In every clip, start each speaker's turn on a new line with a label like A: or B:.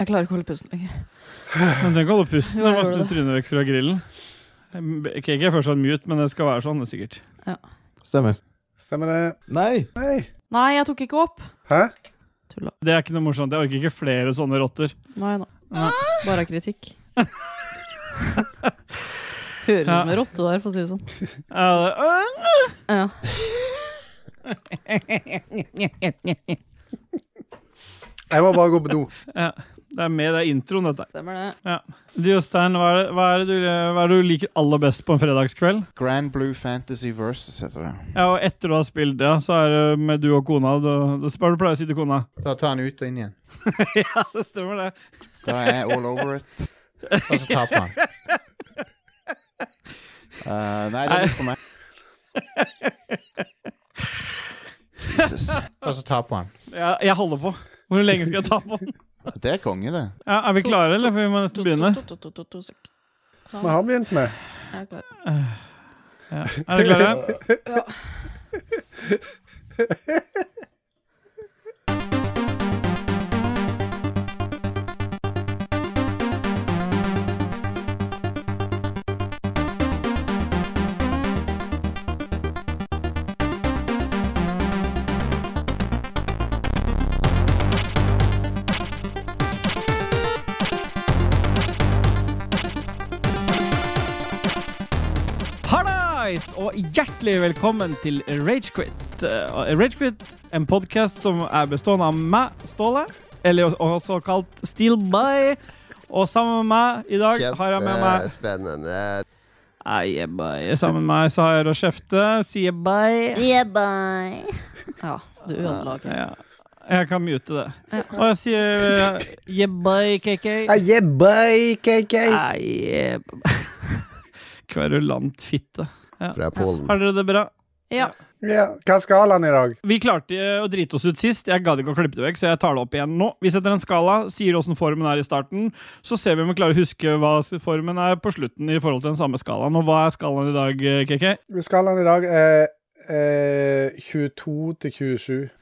A: Jeg klarer ikke å holde pusten lenger.
B: Men trenger ikke holde pusten.
A: Jo, jeg
B: Jeg må
A: gjorde
B: snu
A: det.
B: trynet vekk fra grillen. Cake er fortsatt mute, men det skal være sånn, det er sikkert.
C: Stemmer.
D: Stemmer det?
C: Nei!
D: Nei.
A: Nei, jeg tok ikke opp.
D: Hæ?
A: Tulla.
B: Det er ikke noe morsomt. Jeg orker ikke flere sånne rotter.
A: Nei, nå.
B: Nei.
A: Bare kritikk. Høres ut
B: Ja.
A: som en rotte der, for å si det sånn.
B: Ja, det- øh,
A: Ja.
D: Jeg må bare gå på do.
B: Ja, det er med, det er introen, dette.
A: Stemmer det.
B: Du, Jostein, hva, er det- hva, er det du- hva er det du liker aller best på en fredagskveld?
C: Grand Blue Fantasy Versus heter det.
B: Ja, og etter du har spilt det, så er det med du og kona. Du, du spør du pleier å si til kona.
E: Da tar han ut og inn igjen.
B: ja, det stemmer det.
C: Da er jeg all over it.
E: Og så taper han.
C: Eh, nei, det er litt for meg. Jesus.
E: Og så taper han.
B: Ja, jeg holder på. Hvor lenge skal jeg ta på den?
C: Det er konge, det.
B: Ja, er vi klare, eller? For vi må
A: To,
B: nesten
A: to,
B: begynne.
A: to, to, to, to, to, sek. Sånn.
D: Vi har begynt med
A: Jeg er klar.
B: Ja. Er dere klare? Hallais, og hjertelig velkommen til Eh, Ragequit. Ragequit, en podkast som er bestående av meg, Ståle, eller også kalt Steel By. Og sammen med meg i dag har jeg med meg
F: Kjempespennende.
B: Eie bye. Sammen med meg så har jeg Rochefte. Sier bye.
A: Ja, du ødela ikke.
B: Ja. Jeg kan mute det. Og jeg sier eh, yeah bye, KK.
D: Aye, bye, KK.
B: Eie Kverulant fitte.
F: Fra Polen.
B: Har dere det bra?
A: Ja.
D: Ja, hva er skalaen i dag?
B: Vi klarte eh, å drite oss ut sist. Jeg gadd ikke å klippe det vekk, så jeg tar det opp igjen nå. Vi setter en skala, sier åssen formen er i starten, så ser vi om vi klarer å huske hva formen er på slutten i forhold til den samme skalaen. Og hva er skalaen i dag, eh, KK?
D: Skalaen i dag er eh, 22 til 27.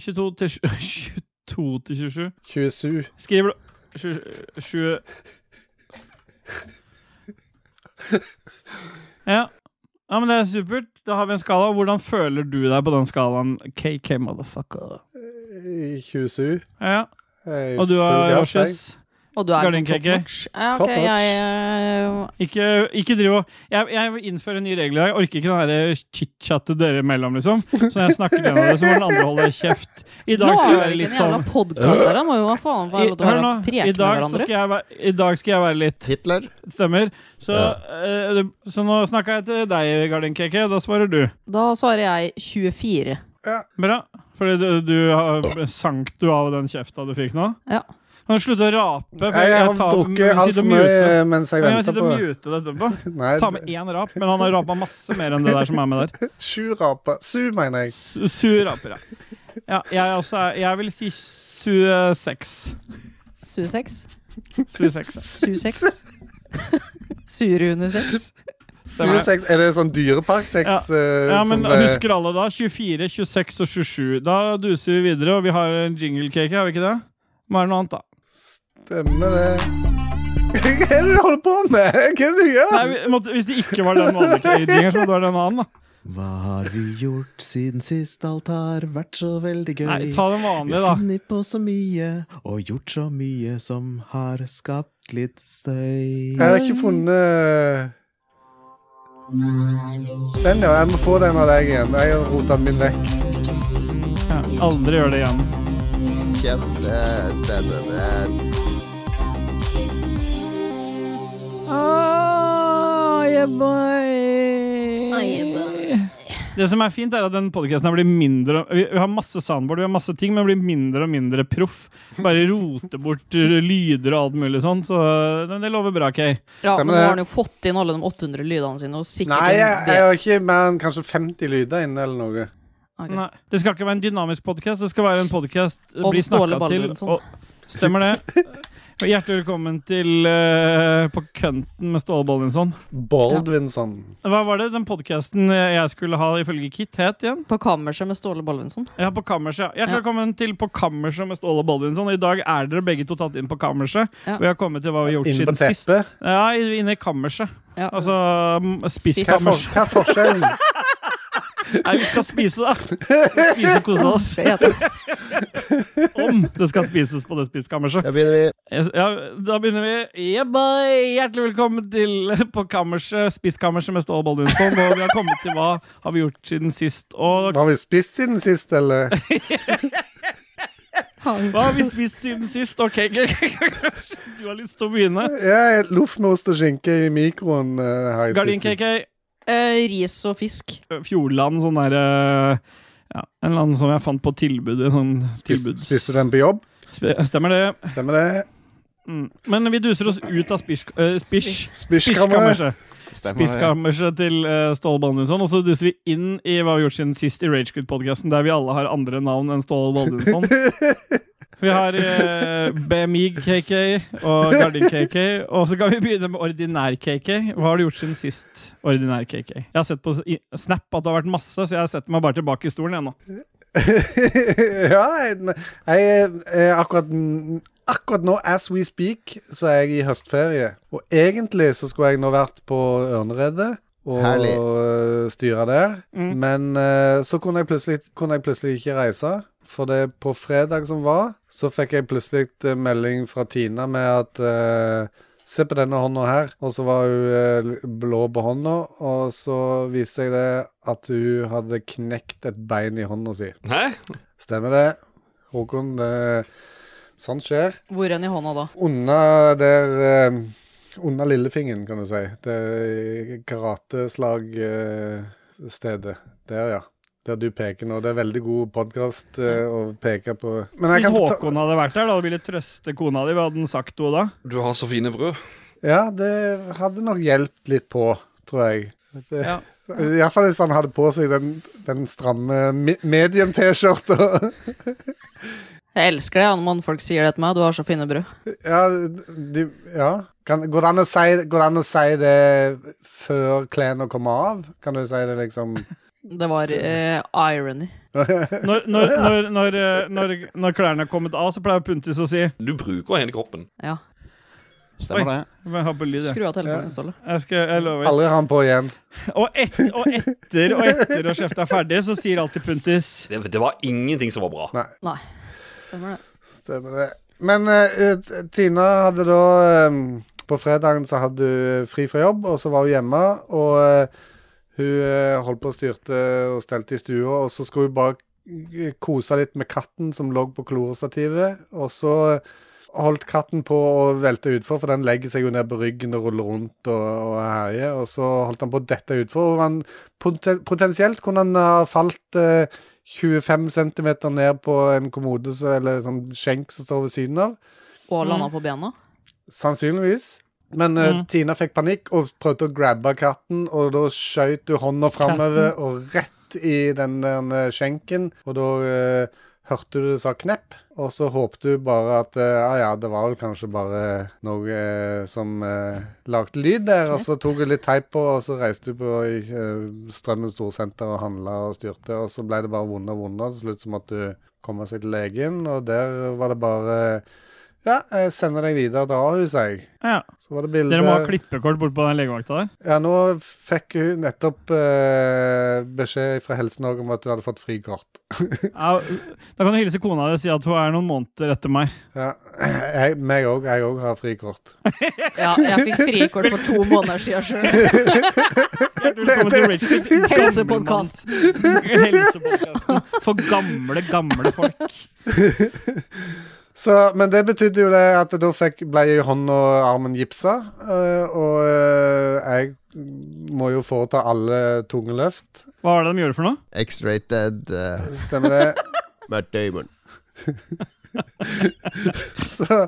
B: 22 til 22 til 27?
D: 27.
B: Skriver du Sju- sju- Ja. ja, men det er supert. Da har vi en skala. Hvordan føler du deg på den skalaen? KK, motherfucker.
D: eh, 27.
B: Ja,
D: Eh,
B: Og du
D: full
B: har
D: gass, jeg.
B: Roshes.
A: Og du er
B: Guardian
A: liksom top
B: Keke.
A: notch. Ja,
D: Top
A: ok,
D: notch.
A: jeg eh,
B: Ikke, ikke driv og jeg, jeg vil innføre nye regler. Jeg orker ikke den derre chit-chatte dere imellom, liksom. Så når jeg snakker til en av dere, så må den andre holde kjeft. I dag skal jeg
A: Lager ikke
B: være litt
A: en jævla
B: sånn
A: podkast der? Han må jo ha faen
B: i,
A: være lov til å
B: Hør nå.
A: være preke
B: I
A: med
B: dag, så
A: hverandre.
B: skal jeg, være- I dag skal jeg være litt
F: Hitler?
B: Stemmer. Så,
F: Ja.
B: eh, du- så nå snakka jeg til deg, Garden KK. Da svarer du.
A: Da svarer jeg 24.
B: Bra. Fordi du, du har- sank du av den kjefta du fikk nå?
A: Ja.
B: Kan du slutte å rape? for
D: Jeg har
B: tar-
D: drukket
B: men sitter og
D: altfor mye
B: muter.
D: eh, mens jeg
B: Men Jeg
D: venter
B: sitter
D: på
B: og muter det etterpå.
D: Nei,
B: Ta med
D: det-
B: én rap, men han har rapa masse mer enn det der som er med der.
D: sju raper. Sju, mener jeg.
B: Su- Sur raper, ja. ja jeg, også er, jeg vil si 26.
A: 26.
B: 26. ja.
A: Susex. Surunisex.
B: Stemmer.
D: 26, er det sånn dyreparksex?
B: Ja.
D: eh,
B: Ja, men
D: som, eh,
B: Husker alle da? 24, 26 og 27. Da duser vi videre, og vi har en jingle cake, har vi ikke det? Må være noe annet, da.
D: Stemmer det. Hva er det du holder på med? Hva er det du gjør?
B: Nei, vi måtte, Hvis det ikke var den vanlige kledingen, så måtte det være den annen. da
C: Hva har vi gjort siden sist alt har vært så veldig gøy?
B: Nei, Ta den
C: Vi
B: vanlige,
C: har
B: da.
C: funnet på så mye og gjort så mye som har skapt litt støy.
D: Jeg har ikke funnet Den, ja. Jeg må få den av deg igjen. Jeg har rota den min vekk.
B: Ja, aldri gjør det igjen.
F: Kjempespennende.
B: Det som er fint, er at den podcasten her blir mindre Vi vi har masse soundboard, vi har masse ting, men blir mindre og mindre proff. Bare roter bort uh, lyder og alt mulig sånn, så uh, men det lover bra, Kay.
A: Ja, men
D: Stemmer
A: nå
D: det.
A: har han jo fått inn alle de 800 lydene sine, og sikkert
D: Nei, jeg,
A: en del-
D: jeg har ikke mer enn kanskje 50 lyder inne eller noe.
A: Ok.
B: Nei, det skal ikke være en dynamisk podkast, det skal være en podkast
A: Om
B: eh, bli
A: Ståle sånn.
B: snakka til.
A: Baldvinsson.
B: Og, stemmer det. Og Hjertelig velkommen til eh, På kønten med Ståle Bollinson.
D: Baldvinsson.
B: Hva var det den podkasten jeg skulle ha ifølge Kit het igjen?
A: På kammerset med Ståle Bolvinson.
B: Ja, På kammerset. ja. Hjertelig
A: Ja.
B: velkommen til På kammerset med Ståle Bollinson. I dag er dere begge to tatt inn på kammerset.
A: Ja.
B: Vi har kommet til hva vi har gjort
D: Inn på
B: siden sist.
D: teppet.
B: Ja, inne i kammerset.
A: Ja.
B: Altså mm,
E: Hva er,
A: Spiskammers.
B: spiskammerset.
E: for, hva er forskjellen?
B: Nei, vi skal spise, da. Vi skal Spise og kose oss.
A: Det hetes.
B: Om det skal spises på det spiskammerset.
F: Da begynner vi.
B: Ja, da begynner vi. Yeah, bye. Hjertelig velkommen til På kammerset, spiskammerset med Ståle Boldinsson. Og vi har kommet til hva har vi gjort siden sist. Og
D: Har vi spist siden sist, eller?
B: hva har vi spist siden sist? OK, du har lyst til å begynne.
D: Ja, et Loff med ost og skinke i mikroen eh, har jeg
B: Gardin
D: spist. siden-
B: KK,
A: Eh, ris og fisk.
B: Fjordland, sånn derre ja, En eller annen som jeg fant på tilbud. en Sånn
D: Spiste,
B: tilbuds-
D: spiste den på jobb?
B: Sp- Stemmer det.
D: Stemmer det?
B: Mm. Men vi duser oss ut av spisk, eh, spish,
D: Spisjkammeret.
B: spiskammerset. Spiskammerset til eh, Ståle Baldinsson. Og så duser vi inn i hva vi har gjort siden sist i Ragequid-podkasten, der vi alle har andre navn enn Ståle Baldinsson. Vi har eh, BMIG-KK og Gardin-KK. Og så kan vi begynne med Ordinær-KK. Hva har du gjort siden sist? Ordinær-KK. Jeg har sett på i- Snap at det har vært masse, så jeg setter meg bare tilbake i stolen, jeg nå.
D: ja, jeg, jeg, jeg akkurat, akkurat nå, as we speak, så er jeg i høstferie. Og egentlig så skulle jeg nå vært på Ørneredet og
F: Herlig.
D: øh, styre der.
B: Mm.
D: Men øh, så kunne jeg, plutselig, kunne jeg plutselig ikke reise. For det på fredag som var, så fikk jeg plutselig øh, melding fra Tina med at øh, Se på denne hånda her. Og så var hun eh, blå på hånda, og så viste jeg det at hun hadde knekt et bein i hånda si.
G: Hæ?
D: Stemmer det. Håkon, det, sånt skjer.
A: Hvor enn i hånda da?
D: Under der eh, Under lillefingeren, kan du si. Det karateslagstedet. Der, ja. Der du peker nå. Det er veldig god podkast å peke på. Men
B: Hvis
D: forta-
B: Håkon hadde vært her da, og ville trøste kona di, hva hadde han sagt til henne da?
G: Du har så fine brød.
D: Ja, det hadde nok hjulpet litt på, tror jeg. Det,
B: Ja.
D: Iallfall hvis han hadde på seg den, den stramme me- medium-T-skjorta.
A: Jeg elsker det ja, når folk sier det til meg. Du har så fine brød.
D: ja, de, ja. Kan, går, det an å si, går det an å si det før klærne kommer av? Kan du si det liksom
A: Det var eh, irony.
B: Når, når, når, når, eh, når, når klærne er kommet av, så pleier Puntis å si
G: Du bruker hele kroppen.
A: Ja.
E: Stemmer det?
B: Jeg har på lyd, jeg.
A: Skru av telefonen, Ståle.
B: Jeg, skal, jeg lover.
D: Aldri har han på igjen.
B: Og, et, og etter og etter å kjefta er ferdig, så sier alltid Puntis
G: Det, det var ingenting som var bra.
D: Nei.
A: Nei. Stemmer det.
D: Stemmer det. Men eh, t- Tina hadde da eh, På fredagen så hadde hun fri fra jobb, og så var hun hjemme. Og eh, hun eh, holdt på og styrte og stelte i stua, og så skulle hun bare eh, kose litt med katten som lå på klorestativet. Og så holdt katten på å velte utfor, for den legger seg jo ned på ryggen og ruller rundt og, og herjer. Og så holdt han på å dette utfor. Og han, poten- potensielt kunne han ha falt eh, 25 cm ned på en kommode så, eller sånn skjenk som står ved siden av.
A: Og landa på bena.
D: Sannsynligvis. Men eh,
B: Mm.
D: Tina fikk panikk og prøvde å grabbe katten, og da skjøt du hånda framover og rett i den der eh, skjenken, og da eh, hørte du det sa knepp, og så håpte du bare at eh, ja, ja, det var vel kanskje bare noe eh, som eh, lagde lyd der, og så tok du litt teip på, og så reiste du på eh, Strømmen storsenter og handla og styrte, og så ble det bare vonde og vonde, og til slutt så måtte du komme seg til legen, og der var det bare ja, jeg sender deg videre til Ahus, jeg.
B: ja,
D: Så var det bilder
B: Dere må ha klippekort bort på den legevakta der.
D: Ja, nå fikk hun nettopp eh, beskjed fra Helse Norge om at hun hadde fått frikort.
B: Ja, da kan du hilse kona di og si at hun er noen måneder etter meg.
D: Ja, jeg, meg òg. Jeg òg har frikort.
A: Ja, jeg fikk frikort for to måneder siden sjøl.
B: Velkommen til Rage
A: Helsepodkast.
B: Helsepodkasten for gamle, gamle folk.
D: Så, men det betydde jo det at da fikk, ble jeg hånd og armen gipsa. eh, og eh, jeg må jo foreta alle tunge løft.
B: Hva var det de gjorde for noe?
F: X-rated uh,
D: Stemmer det?
F: Matt Damon.
D: så,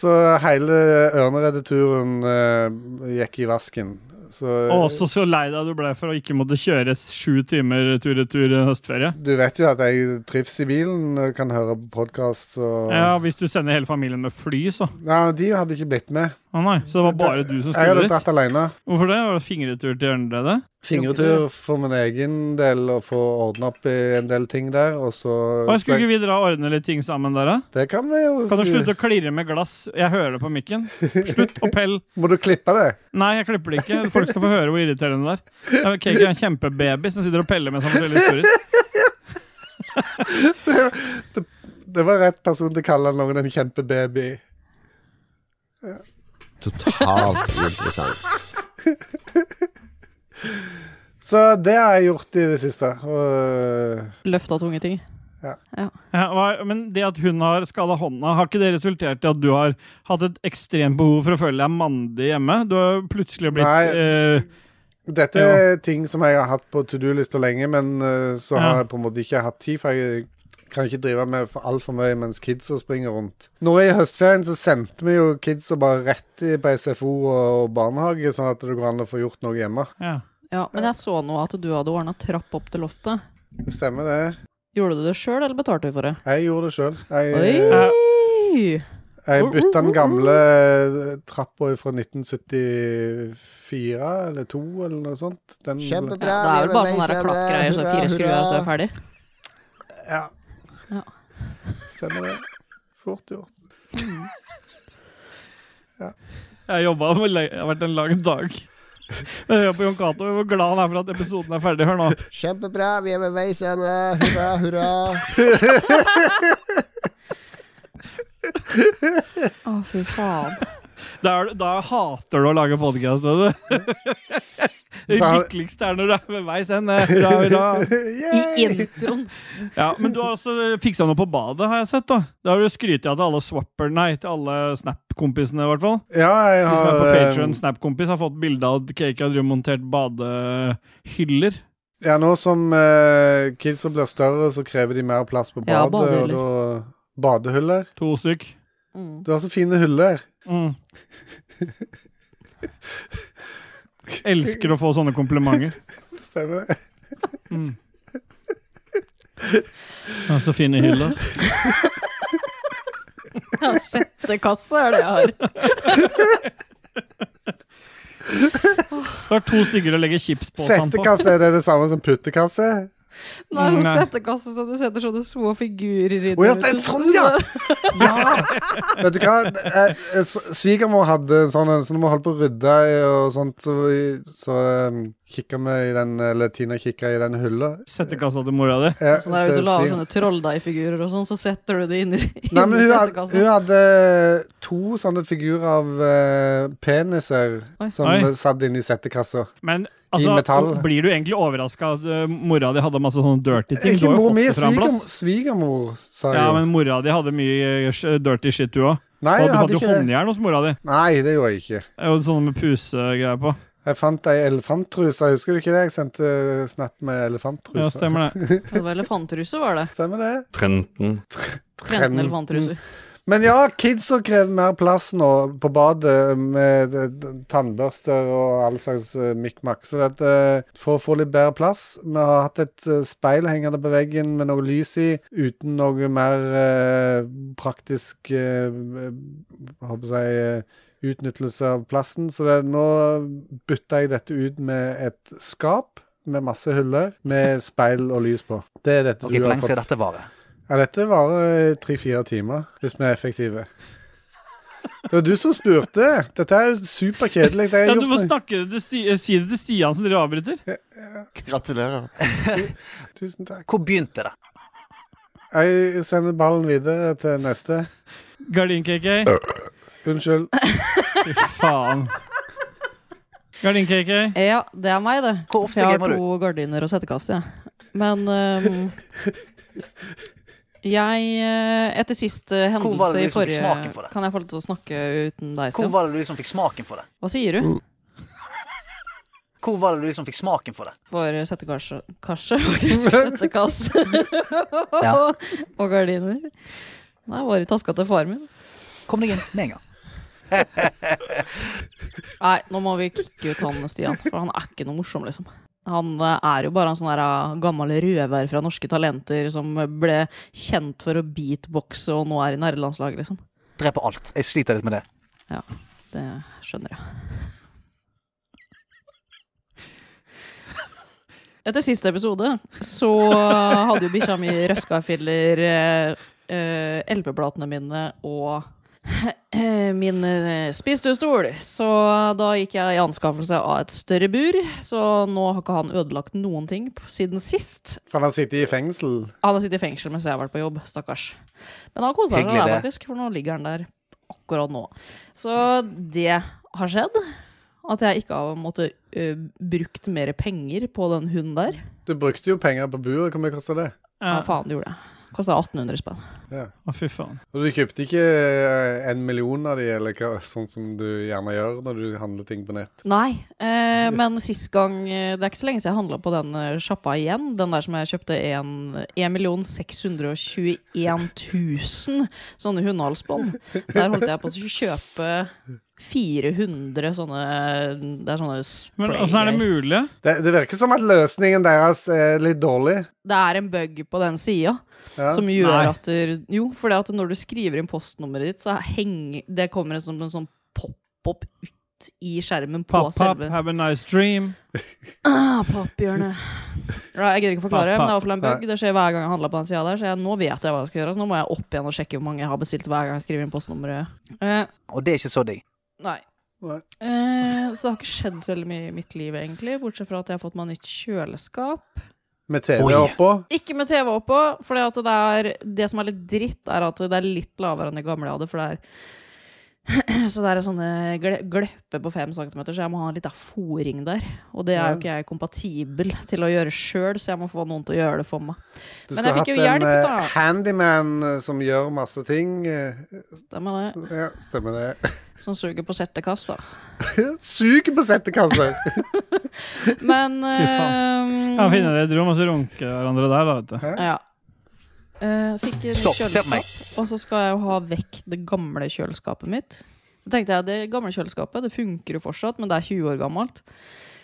D: så hele ørneredeturen eh, gikk i vasken. Så
B: Og også så lei deg du ble for å ikke måtte kjøre sju timer tur-retur høstferie.
D: du vet jo at jeg trives i bilen, og kan høre på podkast og
B: Ja, Hvis du sender hele familien med fly, så.
D: Nei, de hadde ikke blitt med.
B: Å nei, Så det var bare du som
D: Jeg
B: skulle
D: hadde
B: dit?
D: dratt alene.
B: Hvorfor det? Var det fingretur til hjørneledet?
D: Fingertur for min egen del og få ordna opp i en del ting der, og så
B: Hva, Skulle ikke vi dra og ordne litt ting sammen der, da?
D: Det kan vi jo
B: Kan du slutte å klirre med glass? Jeg hører det på mikken. Slutt å pelle.
D: Må du klippe det?
B: Nei, jeg klipper det ikke. Folk skal få høre hvor irriterende det er. Ja, men Cake er en kjempebaby som sitter og peller mens han forteller historier.
D: Det var rett person til å kalle noen en kjempebaby.
F: Totalt uinteressant.
D: Så det har jeg gjort i det siste. Og
A: Løfta tunge ting.
B: Ja, hva- men det at hun har skada hånda, har ikke det resultert i at du har hatt et ekstremt behov for å føle deg mandig hjemme? Du har plutselig blitt
D: Nei.
B: eh,
D: dette er ting som jeg har hatt på to do-lista lenge, men eh, så har
B: Ja.
D: jeg på en måte ikke hatt tid, for jeg kan ikke drive med for altfor mye mens kidsa springer rundt. Nå i høstferien så sendte vi jo kidsa bare rett i- på SFO og barnehage, sånn at det går an å få gjort noe hjemme.
B: ja.
A: Ja, Men jeg så nå at du hadde ordna trapp opp til loftet.
D: Stemmer det.
A: Gjorde du det sjøl, eller betalte du for det?
D: Jeg gjorde det sjøl.
A: Oi! Uh,
D: Jeg, eh, jeg bytta den gamle eh, trappa fra 1974 eller 2 eller noe sånt. Den,
A: Ja, det er vel bare sånne der klakkgreier, så fire skruer, og så er jeg ferdig.
D: Ja.
A: Ja.
D: Stemmer det. Fort gjort.
B: Jeg jobba med le- Det har vært en lang dag. Men hør på Jon Cato, hvor glad han er for at episoden er ferdig. Hør nå.
E: Kjempebra, vi er ved veis ende. Hurra, hurra.
A: Å, fy faen.
B: Da, er du- da hater du å lage podkast, vet du. Det
D: Mm. Så har-
B: lykkeligste er når du er ved veis ende. Hurra, hurra.
A: I
D: Yay!
A: introen.
B: Ja, men du har også fiksa noe på badet, har jeg sett. da. Da har du skrytt av til alle swapper, nei, til alle Snap-kompisene, i hvert fall.
D: Ja, jeg
B: De som er
D: har
B: på
D: eh,
B: Patreon, Snap-kompis, har fått bilde av at Cake har montert badehyller.
D: Ja, nå som eh, kidsa blir større, så krever de mer plass på
A: Ja,
D: badet.
A: badehyller.
D: og da Badehyller.
B: To stykk.
A: Mm.
D: Du har så fine hyller.
B: Mm. Elsker å få sånne komplimenter.
D: Stemmer det?
B: Mm. Ja, så fine hyller.
A: Ja, Settekasse er det jeg har.
B: Du har to stykker å legge chips på. sånn på.
D: Settekasse, er det det samme som puttekasse?
A: Nei, sånn
B: Nei.
A: settekasse som du setter sånne små figurer i.
D: Å, ja, det er sånn, ja! Ja! Vet du hva? Eh, eh, s- Svigermor hadde en sånn en, så når vi holdt på å rydde i- og sånt, så, så um, kikka vi i den Eller Tina kikka i den hylla.
B: Settekassa til mora di.
D: Eh,
A: Sånn der, hvis
D: til
A: du lager
D: sviger-
A: sånne trolldeigfigurer og sånn, så setter du det inn i, inn
D: Nei, men
A: i
D: hun hadde, hun
A: settekassa.
D: hadde to sånne figurer av eh, peniser
A: Oi.
D: som
B: Oi.
D: satt inne i settekassa.
B: Men
D: I metall.
B: altså, blir du egentlig overraska at eh, mora di hadde masse sånne dirty ting? Du
D: Ikke
B: har jo
D: mor
B: fått
D: mi,
B: det fra en plass.
D: svigermor, svigermor, sa
B: Ja,
D: jo.
B: men mora di hadde mye eh, sh- dirty shit, du òg.
D: Nei,
B: Og
D: jeg
B: du hadde
D: hadde
B: jo
D: ikke det.
B: håndjern hos mora di.
D: Nei, det gjorde jeg ikke.
B: Og sånne sånn med pusegreier på.
D: Jeg fant ei elefantruse, husker du ikke det? Jeg sendte snap med elefantruse.
B: Ja, stemmer det.
A: Ja, Det var elefantruser, var det.
D: Stemmer det?
G: Trenden.
A: Trenten elefantruser.
D: Mm. Men ja, kidsa krever mer plass nå på badet med eh, d- tannbørster og all slags eh, mikk-makk. Så det, eh, for å få litt bedre plass Vi har hatt et eh, speil hengende på veggen med noe lys i, uten noe mer eh, praktisk eh, eh, Håper jeg eh, utnyttelse av plassen. Så det, nå bytter jeg dette ut med et skap med masse hyller med speil og lys på. Det er dette
H: Ok,
D: du
H: Hvor
D: har
H: lenge skal
D: fått.
H: dette vare?
D: Ja, dette varer eh, tre-fire timer, hvis vi er effektive. Det var du som spurte! Dette er jo superkjedelig. Det har
B: Ja,
D: jeg
B: du får
D: gjort meg-
B: snakke det til Sti eh, si det til Stian som dere avbryter.
E: Gratulerer.
D: Tusen takk.
H: Hvor begynte det?
D: Jeg sender ballen videre til neste.
B: Gardin-KK.
D: Unnskyld.
B: Fy faen. Gardin-KK.
A: Ja, det er meg, det.
H: Hvor ofte
A: jeg har
H: gamer du?
A: to gardiner og settekasse, jeg. Men ehm, jeg eh, Etter siste
H: Hvor
A: hendelse
H: var
A: i
H: det liksom du som fikk
A: forrige
H: smaken for det?
A: Kan jeg få lov til å snakke uten deg,
H: Hvor
A: Stian?
H: var det du liksom fikk smaken for det?
A: Hva sier du?
H: Hvor var det du liksom fikk smaken for det?
A: For settekasse kasse, faktisk. Settekasse
H: Ja.
A: og gardiner. Nei, var i taska til far min.
H: Kom deg inn med en gang.
A: Nei, nå må vi kicke ut han Stian, for han er ikke noe morsom, liksom. Han eh, er jo bare en sånn der, eh, gammel røver fra Norske Talenter som ble kjent for å beatboxe og nå er i nerdelandslaget, liksom.
H: Dreper alt. Jeg sliter litt med det.
A: Det skjønner jeg. Etter siste episode så hadde jo bikkja mi røska i filler eh, eh, LP-platene mine og eh, min eh, spisestol. Så da gikk jeg i anskaffelse av et større bur, så nå har ikke han ødelagt noen ting p- siden sist.
D: Kan han sitte i fengsel?
A: Han har sittet i fengsel mens jeg har vært på jobb, stakkars. Men han koser seg
H: Hyggelig
A: der,
H: det.
A: faktisk, for nå ligger han der akkurat nå. Så det har skjedd. At jeg ikke har måttet ø, brukt mer penger på den hunden der.
D: Du brukte jo penger på buret, hvor mye kosta det?
A: Ja,
B: Ja.
A: faen, det gjorde jeg. Kosta 1800 spenn.
B: Å, fy faen.
D: Og du kjøpte ikke eh, en million av de, eller hva, sånn som du gjerne gjør når du handler ting på nett.
A: Nei, eh, men sist gang eh, Det er ikke så lenge siden jeg handla på den eh, sjappa igjen. Den der som jeg kjøpte en- 1 621 000 sånne hundehalsbånd. Der holdt jeg på å kjøpe 400 sånne Det er sånne
B: Men åssen er det
A: spraygreier.
B: mulig?
D: Det, det virker som at løsningen deres er litt dårlig.
A: Det er en bug på den sida
D: Ja.
A: som gjør
B: Nei.
A: at du, Jo, for at når du skriver inn postnummeret ditt, så henger Det kommer en sånn, en sånn pop-opp ut i skjermen på
B: Pop, pop,
A: selve
B: have a nice dream.
A: Ah, Papphjørnet. Right, jeg gidder ikke forklare,
B: Papp,
A: men det er iallfall en bug. Det skjer hver gang jeg handler på den sida der, så jeg, nå vet jeg hva jeg skal gjøre. Så nå må jeg opp igjen og sjekke hvor mange jeg har bestilt hver gang jeg skriver inn postnummeret. Eh,
H: Og det er ikke så digg.
A: nei.
D: Nei.
A: Eh, så det har ikke skjedd så veldig mye i mitt liv, egentlig. Bortsett fra at jeg har fått meg nytt kjøleskap.
D: Med TV
H: Oi.
D: oppå.
A: Ikke med TV oppå, for det, at det, er, det som er litt dritt, er at det er litt lavere enn det gamle jeg hadde. For det er så det er sånne gle- gløpper på fem centimeter, så jeg må ha en liten fòring der. Og det er jo ikke jeg kompatibel til å gjøre sjøl, så jeg må få noen til å gjøre det for meg.
D: Du
A: Men jeg
D: skulle
A: fikk
D: hatt
A: jo
D: en
A: hjelp,
D: eh,
A: da.
D: handyman eh, som gjør masse ting. eh,
A: Stemmer det.
D: Ja, stemmer det.
A: Som suger på sjette kassa.
D: Suger på settekasser!
A: Men
B: Ja,
A: eh,
B: finner dere et rom, og så runker hverandre der, da, vet du.
A: Ja. Eh, fikk en
H: Stopp, se på meg.
A: kjøleskap, og så skal jeg jo ha vekk det gamle kjøleskapet mitt. Så tenkte jeg, det gamle kjøleskapet, det funker jo fortsatt, men det er 20 år gammelt.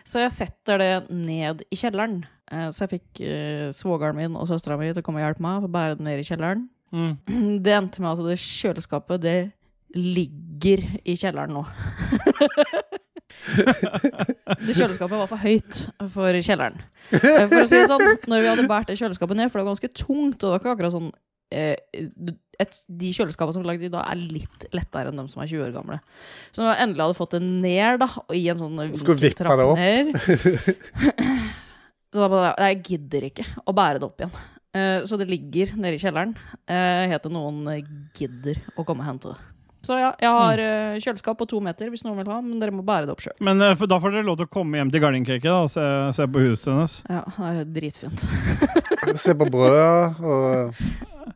A: Så jeg setter det ned i kjelleren. Eh, så jeg fikk eh, svogeren min og søstera mi til å komme og hjelpe meg for å bære det ned i kjelleren.
B: Mm.
A: Det endte med at det kjøleskapet, det ligger i kjelleren nå. det kjøleskapet var for høyt for kjelleren. Eh, For å si det sånn, når vi hadde båret det kjøleskapet ned, for det var ganske tungt, og det var ikke akkurat sånn eh, et, De kjøleskapene som er lagd i dag, er litt lettere enn de som er 20 år gamle. Så når jeg endelig hadde fått det ned, da, og i en sånn
D: Skulle vippe
A: vinkeltrapp
D: det opp.
A: ned Så da bare Jeg gidder ikke å bære det opp igjen. Eh, Så det ligger nede i kjelleren. Eh, Helt til noen eh, gidder å komme og hente det. Så ja, jeg har eh, kjøleskap på to meter hvis noen vil ha, men dere må bære det opp sjøl.
B: Men eh, for, da får dere lov til å komme hjem til Gardinkake da, og se, se på huset hennes.
A: Ja, det er dritfint.
D: Se på brødet og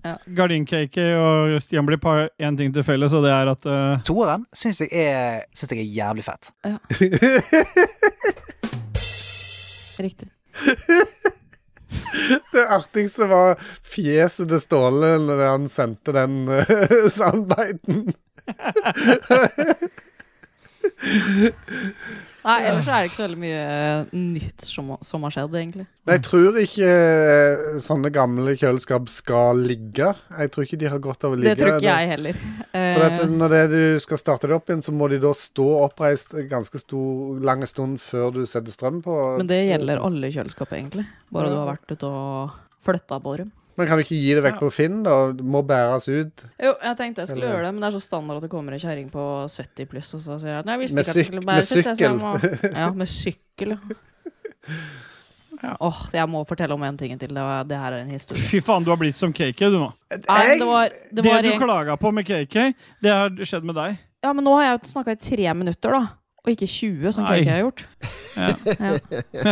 B: Gardinkake og Stian blir par én ting til felles, og det er at eh,
H: Toeren syns jeg, er- synes jeg er jævlig fett.
A: Riktig.
D: Det artigste var fjeset til Ståle når han sendte den uh, soundbiten.
A: Nei, ellers er det ikke så veldig mye eh, nytt som, som har skjedd, egentlig.
D: Men jeg tror ikke eh, sånne gamle kjøleskap skal ligge. Jeg tror ikke de har godt av å
A: Det
D: ligge.
A: tror ikke jeg heller. Eh,
D: For at når det er du skal starte det opp igjen, så må de da stå oppreist en ganske stor, lang stund før du setter strøm på.
A: men det gjelder alle kjøleskap, egentlig. Bare du har vært ute og flytta på dem.
D: Men kan du ikke gi det vekk på Finn, da? Det må bæres ut.
A: Jo, jeg tenkte jeg skulle
D: Eller-
A: gjøre det, men det er så standard at det kommer en kjerring på 70 pluss og så sier jeg at nei, jeg visste ikke
D: Med
A: at jeg
D: syk-
A: skulle
D: med
A: bære sitt, jeg, så jeg
D: sykkel.
A: må- Ja, med sykkel. ja. Åh, jeg må fortelle om en ting til. Det, var, det her er en historie.
B: Fy faen, du har blitt som KK, du nå.
A: Nei, men det var,
B: Det,
A: det var
B: du
A: en,
B: klaga på med KK, det har skjedd med deg.
A: ja, men nå har jeg snakka i tre minutter, da. Og ikke 20, som
B: Nei.
A: KK har gjort.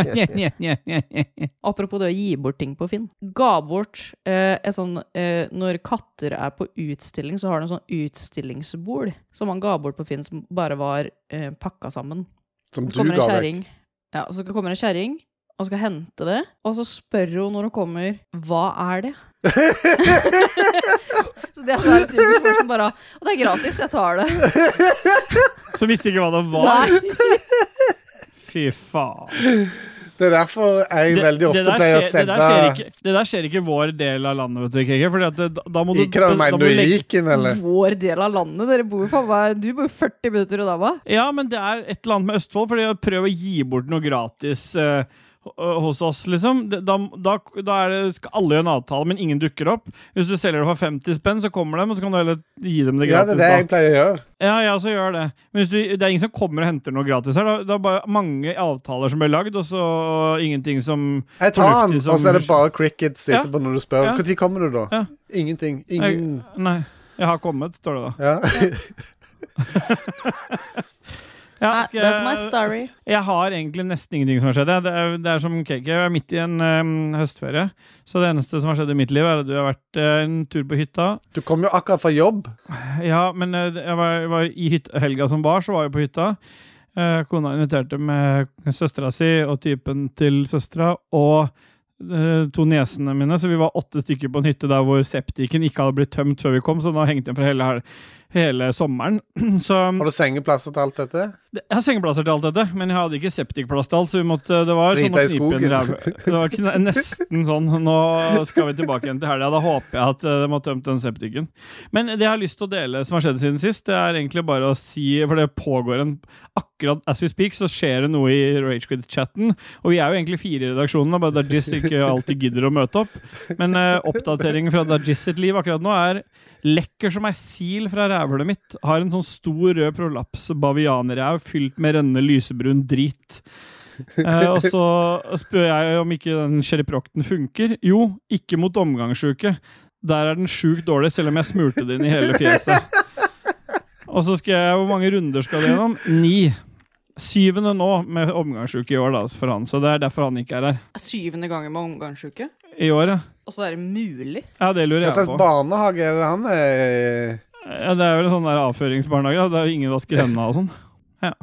B: Nye, nye, nye, nye, nye.
A: Apropos det å gi bort ting på Finn. Ga bort eh, et sånn eh, Når katter er på utstilling, så har de en sånn utstillingsbol som man ga bort på Finn, som bare var eh, pakka sammen.
D: Som
A: Så
D: du
A: kommer en
D: ga vekk.
A: kjerring. Ja, så kommer en kjerring og skal hente det, og så spør hun når hun kommer, hva er det? så Det er bare tusen folk som bare Og det er gratis, jeg tar det.
B: Så visste ikke hva det var.
A: Nei.
B: Fy faen.
D: Det er derfor jeg veldig ofte
B: der
D: pleier å
B: skjer-
D: sende
B: det, der skjer ikke, det der skjer ikke i vår del av landet, vet du, Kiki. Fordi at det, da må du
D: Ikke det
B: da- da
D: mener
B: må
D: du
B: du legge-
D: Viken, eller?
A: Vår del av landet. Dere bor faen meg Du bor 40 minutter unna meg.
B: Ja, men det er et eller annet med Østfold, fordi å prøve å gi bort noe gratis eh, h- hos oss, liksom. Det- Da, da, da er det, skal alle gjøre en avtale, men ingen dukker opp. Hvis du selger det for 50 spenn, så kommer de, og så kan du heller gi dem det
D: Ja, det
B: gratis.
D: er det jeg
B: da.
D: pleier å gjøre.
B: Ja, jeg også gjør det. Men hvis du, det er ingen som kommer og henter noe gratis her. Da, det er bare mange avtaler som blir lagd, og så ingenting som
D: Jeg tar den,
B: fornuftig som
D: og så er det bare crickets
B: Ja.
D: etterpå når du spør.
B: Ja.
D: Når kommer du, da?
B: Ja.
D: Ingenting. Ingen
B: Nei. Jeg har kommet, står det da.
D: ja.
B: Ja,
A: Nei,
B: skal jeg-
A: That's my story.
B: Jeg har egentlig nesten ingenting som har skjedd. jeg. Det er, det er som KK, jeg er midt i en øhm, høstferie. Så det eneste som har skjedd i mitt liv, er at du har vært øh, en tur på hytta.
D: Du kom jo akkurat fra jobb.
B: Ja, men øh, jeg var, jeg var i hyt- helga som var, så var jeg på hytta. Eh, kona inviterte med søstera si og typen til søstera og eh, to niesene mine, så vi var åtte stykker på en hytte der hvor septiken ikke hadde blitt tømt før vi kom, så den har hengt igjen fra hele, hel- hele sommeren. så
D: Har du sengeplasser til alt dette?
B: det- Jeg har sengeplasser til alt dette, men jeg hadde ikke septikplass til alt, så vi måtte, det var
D: Drita
B: sånn å
D: i
B: knipe
D: skogen.
B: en ræv. Det var kn- nesten sånn Nå skal vi tilbake igjen til helga. Da håper jeg at eh, de har tømt den septiken. Men det jeg har lyst til å dele som har skjedd siden sist, det er egentlig bare å si For det pågår en Akkurat as we speak, så skjer det noe i Ragequid-chatten. Og vi er jo egentlig fire i redaksjonen, da, bare Dajis ikke alltid gidder å møte opp. Men eh, oppdateringen fra Dajis sitt liv akkurat nå er Lekker som ei sil fra rævhølet mitt. Har en sånn stor rød prolaps bavianræv fylt med rennende lysebrun drit. Eh, og så spør jeg om ikke den sherryprokten funker. Jo, ikke mot omgangssjuke. Der er den sjukt dårlig, selv om jeg smurte det inn i hele fjeset. Og så skal jeg Hvor mange runder skal vi gjennom? Ni. Syvende nå, med omgangssjuke i år, da, for han. Så det er derfor han ikke er her.
A: Syvende gangen med omgangsuke.
B: I år, ja.
A: Og så er det mulig.
B: Ja, det lurer
D: Hva
B: jeg
D: slags
B: på.
D: barnehage er det han er i?
B: Ja, det er vel en sånn der avføringsbarnehage, da, der ingen vasker hendene og sånn. Ja.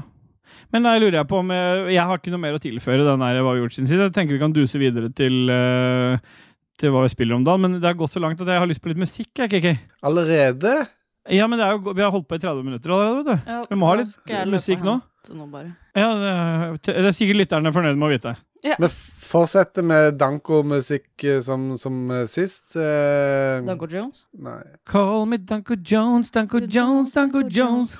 B: Men da lurer jeg på om jeg, jeg har ikke noe mer å tilføre den der hva vi har gjort sin side. Jeg tenker vi kan duse videre til, eh, til hva vi spiller om dagen, men det har gått så langt at jeg har lyst på litt musikk, jeg, KK.
D: Allerede?
B: Ja, men det er jo, vi har holdt på i 30 minutter allerede, vet du. Vi må ha litt musikk nå. Ja, det er, det er sikkert lytterne fornøyd med å vite.
D: Vi fortsetter med danko-musikk eh, som, som eh, sist. eh,
A: Danko Jones.
D: Nei.
B: Call me Danko Jones, Danko Jones, Danko Jones.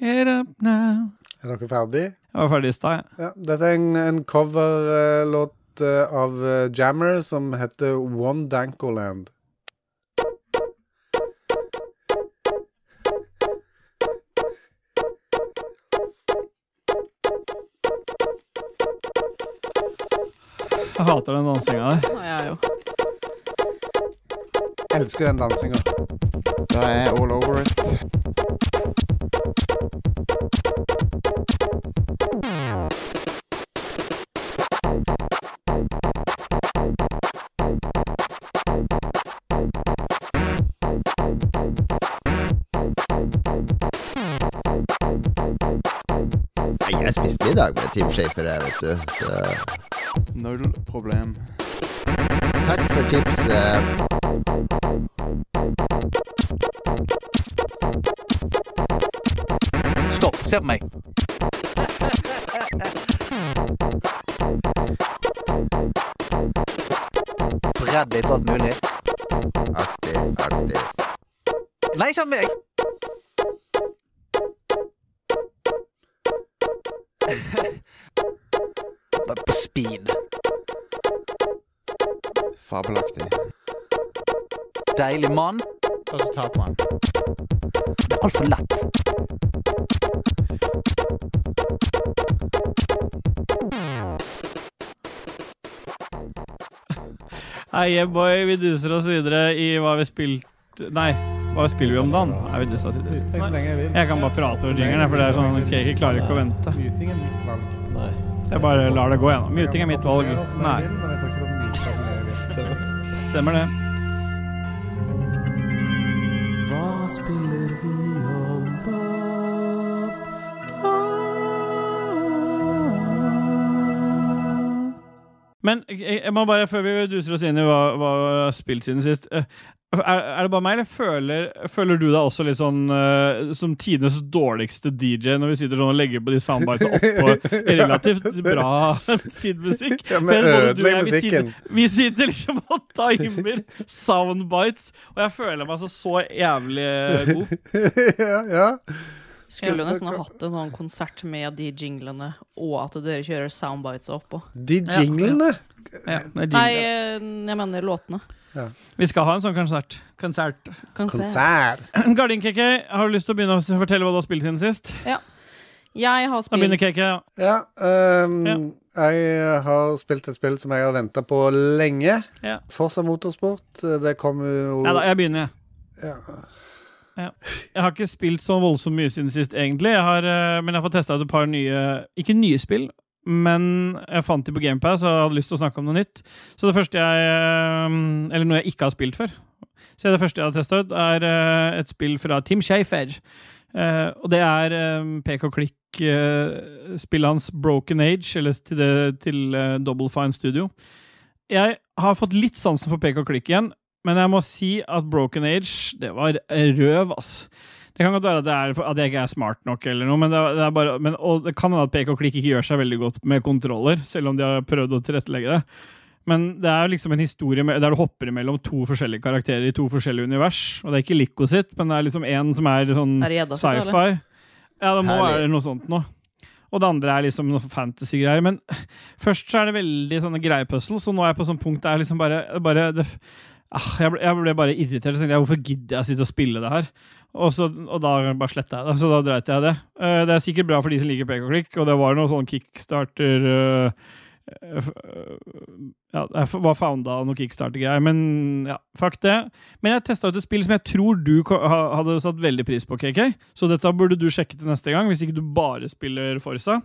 B: Get up now.
D: Er dere ferdig?
B: Jeg var ferdig i stad, jeg.
D: Ja. Dette er en, en coverlåt av eh, Jammer som heter One Dankoland.
B: Jeg hater den dansinga der.
A: Nei, jeg er jo
D: Elsker den dansinga.
F: Da er jeg all over it.
E: Nei, Jeg spiste middag med Team Shaper, jeg, vet du. Så
C: Null problem.
E: takk for tips. eh.
H: Stopp. Se på meg. Redd deg til alt mulig.
E: Artig, artig.
H: Nei, ikke av meg. Bare på speed.
F: Fabelaktig.
H: Deilig mann.
F: Og så taper man.
H: Det er altfor lett.
B: Hei, yeah, boy, vi duser oss videre i hva vi spilt Nei, hva spiller vi om dagen? Nei, vi duser oss videre.
D: så lenge jeg vil.
B: Jeg kan bare prate over jingeren, jeg, for det er sånn ok, jeg klarer ikke å vente.
D: Mytingen mitt valg.
B: Jeg bare lar det gå gjennom. Muting er mitt valg. Nei, stemmer det. eh, Men jeg, jeg må bare, før vi duser oss inn i hva hva vi har spilt siden sist eh, Er, er det bare meg, eller føler, føler du deg også litt sånn eh, som tidenes dårligste DJ når vi sitter sånn og legger på de soundbitene oppå relativt bra sidemusikk?
D: Ja, men
B: For jeg- både du og
D: ødelegg
B: jeg, vi sitter-
D: musikken.
B: Vi sitter liksom og timer soundbites, og jeg føler meg altså så jævlig eh, god.
D: ja, ja.
A: Skulle jo nesten ha hatt en sånn konsert med de jinglene, og at dere kjører soundbites oppå.
D: De jinglene.
A: Nei, eh, jeg mener låtene.
B: Vi skal ha en sånn konsert. Konsert.
A: Kan se.
D: Konsert.
B: Gardin KK, har du lyst til å begynne å fortelle hva du har spilt siden sist?
A: Jeg har
B: Da begynner
A: spilt
B: KK. ja.
D: Ja, ehm, Jeg har spilt et spill som jeg har venta på lenge.
B: Ja.
D: Forza Motorsport. eh, Det kom jo
B: Ja, da, jeg begynner, jeg.
D: Ja.
B: Ja. Jeg har ikke spilt så voldsomt mye siden sist, egentlig. Jeg har, eh, men jeg har fått testa ut et par nye Ikke nye spill, men jeg fant de på GamePass og hadde lyst til å snakke om noe nytt. Så det første jeg eh, Eller noe jeg ikke har spilt før. Så det første jeg har testa ut, er eh, et spill fra Tim Shafer. Eh, og det er eh, pek og klikk-spillet hans Broken Age, eller til, det, til eh, Double Fine Studio. Jeg har fått litt sansen for pek og klikk igjen. Men jeg må si at Broken Age, det var røv, ass. Det kan godt være at, det er, at jeg ikke er smart nok, eller noe, men det er, det er bare, men, og det kan hende at pek og klikk ikke gjør seg veldig godt med kontroller, selv om de har prøvd å tilrettelegge det. Men det er liksom en historie med, der du hopper mellom to forskjellige karakterer i to forskjellige univers. Og det er ikke Lico sitt, men det er liksom en som er sånn
A: Er det gjedda sitt, eller?
B: sci-fi. Ja, det må
E: Herlig.
B: være noe sånt nå. Og det andre er liksom noe fantasy-greier. Men først så er det veldig sånne greie puzzles, og nå er jeg på sånn punkt der jeg liksom bare, bare det, ah, jeg, ble, jeg ble bare irritert. Så tenkte jeg, hvorfor gidder jeg å sitte og spille det her? Og, så, og da bare sletta jeg det. Så da dreit jeg i det. Eh, det er sikkert bra for de som liker pek og klikk, og det var noe sånn kickstarter eh, eh, f- eh, Ja, jeg f- var founda av noe kickstarter-greier, men ja, fuck det. Men jeg testa ut et spill som jeg tror du ko- ha- hadde satt veldig pris på, KK. Så dette burde du sjekke til neste gang, hvis ikke du bare spiller Forsa.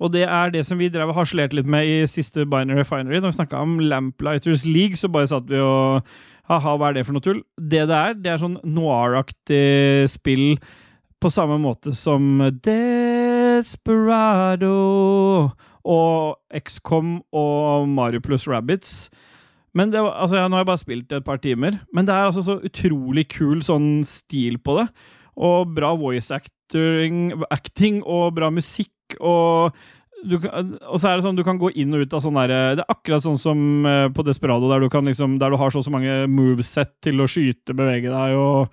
B: Og det er det som vi drev og harselerte litt med i siste Binary Refinery. Når vi snakka om Lamplighters League, så bare satt vi og Haha, hva er det for noe tull? Det det er, det er sånn noir-aktig spill på samme måte som Desperado og XCOM og Mario pluss Rabbits. Men det var, altså, ja, nå har jeg bare spilt det et par timer, men det er altså så utrolig kul sånn stil på det. Og bra voice acting, acting og bra musikk og du, kan- og så er det sånn du kan gå inn og ut av sånn derre Det er akkurat sånn som eh, på Desperado, der du, kan liksom, der du har så og så mange moveset til å skyte, bevege deg og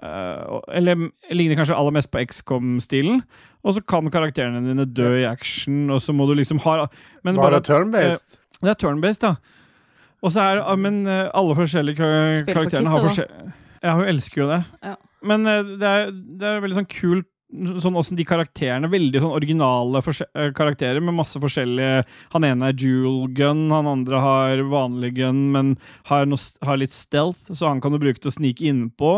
B: eh, og- Eller mm, ligner kanskje aller mest på XCOM-stilen. Og så kan karakterene dine dø i action, og så må du liksom ha men eh,
D: Var det turn-based?
B: det er turn-based, da. Og så er ja, Men eh, alle forskjellige kar
A: Spill for
B: karakterene har
A: kittet,
B: forskjellige Ja, hun elsker jo det.
A: Ja.
B: Men eh, det, er, det er veldig sånn kult Sånn åssen de karakterene Veldig sånn originale forskje- eh, karakterer med masse forskjellige Han ene er dual gun, han andre har vanlig gun, men har, noe, s- har litt stealth, så han kan du bruke til å snike innpå.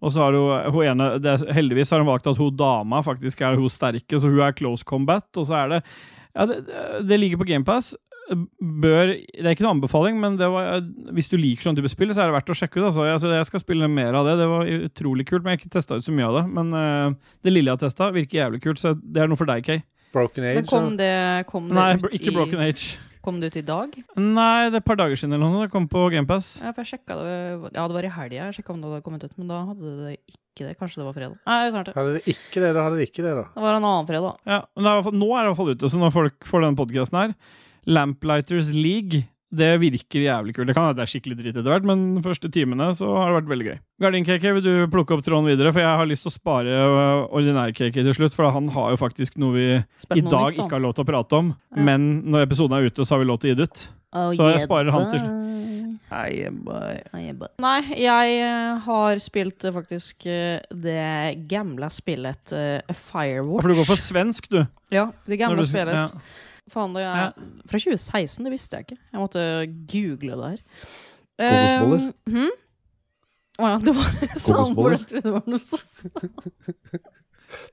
B: Og så har hun, hun ene det, er- Heldigvis har hun valgt at hun dama faktisk er hun sterke, så hun er close combat, og så er det ja, det, det ligger på GamePass. Bør, det er ikke noen anbefaling, men det var, hvis du liker sånn type spill, så er det verdt å sjekke ut. Altså. Jeg, jeg skal spille mer av det. Det var utrolig kult, men jeg har ikke testa ut så mye av det. Men eh, det lille jeg har testa, virker jævlig kult, så det er noe for deg, Kay.
D: Broken Age?
A: Men kom det, kom det
B: Nei,
A: ut
B: bro- ikke Broken
A: i,
B: Age.
A: Kom det ut i dag?
B: Nei, det er et par dager siden eller noe. Det kom på GamePass.
A: Ja, for jeg sjekket det Ja, det var i helga jeg sjekka om det hadde kommet ut, men da hadde det ikke det. Kanskje det var fredag. Nei, snart det.
D: Hadde det ikke det, da hadde det ikke det, da.
A: Det var en annen fredag.
B: Ja, men det er, i hvert fall- nå er det i hvert fall ute, så når folk får denne podkasten her Lamplighters League, det virker jævlig kult. Det kan være det er skikkelig dritt etter hvert, men de første timene så har det vært veldig gøy. Gardin KK, vil du plukke opp tråden videre? For jeg har lyst til å spare øh, ordinær KK til slutt, for han har jo faktisk noe vi i
A: Spilte noe
B: dag
A: nytt, da.
B: ikke har lov til å prate om.
A: Ja.
B: Men når episoden er ute, så har vi lov til å gi det ut.
A: Oh,
B: Så jeg
A: yeah,
B: sparer han til
A: bye. Oh, yeah, bye. Nei, jeg eh, har spilt eh, faktisk eh, det gamle spillet eh,
B: Ja, For du går
A: Firewatch.
B: for svensk, du.
A: Ja, det
B: Når
A: gamle
B: du-
A: spillet.
B: ja.
A: Faen, det
B: Ja.
A: er fra 2016, det visste jeg ikke. Jeg måtte google det her.
C: Kokosboller?
A: Eh, hm? Å ja, det var
C: Kokosboller?
A: soundboard. Jeg trodde det var noe sånt.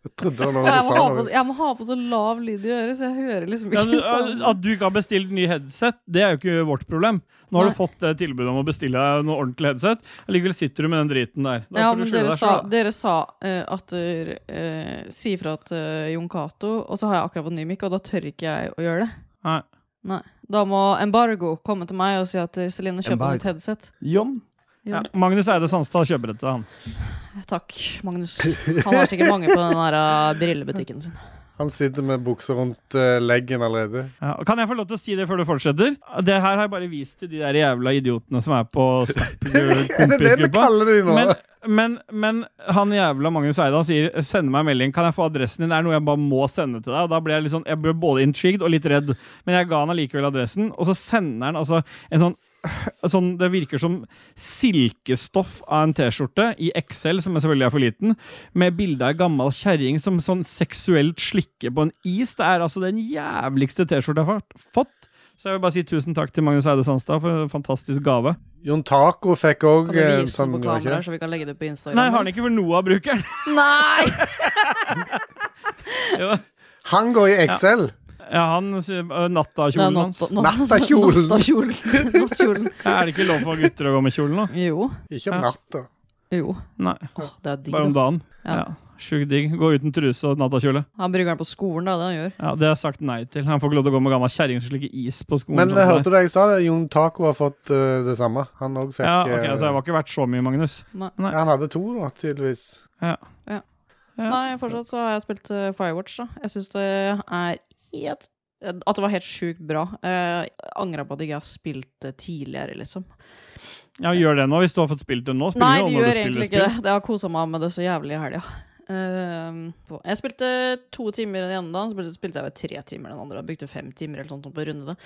D: Jeg trodde det var noe
A: Jeg
D: du
A: må,
D: sa.
A: ha på,
D: Når du...
A: jeg må ha på så lav lyd i øret, så jeg hører liksom
B: Ja,
A: ikke
B: du,
A: sound.
B: at du ikke har bestilt ny headset, det er jo ikke vårt problem. Nå har
A: Nei.
B: du fått eh, tilbud om å bestille deg noe ordentlig headset. Allikevel sitter du med den driten der. Da
A: Ja,
B: får du
A: men
B: skylde
A: dere
B: deg
A: sa,
B: selv.
A: dere sa eh, at dere eh, Si fra til Jon Cato, og så har jeg akkurat fått ny mikk, og da tør ikke jeg å gjøre det.
B: Nei.
A: Nei. Da må Embargo komme til meg og si at eh, Celine kjøpte
E: Embargo.
A: et headset.
E: John?
A: Jo.
B: Ja. Magnus Eide Sandstad kjøper dette, han.
A: Takk, Magnus. Han har sikkert mange på den der eh, brillebutikken sin.
D: Han sitter med buksa rundt eh, leggen allerede.
B: Ja, og kan jeg få lov til å si det før du fortsetter? Det her har jeg bare vist til de der jævla idiotene som er på
D: Er det det vi
B: Snap-kompisgruppa.
D: kaller de nå?
B: Men, men, men han jævla Magnus Eide han sier 'send meg en melding', kan jeg få adressen din? Det er noe jeg bare må sende til deg. Og da ble jeg litt sånn, jeg ble både intrigued og litt redd, men jeg ga han allikevel adressen. Og så sender han altså en sånn Sånn, det virker som silkestoff av en T-skjorte, i XL, som er selvfølgelig er for liten, med bilde av ei gammel kjerring som sånn seksuelt slikker på en is. Det er altså den jævligste T-skjorta jeg har fått. Så jeg vil bare si tusen takk til Magnus Eide Sandstad for en fantastisk gave.
D: Jon Taco fikk òg
A: Kan du
D: en
A: vise
D: sånn.
A: den på
D: gjorde ikke
A: kamera,
D: det?
A: så vi kan legge det på Instagram?
B: Nei, har han ikke for noe av brukeren?
A: Nei!
B: Jo.
D: Han går i XL!
B: Ja, han øh, ø,
A: Det er
B: Nattakjolen hans.
A: natta- natt-
D: Nattakjolen.
A: Nattakjolen. Nattkjolen.
B: Er det ikke lov for gutter å gå med kjolen nå?
A: Jo.
D: Ikke
B: Ja.
D: om natta.
A: Jo.
B: Nei,
A: Åh, det er digg,
B: bare om
A: da.
B: dagen.
A: Ja.
B: Ja. Sjukt digg. Gå uten truse og nattakjole.
A: Han bruker den på skolen, da, det han gjør.
B: Ja, det har jeg sagt nei til. Han får ikke lov til å gå med gammel kjerring som slikker is på skolen.
D: Men
B: sånn
D: eh,
B: som
D: hørte du det jeg sa? det? Jon Taco har fått eh, det samme. Han òg
B: det
D: fikk
B: er. Ja, ok,
D: eh,
B: så jeg var ikke verdt så mye, Magnus.
D: ja, Han hadde to, da, tydeligvis.
B: Ja. Ja.
A: Nei, fortsatt så har jeg spilt eh, Firewatch, da. Jeg syns det er helt At det var helt sjukt bra. Uh, Angra på at jeg ikke har spilt det tidligere, liksom.
B: ja, gjør det nå, hvis du har fått spilt det nå.
A: Nei,
B: Spiller jo
A: det
B: når
A: gjør
B: spiller
A: egentlig ikke
B: spill.
A: det. Det har kosa meg med det så jævlig i helga. Ehm, på- jeg spilte to timer den ene dagen, så spilte- spilte jeg vel tre timer den andre. Jeg brukte fem timer eller sånt på å runde det.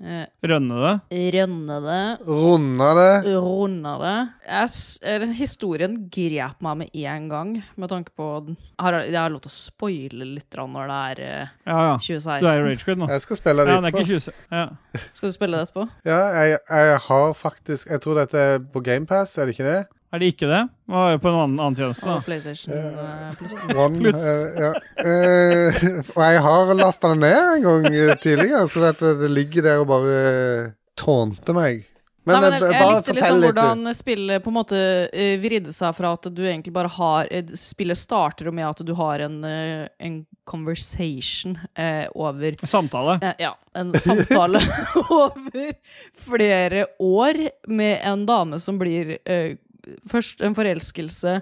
A: Eh,
B: Rønne det.
A: rønne det,
D: Runda det.
A: runde det. Jeg, s- eller, historien grep meg med en gang, med tanke på den. Jeg har, jeg har lov til å spoile litt grann når det er eh,
B: Ja, ja. Du er i
A: 2016.
B: Ragequid nå.
D: Jeg skal spille det
B: Ja, det er
D: etterpå.
B: ikke 20... Ja.
A: Skal du spille det etterpå?
D: Ja, jeg, jeg har faktisk Jeg tror dette er på GamePass, er det ikke det?
B: Er det ikke det? Nå er det på en annen, annen tjeneste,
A: På
B: da.
A: PlayStation eh, Plus?
D: One,
B: Pluss.
D: eh, ja. Eh, og jeg har lasta det ned en gang eh, tidligere, så dette, det ligger der og bare eh, tånte meg. Men,
A: Nei, men jeg,
D: eh,
A: jeg
D: bare
A: likte
D: fortell
A: liksom
D: litt, du.
A: hvordan spillet på en måte eh, vridde seg fra at du egentlig bare har eh, Spillet starter jo med at du har en, eh, en conversation eh, over
B: Samtale.
A: eh, Ja, en samtale over flere år med en dame som blir eh, Først en forelskelse,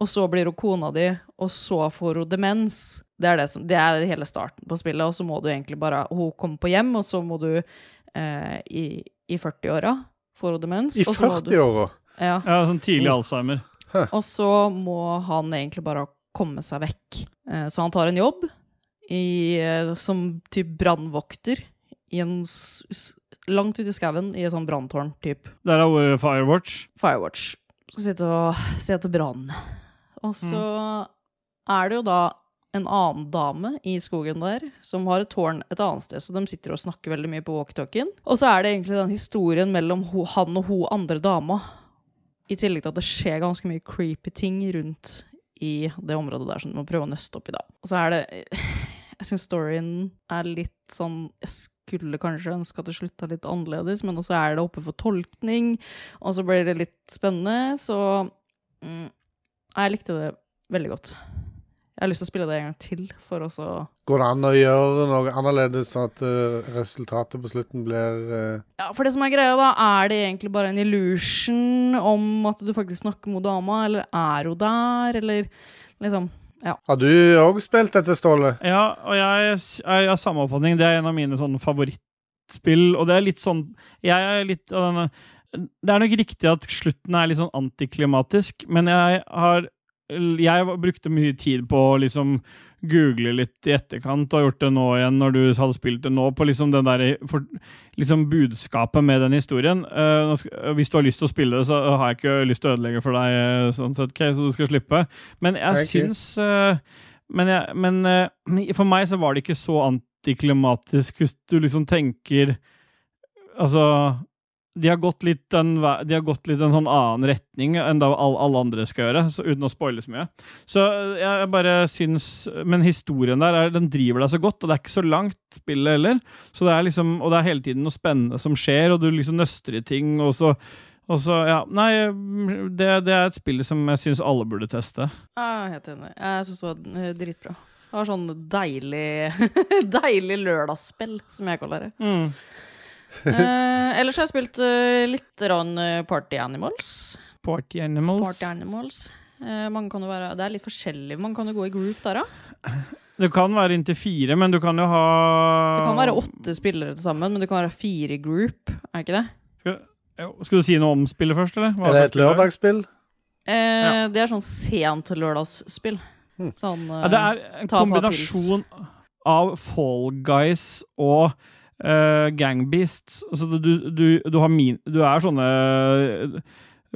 A: og så blir hun kona di, og så får hun demens. Det er, det som, det er hele starten på spillet, og så må du egentlig bare Hun kommer på hjem, og så må du eh, i, i 40-åra får hun demens.
D: I
A: og så må du-
D: 40-åra.
A: Ja.
B: Ja, sånn tidlig Alzheimer.
A: Og så må han egentlig bare komme seg vekk. Eh, Så han tar en jobb i, eh, som typ brannvokter i en s- s- Langt ute i skauen i et sånt branntårn, type
B: Der er ordet Firewatch.
A: Firewatch. Skal sitte og se etter brannen. Og så er det jo da en annen dame i skogen der som har et tårn et annet sted, så de sitter og snakker veldig mye på walkietalkien. Og så er det egentlig den historien mellom ho, han og ho andre dama i tillegg til at det skjer ganske mye creepy ting rundt i det området der som du må prøve å nøste opp i, da. Og så er det Jeg syns storyen er litt sånn Jeg skulle kanskje ønske at det slutta litt annerledes, men også er det oppe for tolkning, og så blir det litt spennende, så mm, Jeg likte det veldig godt. Jeg har lyst til å spille det en gang til, for også
D: Går det an å gjøre noe annerledes, sånn at eh, resultatet på slutten blir eh,
A: Ja, for det som er greia, da, er det egentlig bare en illusion om at du faktisk snakker med dama, eller er hun der, eller liksom
D: Har du òg spilt dette, Ståle?
B: Ja, og jeg er av samme oppfatning. Det er en av mine sånne favorittspill, og det er litt sånn Jeg er litt av denne Det er nok riktig at slutten er litt sånn antiklimatisk, men jeg har jeg var- brukte mye tid på å liksom google litt i etterkant, og har gjort det nå igjen når du hadde spilt det nå, på liksom den der, for, liksom budskapet med den historien. Eh, nå sk- eh, hvis du har lyst til å spille det, så har jeg ikke lyst til å ødelegge for deg, eh, sånn sett, Kay, så du skal slippe. Men jeg
D: Thank you.
B: syns eh, Men, jeg, men eh, for meg så var det ikke så antiklimatisk, hvis du liksom tenker Altså de har gått litt en, ve- de har gått litt en sånn annen retning enn da alle, alle andre skal gjøre, så, uten å spoile så mye. Så jeg jeg bare syns Men historien der, er, den driver deg så godt, og det er ikke så langt spillet heller. Så det er liksom, og det er hele tiden noe spennende som skjer, og du liksom nøster i ting, og så og så, ja, Nei, det, det er et spill som jeg syns alle burde teste.
A: Jeg er helt enig. Jeg syns det var eh, dritbra. Det var sånn deilig Deilig lørdagsspill, som jeg kaller det. Eh, ellers har jeg spilt eh, litt rann, eh, Party Animals.
B: Party Animals.
A: Party Animals. Eh, man kan jo være, det er litt forskjellig. Man kan jo gå i group der, da.
B: Det kan være inntil fire, men du kan jo ha
A: Det kan være åtte spillere til sammen, men det kan være fire i group. Er det ikke det?
B: Jo, Skal du si noe om spillet først, eller? Hva
D: Er
B: slags
D: det et
B: spill er?
D: lørdagsspill?
A: Eh, Det er sånn sent lørdagsspill.
D: Hm.
A: Sånn eh,
B: Ja, det er en
A: Ta på
B: kombinasjon av Fall Guys og eh, Gang Beasts. Altså, du, du, du, har min, du er sånne eh,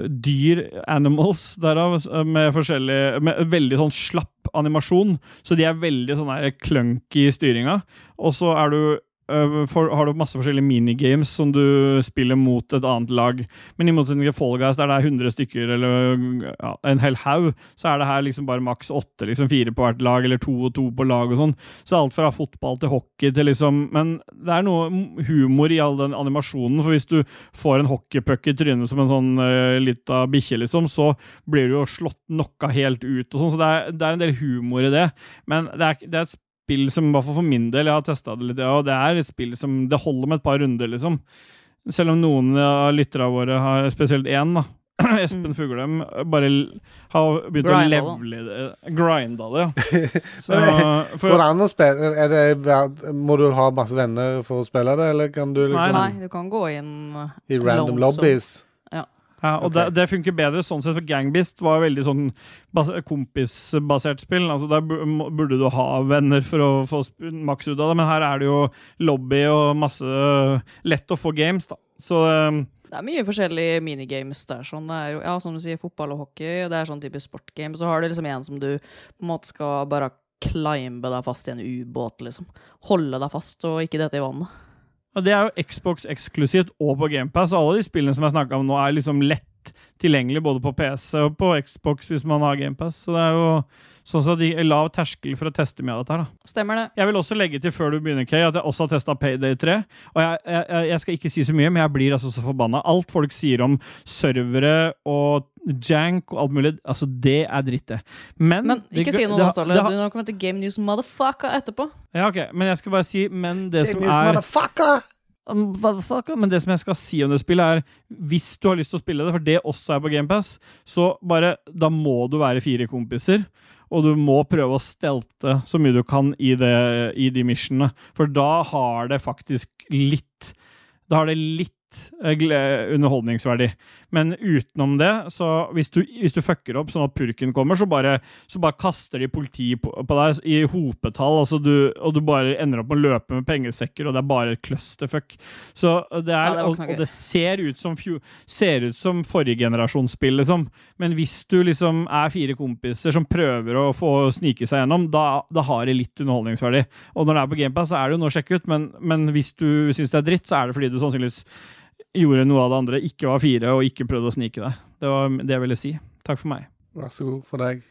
B: dyr, animals, derav, eh, med forskjellig Med veldig sånn slapp animasjon. Så de er veldig sånn her clunky i styringa. Og så er du eh, for, har du masse forskjellige minigames som du spiller mot et annet lag. Men i motsetning til Fall Guys, der det er 100 stykker eller ja, en hel haug, så er det her liksom bare maks åtte, liksom fire på hvert lag, eller to og to på lag og sånn. Så alt fra fotball til hockey til liksom Men det er noe m- humor i all den animasjonen, for hvis du får en hockeypuck i trynet som en sånn uh, lita bikkje, liksom, så blir du jo slått knocka helt ut og sånn, så det er, det er en del humor i det. Men det er, det er et spill som, i hvert fall for min del, jeg har testa det litt, ja, og det er et spill som Det holder med et par runder, liksom. Selv om noen av lytterne våre har spesielt én, da. Espen Fuglem bare l- har begynt å
A: Grinda det.
B: levele det. Grinda det, ja. Så, for,
D: Går det an å spille er det, verd- Må du ha masse venner for å spille det, eller kan du
B: Nei,
A: eh,
D: liksom
A: Nei, du kan gå inn eh,
D: i random
A: lonesome.
D: lobbies?
B: Ja, og
D: Ok.
B: det, det funker bedre sånn sett, for Gangbeast var veldig sånn bas kompisbasert spill. Altså Der bu- må- burde du ha venner for å få sp- maks ut av det, men her er det jo lobby og masse øh, lett å få games, da. Så eh,
A: Det er mye forskjellige minigames der. Sånn. Det er jo, ja, som du sier, fotball og hockey. og Det er sånn type sportgame. Så har du liksom en som du på en måte skal bare climbe deg fast i en ubåt, liksom. Holde deg fast og ikke dette i vannet.
B: Og det er jo Xbox eksklusivt og på GamePass. Alle de spillene som jeg snakka om nå, er liksom lett tilgjengelig både på PC og på Xbox hvis man har GamePass. Så det er jo sånn sett de- lav terskel for å teste mye av dette her, da.
A: Stemmer det?
B: Jeg vil også legge til før du begynner, Kay, at jeg også har testa Payday 3. Og jeg, jeg, jeg skal ikke si så mye, men jeg blir altså så forbanna. Alt folk sier om servere og jank og alt mulig, altså det er dritt, det. Men,
A: Men
B: det-
A: ikke si noe
B: det-
A: nå, Ståle.
B: det-
A: Du nå kommer til Game News Motherfucker etterpå.
B: Ja, ok, men jeg skal bare si Men det som
D: Game is
B: er
D: motherfucker!
B: Um, motherfucker. Men det som jeg skal si om det spillet, er hvis du har lyst til å spille det, for det også er på GamePass, så bare Da må du være fire kompiser. Og du må prøve å stelte så mye du kan i, det, i de missionene. For da har det faktisk litt Da har det litt eh, gle- underholdningsverdi. Men utenom det, så hvis du, hvis du fucker opp sånn at purken kommer, så bare, så bare kaster de politi på, på deg i hopetall, altså du, og du bare ender opp med å løpe med pengesekker, og det er bare et clusterfuck. Så det
A: Ja,
B: er,
A: det var
B: og,
A: ikke noe gøy.
B: og det ser ut som, fjo- ser ut som forrige generasjons spill, liksom. Men hvis du liksom er fire kompiser som prøver å få snike seg gjennom, da, da har det litt underholdningsverdi. Og når det er på GamePass, så er det jo noe å sjekke ut, men, men hvis du syns det er dritt, så er det fordi du sannsynligvis gjorde noe av det andre, ikke var fire, og ikke prøvde å snike deg. Det var det jeg ville si. Takk for meg.
D: Vær så god for deg.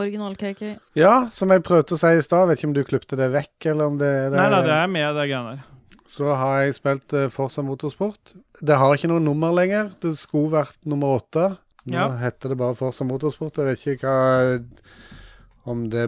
A: Original-KK.
D: Ja, som jeg prøvde å si i stad, vet ikke om du klipte det vekk, eller om det, det
B: Nei, nei, det er med de greiene der.
D: Så har jeg spilt eh, Forza Motorsport. Det har ikke noe nummer lenger. Det skulle vært nummer åtte. Nå
B: Ja.
D: heter det bare Forza Motorsport. Jeg vet ikke hva Om det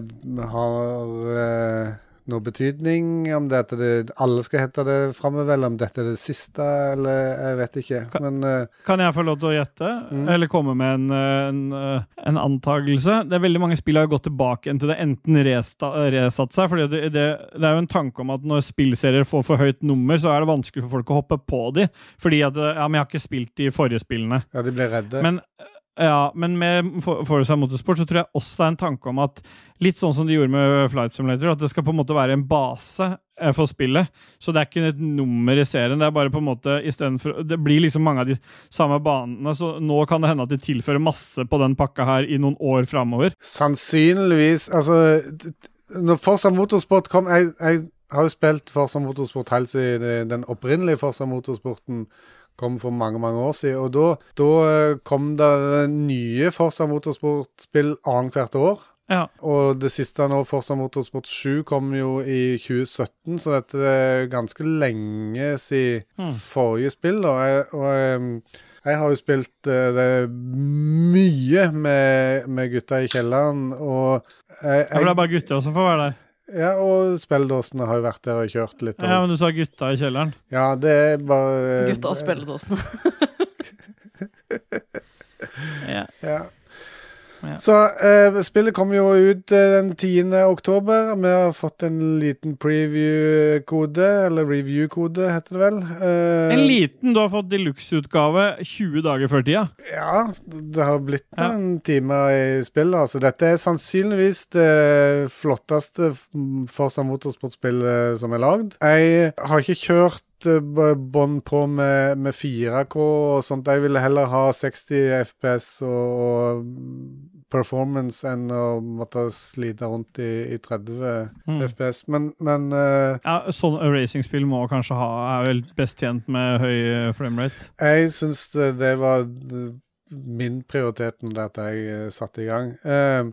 D: har eh, noe betydning. Om det at det, alle skal hete det framover, eller om dette er det siste, eller jeg vet ikke.
B: Ka-
D: Men eh,
B: Kan jeg få lov til å gjette,
D: Mm.
B: eller komme med en, eh, en, eh, en antagelse? Det er Veldig mange spill har gått tilbake igjen til det, enten resta, resatt seg. fordi det, det, det er jo en tanke om at når spillserier får for høyt nummer, så er det vanskelig for folk å hoppe på de, fordi at eh, ja, men jeg har ikke spilt de forrige spillene.
D: ja, de blir redde.
B: Men, eh, ja, men med For- Forza Motorsport så tror jeg også det er en tanke om at litt sånn som de gjorde med Flight Simulator, at det skal på en måte være en base eh, for spillet. Så det er ikke et nummer i serien. Det er bare på en måte i stedet for, Det blir liksom mange av de samme banene, så nå kan det hende at de tilfører masse på den pakka her i noen år framover.
D: Sannsynligvis Altså, d- d- når Forza Motorsport kom Jeg, jeg har jo spilt Forza Motorsport helt siden det- den opprinnelige Forza Motorsporten kom for mange, mange år siden. Og da, da eh, kom det nye Forza Motorsport-spill annethvert år.
B: Ja.
D: Og det siste nå, Forza Motorsport 7, kom jo i 2017, så dette er ganske lenge siden
B: Hmm.
D: forrige spill. Da. Jeg, og em, jeg har jo spilt eh, det mye med, med gutta i kjelleren, og jeg,
B: Det er
D: jeg,
B: bare gutter som får være der.
D: Ja, og spilledåsene har jo vært der og kjørt litt.
B: Ja,
D: Og,
B: men du sa gutta i kjelleren.
D: ja, det er bare
A: Gutta og spilledåsen.
B: Ja.
D: Ja.
B: Ja.
D: Så eh, spillet kommer jo ut eh, den 10. oktober. Vi har fått en liten preview-kode, eller review-kode, heter det vel. Eh,
B: En liten du har fått deluxe-utgave 20 dager før tida.
D: Ja, det har blitt
B: Ja.
D: en time i spillet. Altså, dette er sannsynligvis det flotteste f- Forza Motorsport-spill eh, som er lagd. Jeg har ikke kjørt eh, b- bånd på med, med 4K og sånt. Jeg ville heller ha 60 FPS og, og performance enn å måtte slite rundt i, i 30
B: Mm.
D: FPS. Men, men eh,
B: Ja, sånn racingspill må kanskje ha Er vel best tjent med høy eh, framerate.
D: Jeg syns det, det var d- min prioritet da jeg eh, satte i gang. Eh,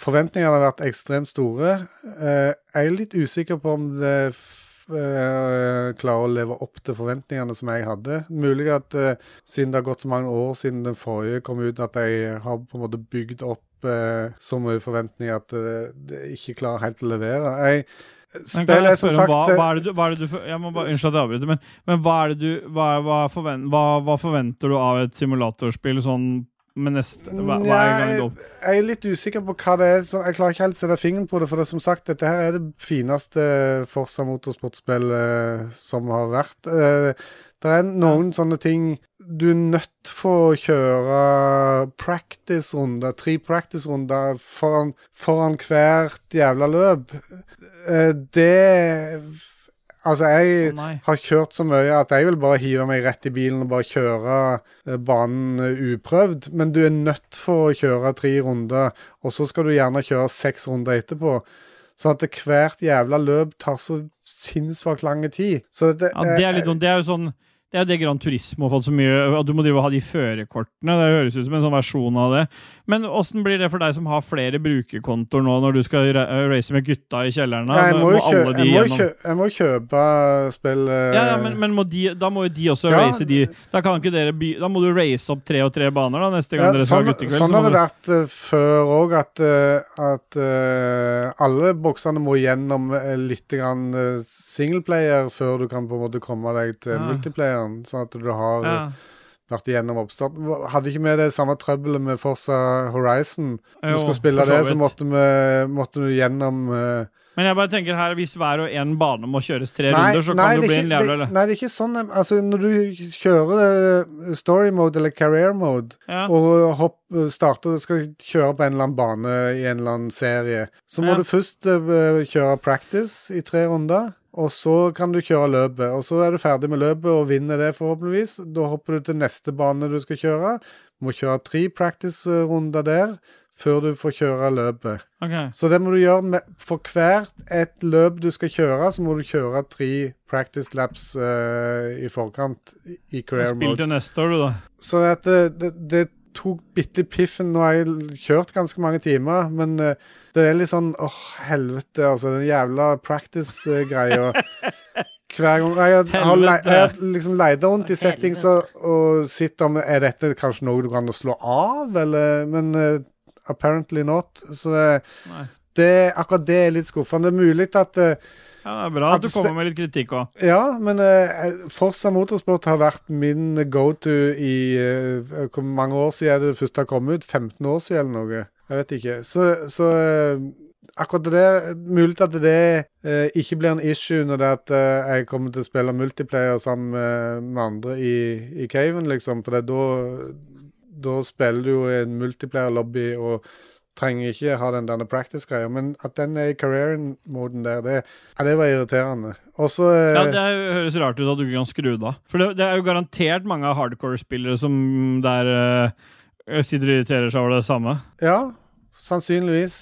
D: forventningene har vært ekstremt store. Eh, jeg er litt usikker på om det f eh, klarer å leve opp til forventningene som jeg hadde. Mulig at eh, siden det har gått så mange år siden den forrige kom ut, at jeg har på en måte bygd opp eh, så mye forventninger at eh, det ikke klarer helt å levere. Jeg,
B: Men kan
D: spillet
B: jeg
D: er som
B: spørre om
D: sagt
B: hva,
D: eh,
B: hva er det du, hva er det du for- Jeg må bare, Unnskyld at jeg avbryter, men, men hva er det du hva, hva, forvent, hva, hva forventer du av et simulatorspill sånn med neste hva, hva er gang det opp?
D: jeg er litt usikker på hva det er som Jeg klarer ikke helt å sette fingeren på det, for det er som sagt, dette her er det fineste Forsa motorsportspillet som har vært. Eh, Det er noen sånne ting Du er nødt for å kjøre practice-runder, tre practice-runder foran, foran hvert jævla løp. Eh, Det Altså, jeg
B: Å, nei.
D: har kjørt så mye at jeg vil bare hive meg rett i bilen og bare kjøre eh, banen eh, uprøvd, men du er nødt for å kjøre tre runder, og så skal du gjerne kjøre seks runder etterpå. Sånn at det hvert jævla løp tar så sinnssykt lang tid. Så dette,
B: Ja, det er litt dumt. Det er jo sånn det er jo det Gran Turismo har fått så mye At du må drive og ha de førerkortene. Det høres ut som en sånn versjon av det. Men åssen blir det for deg som har flere brukerkontoer nå, når du skal ra- race med gutta i kjelleren? da?
D: Nei, jeg, må jo kjø,
B: alle de
D: jeg, må jo
B: gjennom?
D: kjø, jeg må jo kjøpe spill eh,
B: Ja, ja, men, men må de, da må jo de også
D: Ja,
B: race de Da kan ikke dere by, Da må du race opp tre og tre baner da neste gang
D: Ja,
B: dere skal
D: sånn,
B: ha guttekveld.
D: sånn
B: så må
D: har det
B: du-
D: vært eh, før òg, at, eh, at eh, alle boksene må gjennom eh, litt grann, eh, singleplayer før du kan på en måte komme deg til
B: Ja.
D: multiplayeren, sånn at du har
B: ja.
D: eh, vært igjennom oppstarten. Hva- Hadde ikke vi det samme trøbbelet med Forza Horizon? Når
B: Jo,
D: vi skulle spille
B: for så
D: det, så
B: vidt.
D: måtte vi, måtte vi gjennom eh,
B: Men jeg bare tenker her hvis hver og en bane må kjøres tre
D: Nei,
B: runder, så
D: nei,
B: kan det
D: er
B: bli
D: ikke-
B: en jævla
D: det- Nei, det er ikke sånn. eh, Altså, når du kjører eh, story mode eller career mode,
B: ja.
D: og hopp, starter, skal kjøre på en eller annen bane i en eller annen serie, så må
B: Ja.
D: du først eh, kjøre practice i tre runder, og så kan du kjøre løpet. Og så er du ferdig med løpet og vinner det, forhåpentligvis. Da hopper du til neste bane du skal kjøre. Må kjøre tre practice-runder der før du får kjøre løpet.
B: Ok.
D: Så det må du gjøre med, for hvert et løp du skal kjøre, så må du kjøre tre practice laps eh, i forkant i- i career
B: Spill
D: mode.
B: til neste år, du, da.
D: Så at det, det, det tok bitte litt piffen. Nå har jeg l- kjørt ganske mange timer, men eh, det er litt sånn åh, helvete, altså. Den jævla practice-greia. Hver gang Jeg har- har, le,
B: Helvete.
D: jeg har liksom leid rundt i settings og, og sett om Er dette kanskje noe du kan slå av, eller Men eh, apparently not. Så det,
B: Nei.
D: det Akkurat det er litt skuffende. Det er mulig at eh,
B: Ja, det er bra
D: At
B: at du
D: spe-
B: kommer med litt kritikk òg.
D: ja, men uh, Forsa Motorsport har vært min go-to i eh, Hvor mange år siden er det det første har kommet ut? 15 år siden eller noe? Jeg vet ikke. Så, så eh, akkurat det Mulig at det eh, ikke blir en issue når det er at eh, jeg kommer til å spille multiplayer sammen med, med andre i, i caven, liksom. For det er da da spiller du jo i en multiplayer-lobby og trenger ikke ha den derne practice-greia. Men at den er i career-moden der, det, ja, det var irriterende. Og så eh,
B: Ja, Det er, høres rart ut at du ikke kan skru det av. For det, det er jo garantert mange hardcore-spillere som der eh, sitter og irriterer seg over det samme.
D: Ja, sannsynligvis.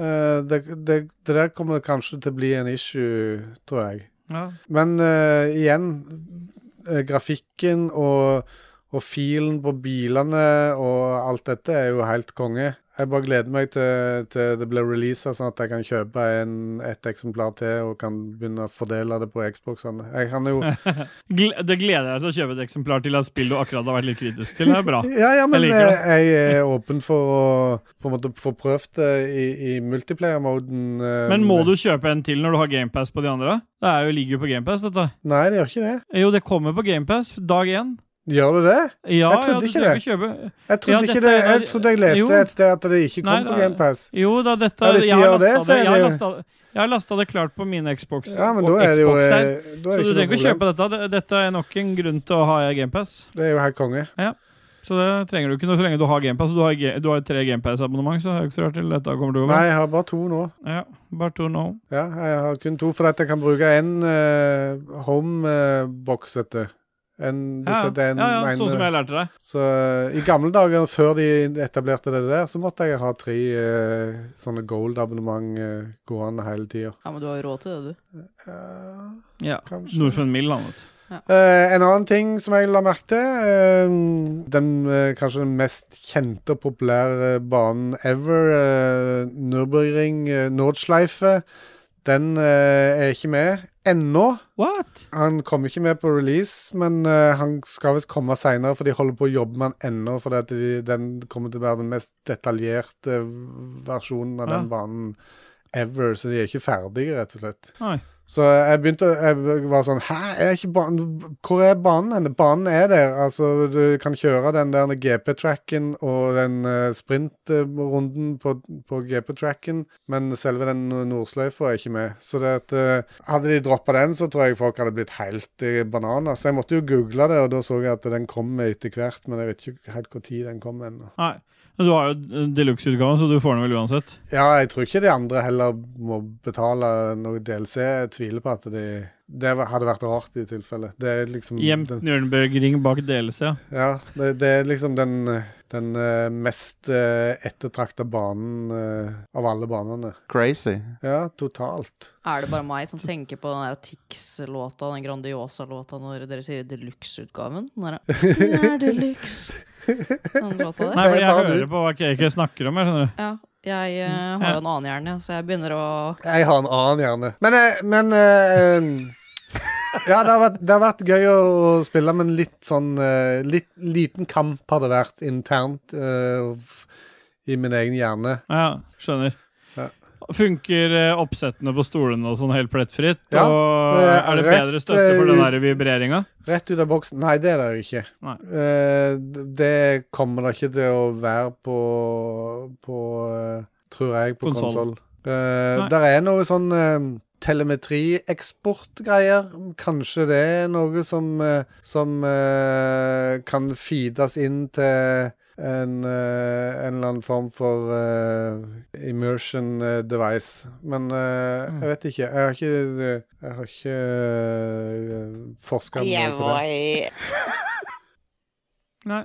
D: Eh, det, det, det der kommer kanskje til å bli en issue, tror jeg.
B: Ja.
D: Men eh, igjen, eh, grafikken og, Og filen på bilene og alt dette er jo helt konge. Jeg bare gleder meg til, til det blir releasa, sånn at jeg kan kjøpe en, et eksemplar til og kan begynne å fordele det på Xboxene. Jeg kan jo
B: Gle- Det gleder jeg deg til å kjøpe et eksemplar til et spill du akkurat har vært litt kritisk til. Det er bra.
D: Ja, ja, men
B: Jeg
D: jeg,
B: liker det.
D: jeg er åpen for å på en måte få prøvd det i, i multiplayer-moden. eh,
B: Men må du kjøpe en til når du har GamePass på de andre? Det er jo, ligger jo på GamePass, dette.
D: Nei, det gjør ikke det.
B: Jo, det kommer på GamePass dag én.
D: Gjør du det?
B: Ja,
D: Jeg trodde
B: ja, du
D: ikke
B: trenger
D: det.
B: ikke Kjøpe.
D: Jeg trodde,
B: Ja,
D: ikke
B: dette
D: det.
B: er-
D: Jeg trodde jeg leste
B: jo.
D: et sted at det ikke
B: Nei,
D: kom på
B: det er-
D: GamePass.
B: Jo da, dette
D: Ja, hvis de
B: jeg, har
D: gjør det,
B: lastet
D: så er
B: det, jeg, har
D: det-
B: lastet, jeg har lasta det klart på mine Xbox.
D: Ja, men
B: og
D: da er det jo eh,
B: Xbox-er.
D: da
B: Så
D: er
B: du
D: det
B: trenger
D: ikke
B: ikke
D: noe
B: å
D: problem.
B: kjøpe dette. Det- Dette er nok en grunn til å ha GamePass.
D: Det er jo helt konge.
B: Så det trenger du ikke noe så lenge du har GamePass. Og du har, Ga- du har tre GamePass-abonnement, så er det ikke så rart til dette kommer du over.
D: Nei, jeg har bare to nå.
B: Ja, bare to nå.
D: Ja, jeg har kun to, for at jeg kan bruke eh, én homebox, eh, vet du. En, du
B: Ja,
D: setter en,
B: ja, ja,
D: en-
B: sånn som jeg lærte deg.
D: Så eh, i gamle dager, før de etablerte det der, så måtte jeg ha tre eh, sånne gold-abonnement eh, gående hele tida.
A: Ja, men du har jo råd til det, du.
D: Eh,
B: Ja.
D: kanskje.
B: Norfund Mill, han, vet du.
D: Eh, en annen ting som jeg la merke til eh, Den eh, kanskje den mest kjente og populære banen ever, eh, Nürburgring eh, Nordschleife, den eh, er ikke med ennå.
B: What?
D: Han kom ikke med på release, men eh, han skal visst komme seinere, for de holder på å jobbe med han ennå, fordi at de, den kommer til å være den mest detaljerte versjonen av
B: Ja.
D: den banen ever, så de er ikke ferdige, rett og slett.
B: Nei.
D: Så jeg begynte Jeg var sånn Hæ, er ikke banen Hvor er banen hen? Banen er der. Altså, du kan kjøre den der GP-tracken og den eh, sprintrunden på, på GP-tracken, men selve den nordsløyfa er ikke med. Så det at eh, Hadde de droppa den, så tror jeg folk hadde blitt helt eh, bananer. Så jeg måtte jo google det, og da så jeg at den kom etter hvert, men jeg vet ikke helt når den kom ennå.
B: Nei. Men du har jo deluxe-utgaven, så du får den vel uansett.
D: Ja, jeg tror ikke de andre heller må betale noe DLC. Jeg tviler på at de Det hadde vært rart i tilfelle. Det er liksom
B: Gjemt
D: den,
B: Nürnbergring bak DLC, ja.
D: ja, det, det er liksom den, den eh, mest eh, ettertrakta banen eh, av alle banene.
F: Crazy.
D: Ja, totalt.
A: Er det bare meg som tenker på den der Tix-låta, den Grandiosa-låta, når dere sier deluxe-utgaven? Den der «Den er deluxe. Den låta der.
B: Nei, for
D: Det
B: jeg
D: er bare du.
B: hører på hva KK snakker om, jeg skjønner du.
A: Ja. Jeg eh, har jo en annen hjerne, så jeg begynner å
D: Jeg har en annen hjerne. Men, eh, men eh, em, Ja, det har, vært, det har vært gøy å å spille, men litt sånn eh, litt, Liten kamp har det vært internt eh, f- i min egen hjerne.
B: Ja, skjønner.
D: Ja.
B: Funker eh, oppsettene på stolene og sånn helt plettfritt?
D: Ja,
B: og
D: det er
B: er det
D: rett,
B: bedre støtte for den
D: eh,
B: der vibreringa?
D: Rett ut av boksen? Nei, det er det jo ikke.
B: Nei.
D: Eh, d- det kommer det ikke til å være på, på eh, tror jeg, på
B: Konsol.
D: konsoll.
B: Nei.
D: der er noe sånn eh, telemetrieksportgreier. Kanskje det er noe som, eh, som eh, kan feedes inn til en, eh, en eller annen form for eh, immersion eh, device. Men eh, jeg vet ikke. Jeg har ikke, jeg har ikke eh, forska noe på det.
B: Nei.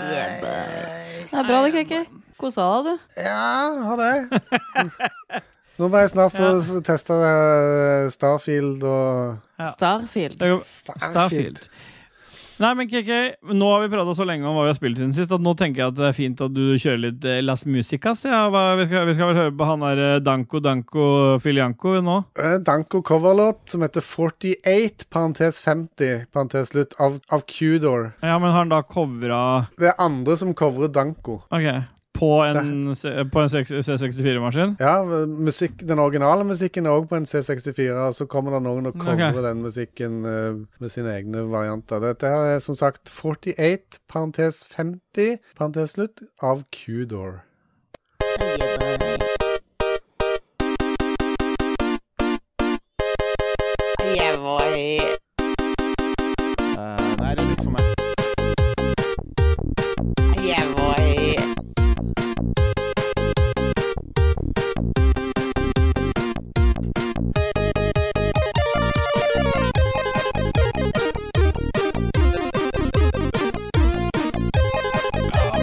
A: Det er bra det, KK. Kosa deg, du.
D: Ja, har det. Mm. Nå må jeg snart få s- testa eh, Starfield og
B: Ja.
A: Starfield.
B: Det går- Starfield. Nei, men KK, nå har vi prata så lenge om hva vi har spilt siden sist, at nå tenker jeg at det er fint at du kjører litt eh, Las Musicas. Ja. Hva, vi, skal, vi skal vel høre på han der eh, Danko Danko Filianco nå.
D: Eh, Danko coverlåt som heter 48, parentes 50, parentes slutt, av, av Cudor.
B: Ja, men har han da covra
D: Det er andre som covrer Danko.
B: OK. På en, C- på en C64-maskin?
D: Ja, musikk, Den originale musikken er òg på en C64, og så kommer det noen og covrer
B: Ok.
D: den musikken eh, med sine egne varianter. Dette her er som sagt 48, parentes 50, parentes slutt, av Cudor.
F: Eh, nei, det er nytt for meg.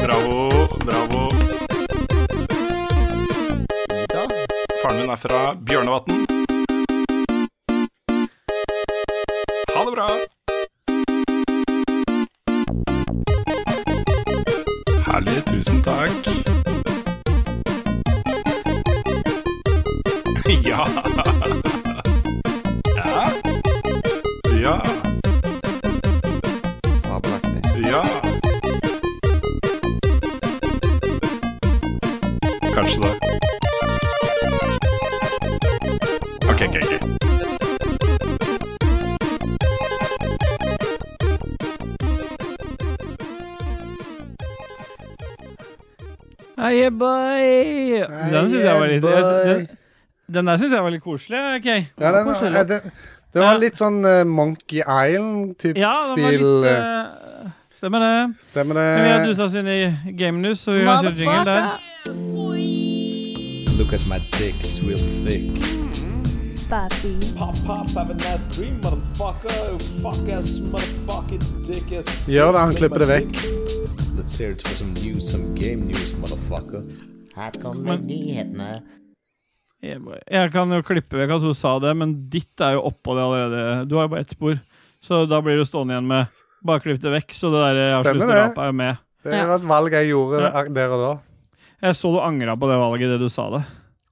I: Bravo, bravo. Faren min er fra Bjørnevatn. Ha det bra. Ja. Ja.
E: Fabelaktig.
I: Ja. Kanskje det. OK, OK. ok.
B: Aye, boy. Den syns jeg var litt den, den der syns jeg var litt koselig. ok.
D: Ja, den, eh, det, det var litt sånn eh, Monkey Island-type
B: Ja, den var
D: stil.
B: litt
D: eh,
B: eh, Stemmer det.
D: Stemmer
B: Men vi har
D: det?
B: dusa oss inn i Game News, så vi kan kjøre jingle der.
F: Look at my dick, it's real thick.
D: Gjør det, han klipper det vekk.
F: Let's hear it for some news, some game news, motherfucker.
E: Her kommer nyhetene.
B: Yeah, boy. Jeg kan jo klippe vekk at hun sa det, men ditt er jo oppå det allerede. Du har jo bare ett spor, så da blir du stående igjen med Bare klipp det vekk, så det der
D: Stemmer
B: avsluttende
D: det.
B: rapet er jo med.
D: Det var et valg jeg gjorde
B: Ja.
D: der- der og da.
B: Jeg så du angra på det valget det du sa det.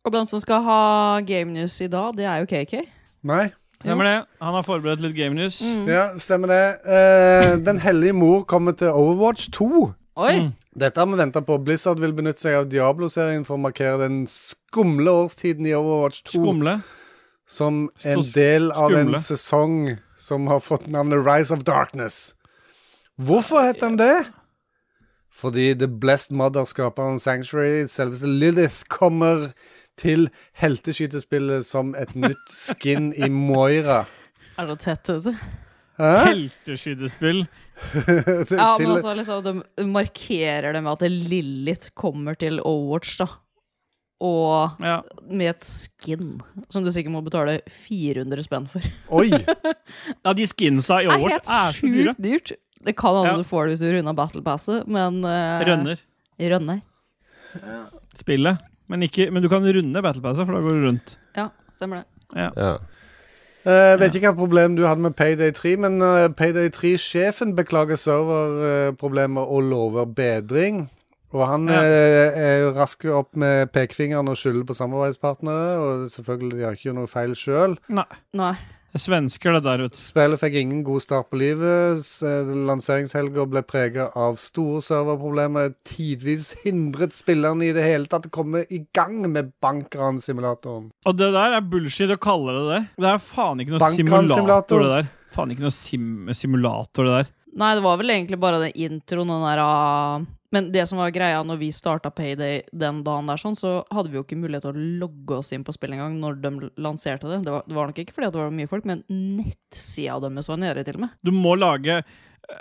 A: Og den som skal ha Game News i dag, det er jo KK.
D: Nei.
B: Stemmer det? Han har forberedt litt Game News.
D: Ja, stemmer det. Eh, Den hellige mor kommer til Overwatch 2.
A: Oi!
B: Mm.
D: Dette har vi venta på. Blizzard vil benytte seg av Diablo-serien for å markere den skumle årstiden i Overwatch 2
B: Skumle.
D: som en
B: Så
D: del av
B: skumle.
D: en sesong som har fått navnet Rise of Darkness. Hvorfor heter den det? Fordi The Blessed Mother, skaperen Sanctuary, selveste Lilith, kommer til helteskytespillet som et nytt skin i Moira.
A: Er det tett? vet du?
D: Hæ?
B: Helteskytespill.
A: Ja, men
D: Til-
A: altså, liksom, de markerer det med at Lilith kommer til Overwatch, da. Og
B: Ja.
A: med et skin som du sikkert må betale 400 spenn for.
D: Oi!
B: ja, de skinsa i
A: Det er
B: Overwatch
A: helt
B: er så dyre.
A: sjukt dyrt. Det kan hende
B: Ja.
A: du får det hvis du runder battlepasset, men eh,
B: Rønner
A: Rønner.
B: spillet. Men, ikke, men du kan runde Battle Passet, for da går du rundt.
A: Ja, stemmer det.
E: Ja.
D: Jeg Eh, vet ikke hva problem du hadde med Payday 3, men eh, Payday 3-sjefen beklager serverproblemer og lover bedring. Og han
B: Ja.
D: eh, er jo rask opp med pekefingeren og skylder på samarbeidspartnere. Og selvfølgelig, de har ikke gjort noe feil sjøl.
B: Nei.
A: Nei.
B: Det er svensker, det der, vet du.
D: Spillet fikk ingen god start på livet. s- eh, Lanseringshelga ble prega av store serverproblemer. Tidvis hindret spillerne i det hele tatt å komme i gang med bankransimulatoren.
B: Og det der er bullshit å kalle det det. Det er faen ikke noe
D: Bankransimulator.
B: simulator, det der. Faen ikke noe sim simulator, det der.
A: Nei, det var vel egentlig bare den introen, den der ah, Men det som var greia når vi starta Payday den dagen der, sånn, så hadde vi jo ikke mulighet til å logge oss inn på spillet engang når de lanserte det. Det var, det var nok ikke fordi at det var mye folk, men nettsida deres var nede, til og med.
B: Du må lage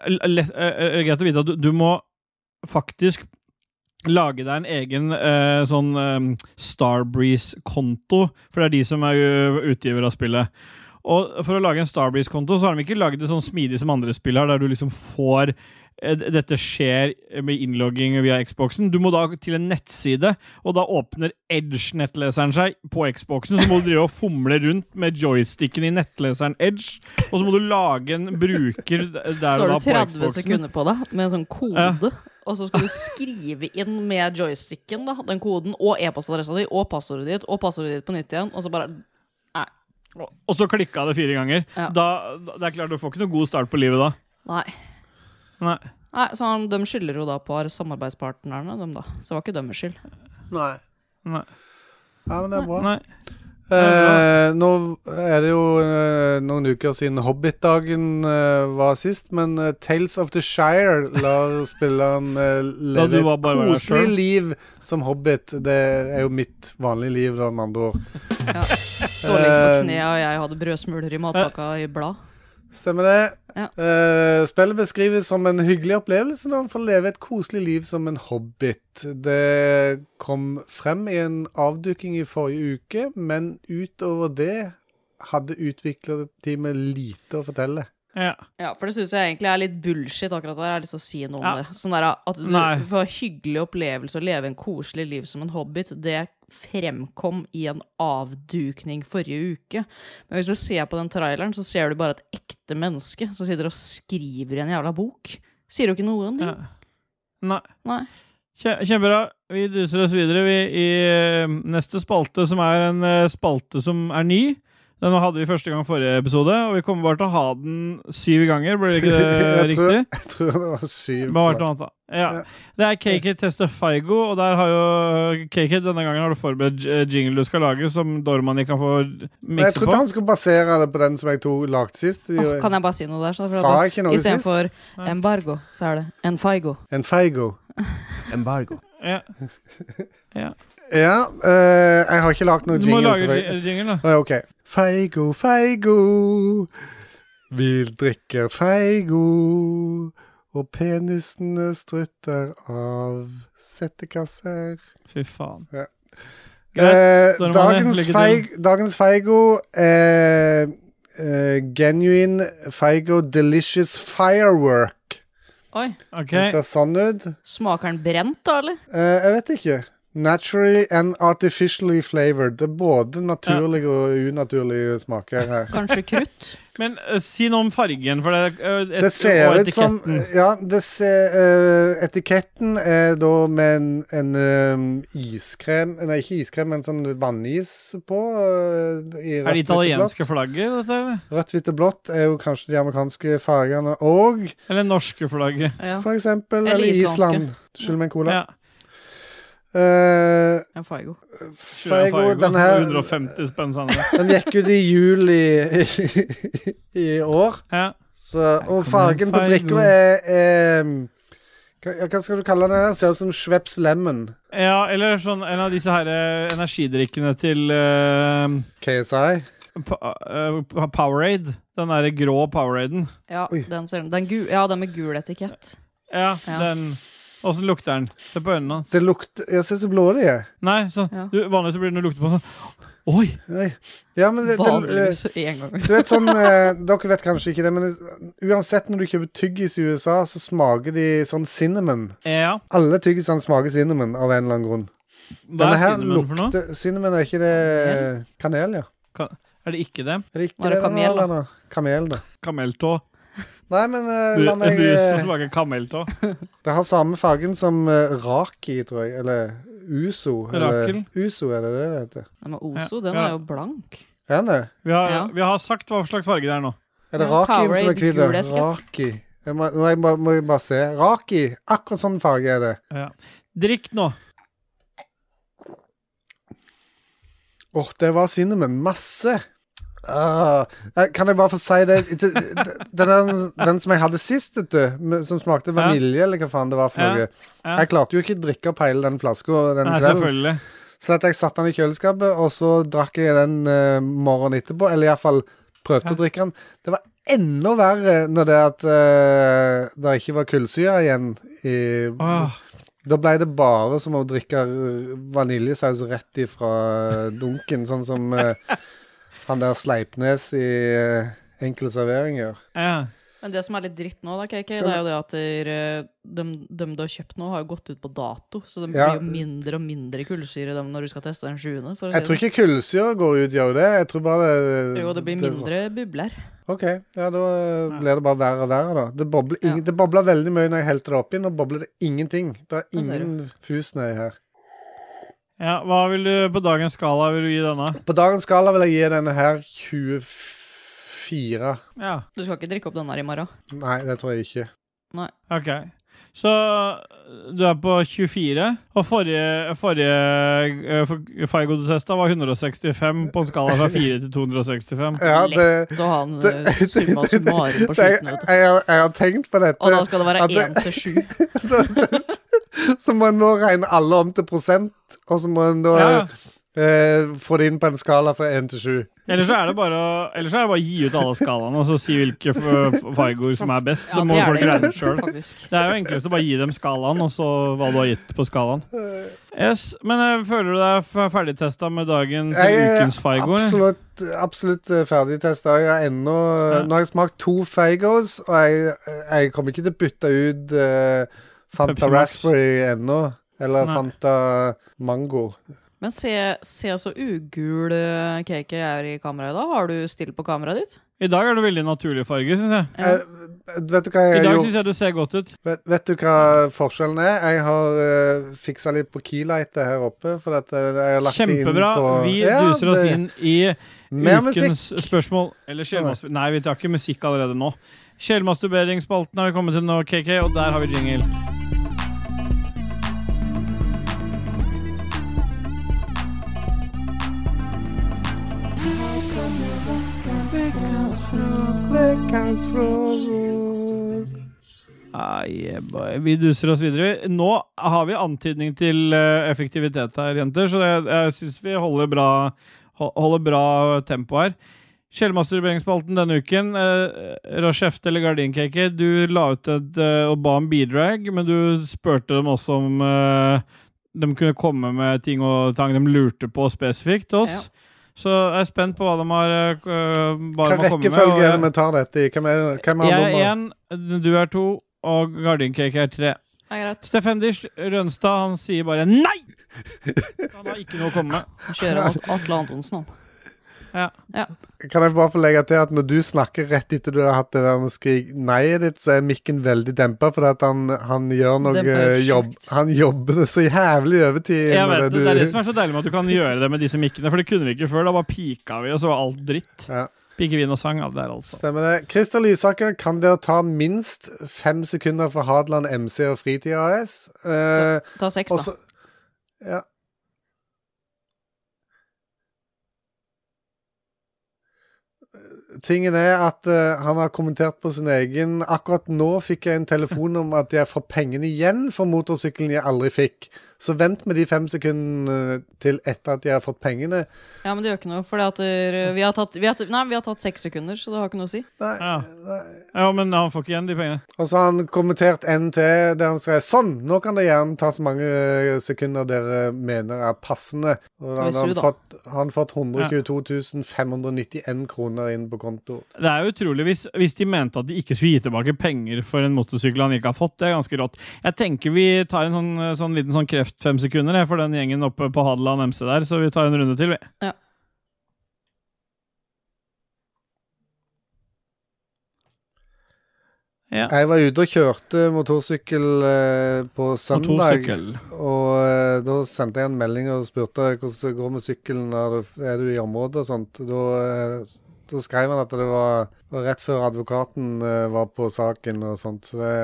B: l- lett- eh, eh, Greit å vite at du, du må faktisk lage deg en egen eh, sånn eh, Starbreeze-konto, for det er de som er jo utgiver av spillet. Og for å lage en Starbreeze-konto, så har de ikke laget det sånn smidig som andre spill har, der du liksom får eh, d- dette skjer med innlogging via Xboxen. Du må da til en nettside, og da åpner Edge-nettleseren seg på Xboxen. Så må du drive og fomle rundt med joysticken i nettleseren Edge, og så må du lage en bruker d-
A: Så
B: der
A: har
B: og da
A: du
B: på
A: 30
B: Xboxen.
A: sekunder på deg med en sånn kode, og så skal du skrive inn med joysticken da, den koden, og e-postadressa di, og passordet ditt, og passordet ditt på nytt igjen, og så bare
B: Og- Og så klikka det fire ganger.
A: Ja.
B: Da, da, det er klart, du får ikke noe god start på livet da.
A: Nei.
B: Nei.
A: Nei, så han, De skylder jo da på samarbeidspartnerne, dem da. Så det var ikke deres skyld.
D: Nei.
B: Nei.
D: Ja, men det er bra.
B: Nei.
D: Eh, nå er det jo eh, noen uker siden Hobbit-dagen eh, var sist, men eh, Tales of the Shire lar spilleren eh,
B: Da du
D: leve
B: var
D: et
B: bare deg
D: koselig
B: selv.
D: liv som hobbit. Det er jo mitt vanlige liv, da, med andre ord.
A: Stå litt på
D: Eh,
A: kne, og jeg hadde brødsmuler i matpakka i blad.
D: Stemmer det.
A: Ja.
D: Eh, spillet beskrives som en hyggelig opplevelse når man får leve et koselig liv som en hobbit. Det kom frem i en avduking i forrige uke, men utover det hadde utviklerteamet lite å fortelle.
B: Ja.
A: Ja, for det syns jeg egentlig er litt bullshit, akkurat der. Jeg har lyst til å si noe om
B: Ja.
A: det. Sånn der at du
B: Nei.
A: får hyggelig opplevelse og leve en koselig liv som en hobbit, det fremkom i en avdukning forrige uke. Men hvis du ser på den traileren, så ser du bare et ekte menneske som sitter og skriver i en jævla bok. Sier jo ikke noen ting.
B: Ja. Nei.
A: Nei.
B: Kje- Kjempebra. Vi duser oss videre vi, i eh, neste spalte, som er en eh, spalte som er ny. Den hadde vi første gang i forrige episode, og vi kommer bare til å ha den syv ganger. Blir det ikke det
D: Jeg tror-
B: riktig?
D: Jeg tror det var syv.
B: Men hvert noe annet, da. Ja. Det er KK tester Feigo, og der har jo KK denne gangen har du forberedt eh, jingle du skal lage, som Dormani kan få
D: Men jeg
B: mikse
D: trodde
B: på.
D: han skulle basere det på den som jeg to lagde sist.
A: Åh, kan jeg bare si noe der? Sånn,
D: Sa jeg ikke noe sist?
A: Istedenfor embargo, så er det en faigo.
D: En feigo.
E: Embargo.
B: Ja.
D: Ja, eh, jeg har ikke lagd noe
B: Du må
D: jingle.
B: lage
D: selvfølgelig.
B: ji- jingle, da.
D: Å, ja, OK. Feigo, feigo. Vi drikker feigo. Og penisene strutter av settekasser.
B: Fy faen.
D: Ja.
B: Greit,
D: Eh,
B: Dormani,
D: dagens,
B: lykke
D: feig,
B: til.
D: dagens feigo eh, eh, Genuine feigo delicious firework.
A: Oi.
B: Ok.
D: Den ser sånn ut.
A: Smaker den brent, da, eller?
D: Eh, jeg vet ikke. Naturally and artificially flavored. Det er både naturlige og unaturlige smaker her.
A: Kanskje krutt?
B: Men eh, si noe om fargen, for det, eh, et,
D: Det ser
B: og
D: ut som
B: etiketten.
D: Ja, det ser, eh, etiketten er da med en, en eh, iskrem Nei, ikke iskrem, men sånn vannis på. eh, i
B: Er det
D: rødt, hvitt og
B: italienske
D: blått.
B: flagget, dette? eller?
D: Rødt, hvitt og blått er jo kanskje de amerikanske fargene og
B: Eller norske flagget?
A: Ja,
D: for eksempel
A: Eller
D: Eller
A: islandske.
D: Island. Skyld meg en cola.
B: Ja.
D: Eh,
A: en faigo.
D: Feigo, den her
B: 150 spenn, Sandra.
D: Den gikk ut i juli i år.
B: Ja.
D: Så,
B: kommer
D: og fargen på
B: Feigo.
D: drikka er, er hva, ja, hva skal du kalle den? her? Ser ut som Schweppes Lemon.
B: ja, eller sånn en av disse her eh, energidrikkene til eh,
D: KSI.
B: Pa- eh, pa- Powerade. Den derre grå Poweraden.
A: Ja, den ser den. den gu ja, den med gul etikett.
B: Ja,
A: Ja.
B: den Åssen lukter den? Se på øynene hans.
D: Det lukter Jeg ser så blå de er.
B: Nei, sånn.
A: Ja.
B: Du, vanligvis så blir det noe lukter på sånn Oi!
D: Nei. Ja, men det, det,
A: Vanligvis én gang.
D: du vet sånn eh, Dere vet kanskje ikke det, men uansett når du kjøper tyggis i USA, så smaker de sånn cinnamon.
B: Ja,
D: Alle tyggisene smaker cinnamon av en eller annen grunn.
B: hva er cinnamon for noe?
D: lukter Cinnamon er ikke det Kanel, ja.
B: Ka- Er det ikke det?
D: Er det ikke
A: Var det
D: det, da,
A: kamel, da?
D: eller? Kamel, da.
B: Kameltå.
D: Nei, men eh,
B: Brus
D: la meg eh,
B: som smaker kameltå.
D: Det har samme fargen som eh, raki, tror jeg. Eller uso. Eller,
B: Rakel?
D: uso, er det det det heter?
A: Nei, men Ozo,
B: Ja,
A: den
B: ja.
A: er jo blank.
D: Er det det?
B: Vi har,
A: Ja.
B: vi har sagt hva slags farge det er nå.
D: Er det
A: Ja,
D: rakien som
A: Powerade,
D: er hvit?
A: gul etikett.
D: Raki. Jeg må, nei, jeg må, må jeg bare se. Raki! Akkurat sånn farge er det.
B: Ja. Drikk nå.
D: Åh, det var cinnamon. Masse! Ah, eh, kan jeg bare få si det det- det- Den, den, den som jeg hadde sist, vet du, med- som smakte vanilje, eller hva faen det var for
B: Ja,
D: noe
B: ja.
D: Jeg klarte jo ikke å drikke opp hele den flaska den
B: Nei,
D: kvelden.
B: selvfølgelig.
D: Så Sånn at jeg satte den i kjøleskapet, og så drakk jeg den eh, morgenen etterpå. Eller iallfall prøvde å drikke den. Det var enda verre når det at eh, det ikke var kullsyre igjen i
B: Åh,
D: Da ble det bare som å drikke eh, vaniljesaus rett ifra dunken, sånn som eh, han der Sleipnes i eh, Enkel servering gjør.
B: ja.
A: Men det som er litt dritt nå, da, KK, det er jo det at der, de, du har kjøpt nå, har jo gått ut på dato. Så de
D: Ja.
A: blir jo mindre og mindre kullsyre dem når du skal teste den sjuende. For å si
D: Jeg tror ikke kullsyre går ut, gjør det? Jeg tror bare eh,
A: det. Jo, det blir mindre bubler.
D: OK. Ja, da eh, blir det bare verre og verre, da. Det bobler, ing-
A: Ja.
D: det bobler veldig mye når jeg helte det oppi. Nå bobler det ingenting. Det er
A: ser
D: ingen fusnøy her.
B: ja. Hva vil du på dagens skala vil du gi denne?
D: På dagens skala vil jeg gi denne her 24.
B: Ja.
A: Du skal ikke drikke opp den her i morgen.
D: Nei, det tror jeg ikke.
A: Nei.
B: Ok. Så du er på 24, og forrige, forrige eh, for- Feigo du testa, var 165 på en skala fra 4 til 265.
D: Ja, det,
A: Lett å ha en
D: det,
A: eh, summa summarum på
D: det- jeg,
A: slutten. vet du.
D: jeg, har- jeg har tenkt på dette.
A: Og da skal det være
D: at det-
A: én til sju.
D: så, så må en nå regne alle om til prosent, og så må en da
B: Ja, ja.
D: eh, få det inn på en skala fra 1 til 7.
B: Ellers så er det bare å, ellers så er det bare å gi ut alle skalaene og så si hvilke f- f- Feigoer som er best.
A: Ja,
B: Det må
A: det er
B: folk
A: det.
B: regne ut sjøl.
A: Faktisk.
B: Det er jo enklest å bare gi dem skalaen, og så hva du har gitt på skalaen. Yes, Men eh, føler du deg f- ferdigtesta med dagens
D: Jeg
B: eller
D: er
B: ukens Feigo? eller?
D: absolutt, absolutt eh, ferdigtesta. Jeg har ennå Nå har jeg smakt to Fagos, og jeg, jeg kommer ikke til å bytte ut eh, Fanta
B: Pepsi Max.
D: Raspberry ennå. Eller
B: Nei.
D: Fanta Mango.
A: Men se, se så ugul eh, cake jeg er i kameraet i dag. Har du still på kameraet ditt?
B: I dag er det veldig naturlig farge, syns jeg.
A: Ja.
D: Eh, vet du hva
B: I
D: jeg har
B: dag
D: gjort?
B: syns jeg du ser godt ut.
D: Vet, vet du hva forskjellen er? Jeg har uh, fiksa litt på keylightet her oppe. For at eh, jeg har lagt det inn
B: Kjempebra.
D: på
B: Vi
D: Ja,
B: duser oss
D: det-
B: inn i
D: Mer musikk.
B: ukens spørsmål. Eller sjelmasturbering Nei, vi tar ikke musikk allerede nå. Sjelmasturberingsspalten har vi kommet til nå, KK, og der har vi jingle. Ah, yeah, boy. vi duser oss videre. Nå har vi antydning til eh, effektivitet her, jenter, så jeg, jeg syns vi holder bra, hol- holder bra tempo her. Sjelmasturberingsspalten denne uken. Eh, Rashefte eller Gardincake, du la ut et eh, og ba om bidrag, men du spurte dem også om eh, de kunne komme med ting og tang de lurte på spesifikt til oss. Så jeg er spent på hva de har eh, k- eh, hva de
D: Hvilken
B: har kommet med. og
D: rekkefølge er
B: jeg-
D: det vi tar dette i? Hvem, er, hvem har
B: jeg er
D: nummeret?
B: én, du er to, og Gardincake er tre.
A: Ja, greit.
B: Steffenders Rønstad han sier bare nei! Han har ikke noe å komme med.
A: Han kjører At- Atle Antonsen, han.
D: Kan jeg bare få legge til at når du snakker rett etter du har hatt det der med skrik nei-et ditt, så er mikken veldig dempa, fordi at han, han gjør noe
A: Demper
D: jobb
A: sjukt.
D: Han jobber det så jævlig overtid.
B: Jeg
D: med
B: vet det, det er det som
D: du-
B: er så deilig med at du kan gjøre det med disse mikkene, for det kunne vi ikke før. Da bare pika vi, og så var alt dritt.
D: Ja.
B: Pikevin og sang, alt det der, altså.
D: Stemmer det. Christer Lysaker, kan dere ta minst fem sekunder for Hadeland MC og Fritid AS? Eh,
A: Ta seks,
D: Og
A: da.
D: så- Ja. Tingen er at eh, han har kommentert på sin egen Akkurat nå fikk jeg en telefon om at jeg får pengene igjen for motorsykkelen jeg aldri fikk. Så vent med de fem sekundene til etter at jeg har fått pengene.
A: Ja, men det gjør ikke noe, for vi, har tatt- vi, har tatt- nei, vi har tatt seks sekunder, så det har ikke noe å si.
D: Nei,
B: Ja.
D: nei.
B: ja, men han får ikke igjen de pengene.
D: Og så har han kommentert en til der han skrev Sånn, nå kan det gjerne ta så mange eh, sekunder dere mener er passende. Og da
A: Hvis
D: har
A: du
D: han
A: da.
D: fått, har han fått 122 591 kroner inn på konto.
B: Det er jo utrolig hvis, hvis de mente at de ikke skulle gi tilbake penger for en motorsykkel han ikke har fått. Det er ganske rått. Jeg tenker vi tar en sånn, sånn liten sånn kreft fem sekunder jeg, for den gjengen oppe på Hadeland MC der, så vi tar en runde til, vi.
A: Ja.
B: Ja.
D: Jeg var ute og kjørte motorsykkel eh, på søndag.
B: Motorsykkel.
D: Og eh, da sendte jeg en melding og spurte hvordan det går med sykkelen. Er du, er du i området og sånt? Da, eh, s- da skrev han at det var, var rett før advokaten eh, var på saken og sånt. Så det,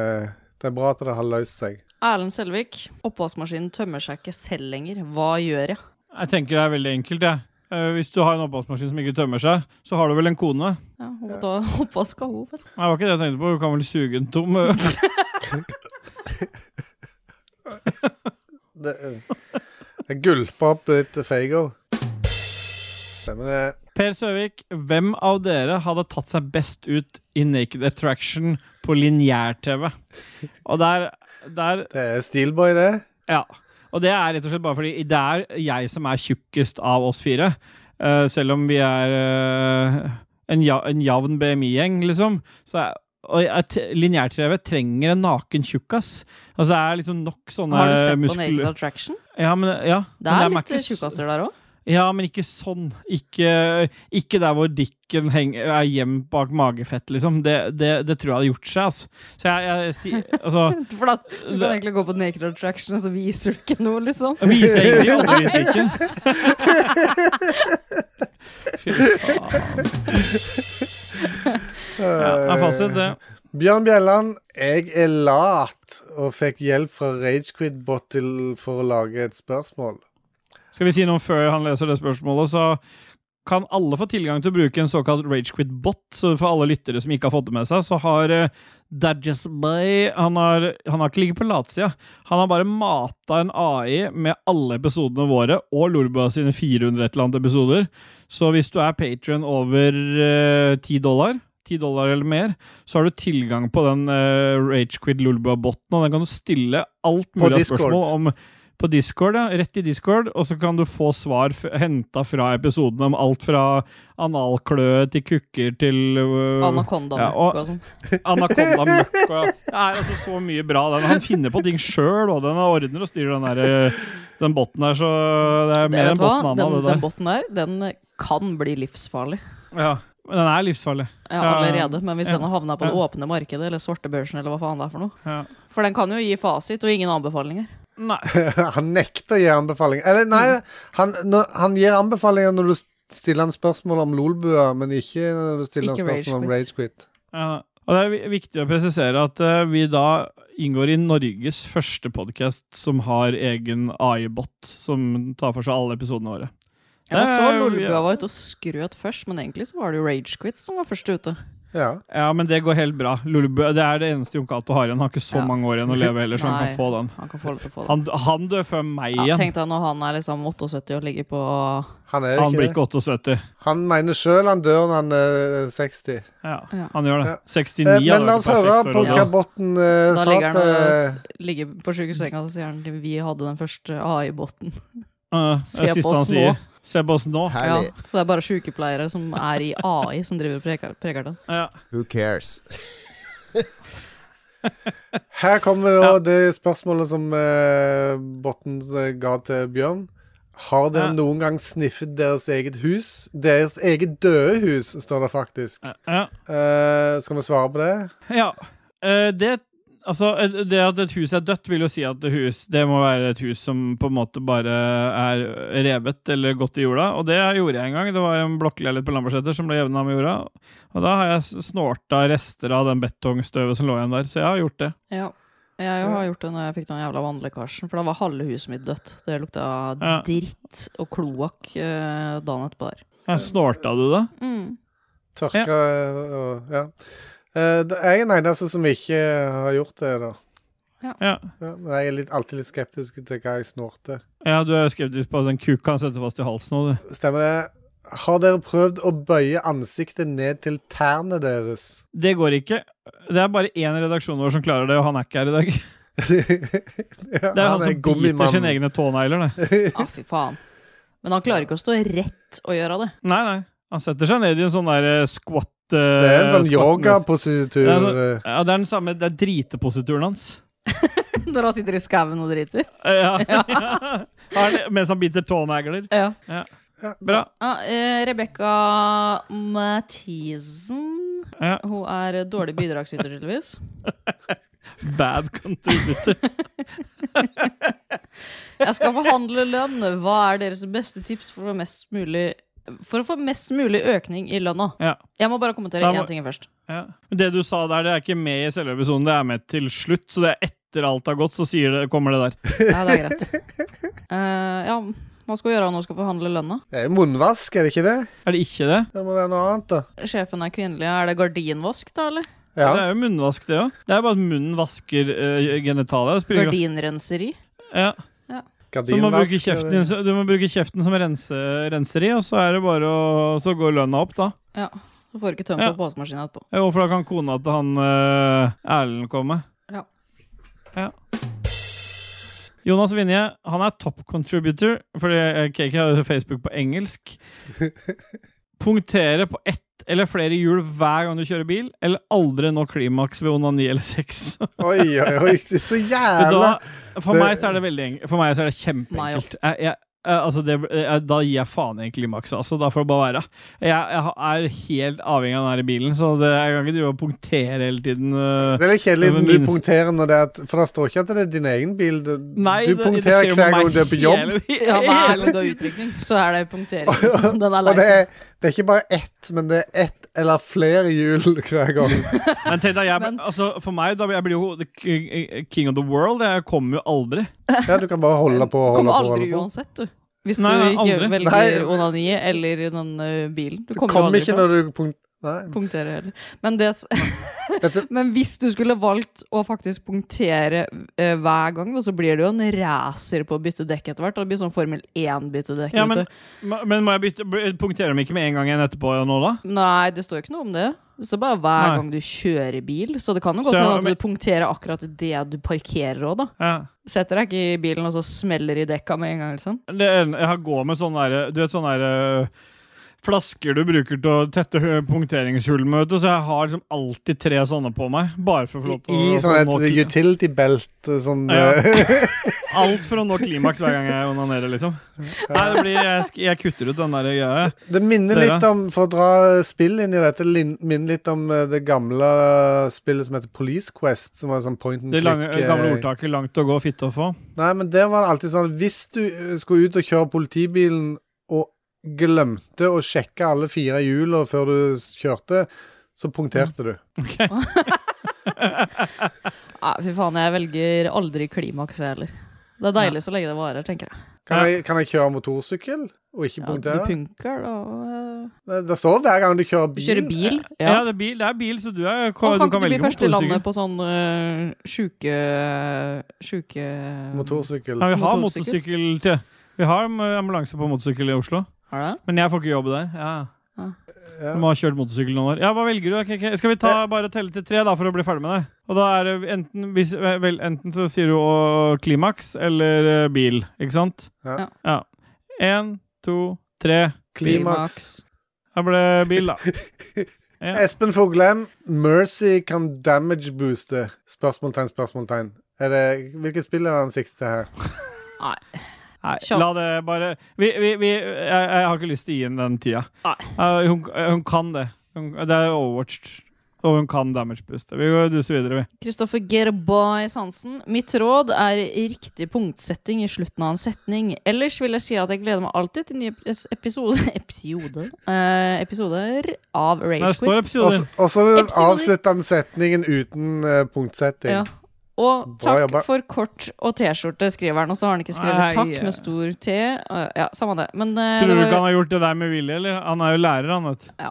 D: det er bra at det har løst seg.
A: Erlend Selvik, oppvaskmaskinen tømmer seg ikke selv lenger. Hva gjør jeg?
B: Jeg tenker det er veldig enkelt, jeg. Eh, Hvis du har en oppvaskmaskin som ikke tømmer seg, så har du vel en kone?
A: Ja, hun får ta oppvask av henne, vel.
B: Nei, det var ikke det jeg tenkte på. Du kan vel suge den tom?
D: Det, eh, jeg gulpa opp litt Feigo. Stemmer det.
B: per Søvik, hvem av dere hadde tatt seg best ut i Naked Attraction på lineær-TV? Og der, der
D: Det er Steelboy, det.
B: Ja. Og det er rett og slett bare fordi det er jeg som er tjukkest av oss fire. Eh, selv om vi er eh, en, ja, en javn BMI-gjeng, liksom. Så er, og jeg- t- lineær-TV trenger en naken tjukkas. Altså, det er liksom nok sånne
A: Har du sett på
B: muskler-
A: Naked Attraction?
B: Ja, men, ja.
A: Det
B: men
A: er
B: dem
A: litt
B: ikke s-
A: tjukkaser der òg.
B: Ja, men ikke sånn. Ikke, ikke der hvor dikken henger, er gjemt bak magefett, liksom. Det, det, det tror jeg hadde gjort seg, altså. Så jeg, jeg sier Altså
A: For da, du kan egentlig gå på Naked Attraction, og så viser du ikke noe, liksom.
B: Viser egentlig aldri stikken. Fy faen. Ja, det er fasit, det.
D: Bjørn Bjelland, jeg er lat og fikk hjelp fra Ragequid-bot til- for å lage et spørsmål.
B: Skal vi si noe før han leser det spørsmålet, så kan alle få tilgang til å bruke en såkalt Ragequit-bot. Så for alle lyttere som ikke har fått det med seg, så har uh, Dajasbay han, har- han har ikke ligget på latsida. Han har bare mata en AI med alle episodene våre og Lolbua sine 400 et eller annet episoder. Så hvis du er patron over eh, 10 dollar 10 dollar eller mer, så har du tilgang eh, på den uh, Ragequid Lolbua-boten, og den kan du stille alt
D: På
B: mulig av
D: Discord.
B: spørsmål om på Discord, ja. rett i Discord, og så kan du få svar f henta fra episoden om alt fra analkløe til kukker til øh, ja,
A: Anakonda-møkk
B: og-
A: og sånn.
B: Anaconda Møkk. og- Det er altså så mye bra. Den. Han finner på ting sjøl, og den ordner og styrer den, der, øh, den botten her, så det er mer
A: Vet du
B: enn
A: hva?
B: botten han
A: Den,
B: hadde
A: den
B: der.
A: botten der, den kan bli livsfarlig.
B: Ja, men den er livsfarlig.
A: Ja,
B: Ja,
A: allerede. Men hvis
B: Eh, ja,
A: den har havna på det
B: ja.
A: åpne markedet, eller svartebørsen, eller hva faen det er for noe.
B: Ja.
A: For den kan jo gi fasit og ingen anbefalinger.
B: Nei.
D: Han nekter å gi anbefalinger. Eller nei, han, når, han gir anbefalinger når du s- stiller han spørsmål om lolbua, men ikke når du stiller
A: Ikke
D: han spørsmål om
A: rage
D: rage quit.
B: Ja, og det er vi- viktig å presisere at eh, vi da inngår i Norges første podkast som har egen AI-bot som tar for seg alle episodene våre.
A: Jeg
B: Det
A: så
B: er-
A: Lolbua var ute og skrøt først, men egentlig så var det jo Ragequits som var først ute.
D: Ja.
B: Ja, men det går helt bra. Lulebø, det er det eneste Jon Cato har igjen. Han har ikke så
A: Ja.
B: mange år igjen å leve heller, så han
A: Nei.
B: kan få den.
A: Han kan få lov til å få det.
B: Han, han dør før meg
A: Ja,
B: igjen.
A: Tenk deg når han er liksom 78 og ligger på
D: Han er jo
B: Han
D: ikke,
B: blir
D: det.
B: ikke 78.
D: Han mener sjøl han dør når han er eh, 60.
B: Ja,
A: Ja.
B: han gjør det.
D: Ja.
B: 69
D: Eh,
B: hadde
D: men la
B: vært
D: oss
B: perfekt
D: høre på
B: for å
D: hva
B: dra.
D: Botten eh,
A: Da
D: sa
A: ligger han og s-
D: til
A: ligger på sjukehussenga og sier han, vi hadde den første AI-båten.
B: Ja,
A: Se
B: det er
A: på
B: siste han
A: oss nå.
B: sier. Se på oss nå.
A: Ja,
E: Herlig.
A: så det er bare sykepleiere som er i AI, som driver og preker, preker den.
B: Ja.
E: Who cares?
D: Her kommer da det spørsmålet som eh, Botten eh, ga til Bjørn. Har dere
B: Ja.
D: noen gang sniffet deres eget hus? Deres eget døde hus, står det faktisk.
B: Ja.
D: Eh, skal vi svare på det?
B: Ja. eh, Det, altså, eh, det at et hus er dødt, vil jo si at det, hus, det må være et hus som på en måte bare er revet eller gått i jorda. Og det gjorde jeg en gang. Det var en blokkleilighet på Lambertseter som ble jevna med jorda. Og da har jeg s- snorta rester av den betongstøvet som lå igjen der. Så jeg har gjort det.
A: Ja. Jeg har gjort det når jeg fikk den jævla vannlekkasjen, for da var halve huset mitt dødt. Det lukta
B: Ja.
A: dritt og kloakk eh, dagen etterpå der.
B: Jeg snorta du det?
A: Mm.
D: Tørka og Ja. Eh, det- Jeg er den eneste som ikke har gjort det, da.
B: Ja.
D: Ja, men jeg er litt, alltid litt skeptisk til hva jeg snorter.
B: ja, du er jo skeptisk på at en kuk kan sette fast i halsen nå, du.
D: Stemmer det? Har dere prøvd å bøye ansiktet ned til tærne deres?
B: Det går ikke. Det er bare én redaksjon vår som klarer det, og han er ikke her i dag.
D: Ja,
B: Det er han, som biter sine egne tånegler, det.
A: Ja, Ah, fy faen. Men han klarer ikke å stå rett og gjøre det.
B: Nei, nei. Han setter seg ned i en sånn der eh, squat eh,
D: Det er en sånn
B: squat- Det er
D: yogapositur. eh,
B: så- Ja, det er den samme Det er driteposituren hans.
A: Når han sitter i skauen og driter.
B: Eh, Ja. Han- Mens han biter tånegler.
A: Ja.
B: Bra.
A: eh, Rebekka Mathisen.
B: Ja.
A: Hun er dårlig bidragsyter, tydeligvis.
B: Bad contributor.
A: Jeg skal forhandle lønn. Hva er deres beste tips for å få mest mulig for å få mest mulig økning i lønna.
B: Ja.
A: Jeg må bare kommentere
B: Da må-
A: én ting først.
B: ja. Men Det du sa der, det er ikke med i selve episoden. Det er med til slutt. Så det er etter alt har gått, så sier det, kommer det der.
A: Ja, det er greit. Eh, ja, hva skal hun gjøre når hun skal forhandle lønna?
D: Det er eh, munnvask, er det ikke det?
B: Er det ikke det?
D: Det må være noe annet, da.
A: Sjefen er kvinnelig. Er det gardinvask, da, eller?
B: Det
D: Ja.
B: er jo munnvask, det òg. Det er bare at munnen vasker uh, genitalia. Spiller-
A: Gardinrenseri?
B: Ja. Så du må, bruke
D: Gardinvask.
B: kjeften, din-
D: eller-
B: så- du må bruke kjeften som rense, renseri, og så er det bare å Så går lønna opp, da.
A: Ja. Så får du ikke tømt
B: Ja.
A: opp påsemaskinen etterpå.
B: Jo, for da kan kona til han eh, Erlend komme.
A: Ja.
B: Ja. Jonas Vinje han er top contributor, fordi eh, KK har jo Facebook på engelsk. Punktere på ett eller flere hjul hver gang du kjører bil, eller aldri nå klimaks ved onani eller sex.
D: Oi, oi, oi. Det er så
B: Vet du
D: jævla
B: hva? For meg så er det veldig enk- For meg så er det
A: Meg
B: kjempeenkelt. Jeg, jeg, eh, altså det, eh, da gir jeg faen i klimakset. Altså. Da får det bare være. Jeg, jeg ha- er helt avhengig av den her bilen, så det, jeg kan ikke drive og punktere hele tiden. eh.
D: Det er litt kjedelig
B: Men
D: når du
B: min-
D: punkterer når det er at, For det står ikke at det er din egen bil. Du,
B: Nei,
D: du
B: det- det
D: punkterer
B: skjer
D: hver
B: med
D: gang
B: meg
D: du er på jobb.
B: hele-
A: Ja, hver
B: hele
A: gang du har utvikling, så er det punktering. liksom. Den er lei
D: Og Eh. det
A: seg.
D: er, det er ikke bare ett, men det er ett eller flere hjul hver gang.
B: Men tenk deg, jeg,
A: Men-
B: altså, for meg, da, jeg blir jo the k- king of the world. Jeg kommer jo aldri.
D: Ja, du kan bare holde på og
A: Kommer
D: holde på.
A: aldri
D: Holde på.
A: uansett, du. Hvis
B: Nei,
A: du
B: nei,
A: ikke
B: aldri.
A: velger
D: Nei.
A: onani eller den ø, bilen. Du
D: Kom
A: kommer jo aldri
D: ikke
A: fra.
D: når du punkt... Nei.
A: punktere heller. Men, det, s-
D: Dette,
A: men hvis du skulle valgt å faktisk punktere eh, hver gang, da, så blir det jo en racer på å bytte dekk etter hvert. og Det blir sånn Formel 1-byttedekk.
B: Ja, men, ma- men må jeg bytte, b- punktere dem ikke med en gang igjen etterpå nå, da?
A: Nei, det står jo ikke noe om det. Det står bare hver
B: Nei.
A: gang du kjører bil. Så det kan jo
B: Så
A: godt
B: jeg-
A: hende at
B: men-
A: du punkterer akkurat det du parkerer òg, da.
B: Ja.
A: Setter deg ikke i bilen og så smeller i dekka med en gang, liksom.
B: Det, er- jeg har gå med sånn derre Du vet sånn derre Flasker du bruker til å tette hø- punkteringshull med, vet du, så jeg har liksom alltid tre sånne på meg. Bare for å få lov til å-
D: I sånn
B: for å
D: et
B: nå kli-
D: utility-belt sånn
B: Ja.
D: eh,
B: Alt for å nå klimaks hver gang jeg onanerer, liksom. Nei, det blir, jeg, sk- jeg kutter ut den der greia.
D: Det minner
B: Dere?
D: litt om, for å dra spill inn i dette, det lin- minner litt om eh, det gamle eh, spillet som heter Police Quest, som var sånn point and
B: Det lange,
D: click. eh,
B: gamle ordtaket 'langt å gå, fitte å få'.
D: Nei, men der var det alltid sånn, hvis du eh, skulle ut og kjøre politibilen og glemte å sjekke alle fire hjulene før du s- kjørte, så
B: Mm.
D: punkterte du.
A: Nei, fy faen, jeg velger aldri klimaks, jeg heller. Det er deilig så lenge det varer, tenker jeg.
D: Kan, jeg, kan jeg kjøre motorsykkel og ikke
A: Ja, du
D: punktere?
A: punker, da. øh,
D: det, det står hver gang du
A: Du
D: kjører bil.
A: kjører bil.
B: Ja,
A: Ja.
B: det, er bil, det er bil, så du, er,
A: Og
B: du
A: kan ikke
B: kan
A: du bli
B: velge
A: først i landet
B: motorsykkel.
A: på sånn øh, sjuke... Sjuke... eh,
D: Motorsykkel.
B: Ja, vi har
A: Motorsykkel?
B: motorsykkel til. Vi har am- ambulanse på motorsykkel i Oslo,
A: Har du det?
B: men jeg får ikke jobbe der.
A: Ah.
B: Ja.
D: Ja.
B: Du må ha kjørt motorsykkel noen år. Ja, hva velger du? Ok, ok. Skal vi ta bare telle til tre da, for å bli ferdig med det? Og da er det enten, hvis, vel, enten så sier du å, klimaks eller eh, bil, ikke sant?
D: Ja.
B: ja. En, to, tre.
D: Klimaks.
B: Da ble det bil, da. Ja.
D: Espen Foglem, Mercy kan damage booste? Spørsmålstegn, spørsmålstegn. Er det, hvilket spill er det han sikter til her?
B: Nei,
A: Kjapt.
B: la det bare vi, vi, vi, jeg, jeg har ikke lyst til å gi henne den tida.
A: Nei.
B: Eh, hun, hun kan det. Hun, det er Overwatch. Og hun kan damage boost. Vi går- duser videre, vi.
A: Kristoffer Gerbois Hansen. Mitt råd er riktig punktsetting i slutten av en setning. Ellers vil jeg si at jeg gleder meg alltid til nye epis- episode, episode, eh, episoder av
B: Nei,
A: Rage
B: det står
A: Quit.
D: Og s-
B: episoder.
D: Og så
A: Episode.
D: avslutter han setningen uten eh, punktsetting.
A: Ja. Og
D: Bra
A: takk
D: jobba.
A: for kort og T-skjorte, skriver han. Og så har han ikke skrevet
B: Nei,
A: 'takk'
B: eh.
A: med stor T. Eh, Ja, samme det. Men eh,
B: Tror
A: det
B: du
A: var
B: ikke han har gjort det der med vilje, eller? Han er jo lærer, han, vet du.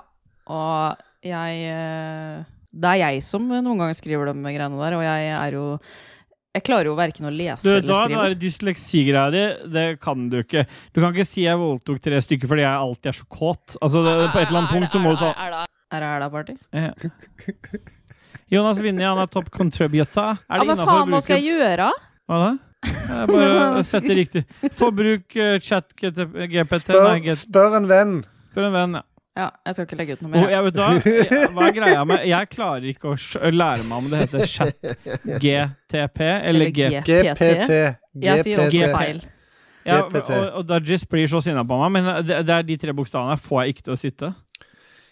A: Og jeg eh, Det er jeg som noen ganger skriver de greiene der, og jeg er jo Jeg klarer jo verken å lese
B: Du,
A: eller
B: da, det
A: skrive.
B: der dysleksi-greia di, det kan du ikke. Du kan ikke si 'jeg voldtok tre stykker' fordi jeg alltid er så kåt. Altså, det, på et eller annet punkt så må du ta
A: Er det er det party?
B: Ja. Jonas Vinje, han er top contributor.
A: Ja,
B: Er det
A: men
B: innenfor å
A: faen, hva
B: bruke-
A: skal jeg gjøre?
B: Hva da? Jeg Bare sett det riktig. Forbruk uh, chat GPT.
D: Spør,
B: nei, get-
D: spør en venn.
B: Spør en venn. Ja.
A: Ja, jeg skal ikke legge ut noe
B: Og
A: mer.
B: jeg vet da, jeg- hva er greia med Jeg klarer ikke å sj- lære meg om det heter chat GTP eller G...
D: GPT.
A: Jeg sier også
B: GPT.
A: feil.
B: Ja, og,
D: GPT.
B: og Dajis blir så sinna på meg, men det, det er de tre bokstavene her får jeg ikke til å sitte.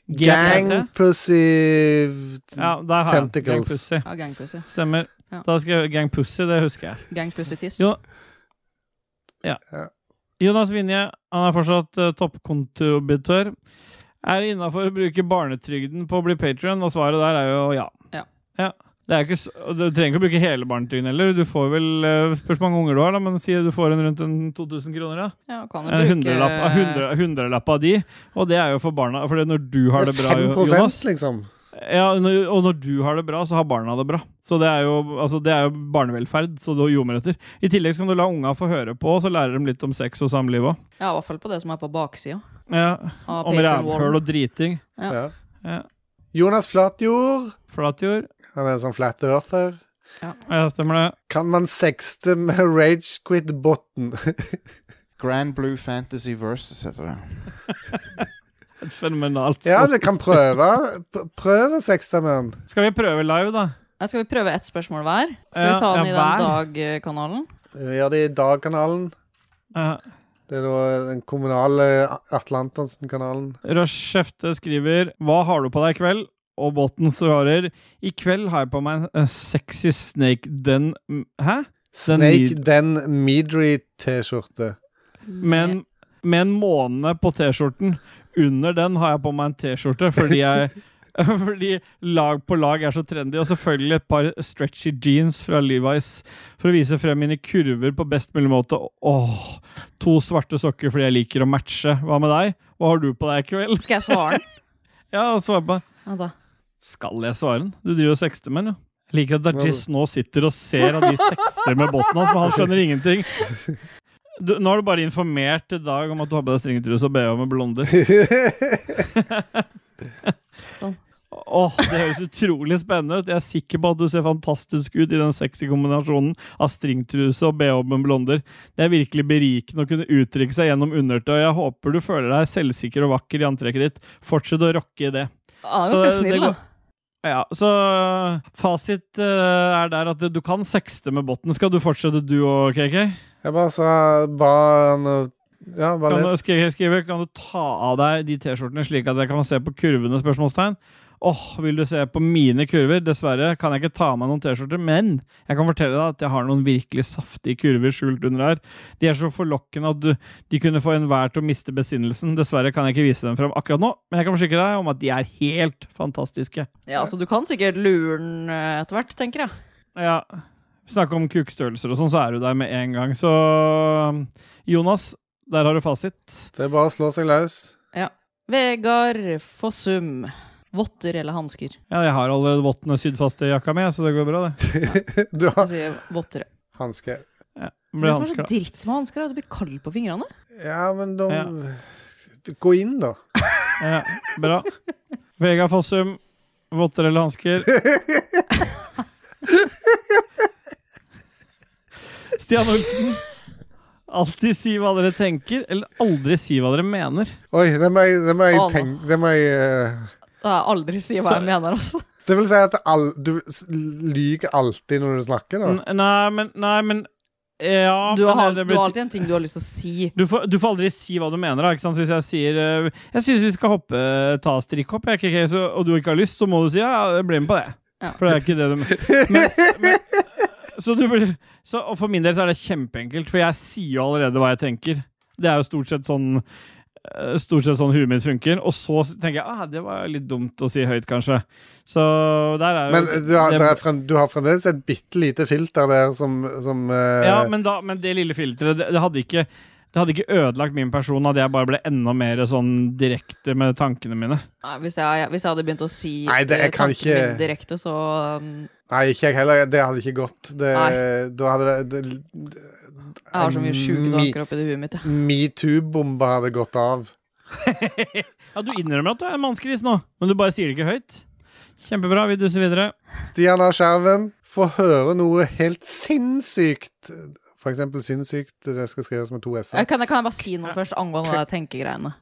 D: Gang pussy
B: Ja, der har jeg. den. Gang
D: Tentacles.
B: pussy.
A: Ja, gangpussy.
B: Stemmer.
A: Ja.
B: Da skal jeg gang pussy, det husker jeg.
A: Gangpussy-tiss.
B: Jo. Jonas Vinje, han er fortsatt uh, toppkontributør. Er det innafor å bruke barnetrygden på å bli patrion? Og svaret der er jo ja.
A: Ja.
B: Det er ikke, s- og du trenger ikke å bruke hele barnetrygden heller. Du får vel, eh, Spørs hvor mange unger du har, da, men si du får en rundt en 2000 kroner. da.
A: Ja, kan du
B: En
A: bruke
B: hundrelapp eh, hundre- hundrelapp av de. Og det er jo for barna. For når du har det
D: Det
B: bra,
D: er 5
B: Jonas
D: liksom.
B: ja, når- Og når du har det bra, så har barna det bra. Så det er jo, altså, det er jo barnevelferd, så det ljomer etter. I tillegg så kan du la unga få høre på, så lærer de litt om sex og samliv òg.
A: Ja, i hvert fall på det som er på baksida.
B: Ja,
A: av
B: om
A: Patreon
B: rævhøl
A: Wall.
B: og driting.
A: Ja.
D: Ja.
B: Ja.
D: Jonas Flatjord.
B: Flatjord.
D: Han er en sånn flat earther.
B: Ja, stemmer det.
D: Kan man sexte med rage quit botten?
E: Grand Blue Fantasy Versus heter det.
B: Et Fenomenalt.
D: ja, du kan prøve. P- Prøv å sexte med han.
B: Skal vi prøve live, da?
A: Ja, skal vi prøve ett spørsmål hver? Skal
B: Ja,
A: vi ta den
B: ja,
A: i
B: hver.
A: den dagkanalen?
D: Vi gjør Eh, det i Dag-kanalen.
B: Ja.
D: Det er da den kommunale Atle Antonsen-kanalen.
B: Rush Skjefte skriver Hva har du på deg i kveld? Og Botten svarer I kveld har jeg på meg en eh, sexy snake den m- Hæ? Den
D: Snake
B: lyd-
D: Den Midri-T-skjorte.
B: Med en, med en måne på T-skjorten. Under den har jeg på meg en T-skjorte fordi jeg Fordi lag på lag er så trendy. Og selvfølgelig et par stretchy jeans fra Levi's for å vise frem mine kurver på best mulig måte. Åh, to svarte sokker fordi jeg liker å matche. Hva med deg? Hva har du på deg i kveld?
A: Skal jeg svare den?
B: Ja, og svare på
A: Vent da.
B: Skal jeg svare den? Du driver og sekster med den, jo. Jeg liker at Dajis nå sitter og ser at de sekster med botten hans, men han skjønner ingenting. Du, nå har du bare informert til Dag om at du har på deg stringetruse og BH med blonder.
A: Sånn.
B: Åh, Det høres utrolig spennende ut. Jeg er sikker på at du ser fantastisk ut i den sexy kombinasjonen av stringtruse og BH med blonder. Det er virkelig berikende å kunne uttrykke seg gjennom undertøy. Jeg håper du føler deg selvsikker og vakker i antrekket ditt. Fortsett å rocke i det.
A: Ja, han er
B: Så
A: ganske
B: det- det
A: snill, da.
B: går- Ja, så fasit eh, er der at du kan sekste med botten. Skal du fortsette du òg, KK?
D: Jeg bare sa ba han å- Ja, bare
B: Kan du,
D: les.
B: skal jeg skrive, kan du ta av deg de T-skjortene slik at jeg kan se på kurvene? spørsmålstegn? Åh, vil du se på mine kurver? Dessverre kan jeg ikke ta av meg noen T-skjorter, men jeg kan fortelle deg at jeg har noen virkelig saftige kurver skjult under her. De er så forlokkende at du, de kunne få enhver til å miste besinnelsen. Dessverre kan jeg ikke vise dem fram akkurat nå, men jeg kan forsikre deg om at de er helt fantastiske.
A: Ja, altså, du kan sikkert lure den eh, etter hvert, tenker jeg.
B: Ja, snakke om kukstørrelser og sånn, så er du der med en gang. Så um, Jonas, der har du fasit.
D: Det er bare å slå seg løs.
A: Vegard Fossum. Votter eller hansker?
B: Ja, jeg har allerede vottene sydd fast i jakka mi, så det går bra, det.
D: Du har
A: Han sier votter.
D: hanske.
B: Det
A: Det
B: Blir
A: som er så
B: hansker, da.
A: dritt med hansker, er at du blir kald på fingrene.
D: Ja, men da
B: Ja.
D: Gå inn, da.
B: Ja, bra. Vegard Fossum, votter eller hansker? Stian Olsen. Alltid si hva dere tenker, eller aldri si hva dere mener.
D: Oi, det må jeg, det må jeg
A: Å, nå.
D: tenke Det må jeg eh,
A: Det er aldri si hva jeg mener, altså.
D: Det vil si at all, du s- lyger alltid når du snakker, da.
B: N nei, men, nei, men Ja,
A: Du har,
B: men
A: du
B: det- det
A: har
B: betyr-
A: alltid en ting du har lyst til å si.
B: Du får, du får aldri si hva du mener. da, ikke sant? Så Hvis jeg sier eh, Jeg syns vi skal hoppe, ta strikkhopp, jeg, KK, så, og du ikke har lyst, så må du si ja, bli med på det.
A: Ja.
B: For det er ikke det du men, men, så du blir, så, og For min del så er det kjempeenkelt, for jeg sier jo allerede hva jeg tenker. Det er jo stort sett sånn eh, Stort sett sånn huet mitt funker. Og så tenker jeg ah, det var litt dumt å si høyt, kanskje. Så der er jo
D: Men eh, du har,
B: det-
D: det er frem, du har fremdeles et bitte lite filter der som, som eh,
B: Ja, men, da, men det lille filteret, det, det hadde ikke det hadde ikke ødelagt min person at jeg bare ble enda mer sånn direkte med tankene mine.
A: Nei, hvis, jeg, hvis jeg hadde begynt å si
D: Nei, det- jeg
A: eh,
D: kan
A: tankene
D: ikke-
A: mine direkte, så um,
D: Nei, ikke jeg heller. Det hadde ikke gått. Det,
A: Nei.
D: da hadde det, det
A: Jeg har så mye sjuke
D: Mi-
A: tanker oppi det huet mitt, jeg.
D: Metoo-bomba hadde gått av.
B: Ja, Du innrømmer at du er en mannsgris nå, men du bare sier det ikke høyt. Kjempebra. Vi duser videre.
D: Stian A. Skjerven får høre noe helt sinnssykt. For eksempel sinnssykt, det skal skrives med to
A: Ja,
D: s-er.
A: Kan, jeg- kan jeg bare si noe først angående de tenkegreiene?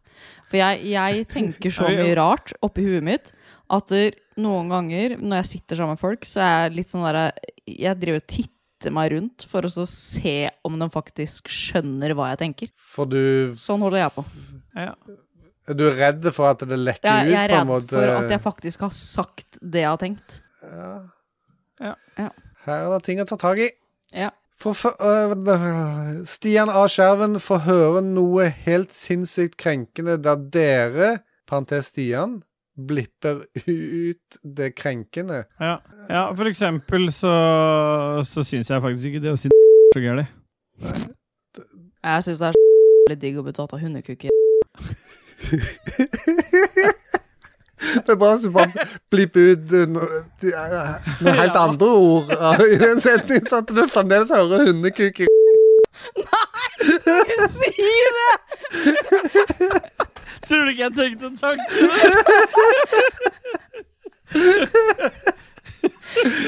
A: For jeg, jeg tenker så
B: Ja, ja.
A: mye rart oppi huet mitt at der, noen ganger når jeg sitter sammen med folk, så er jeg litt sånn derre Jeg driver og titter meg rundt for å så se om de faktisk skjønner hva jeg tenker.
D: For du,
A: Sånn holder jeg på.
D: du er redd for at det lekker
A: Jeg, jeg er
D: ut, på en
A: redd
D: måte.
A: for at jeg faktisk har sagt det jeg har tenkt.
D: Her er det ting å ta tak i.
A: Ja.
D: For, for, øh, Stian A. Skjerven får høre noe helt sinnssykt krenkende der dere, parentes Stian, blipper ut det krenkende.
B: Ja, ja for eksempel så, så syns jeg faktisk ikke det å si så gærent.
A: Jeg syns det er så jævlig digg å bli tatt av hundekukker.
D: Det er bra hvis du bare blipper ut øh, noe, de- øh, noe helt andre ord øh, i den setningen, sånn at du fremdeles hører hundekuk i
A: Si det!
B: Tror du ikke jeg tenkte en tanke?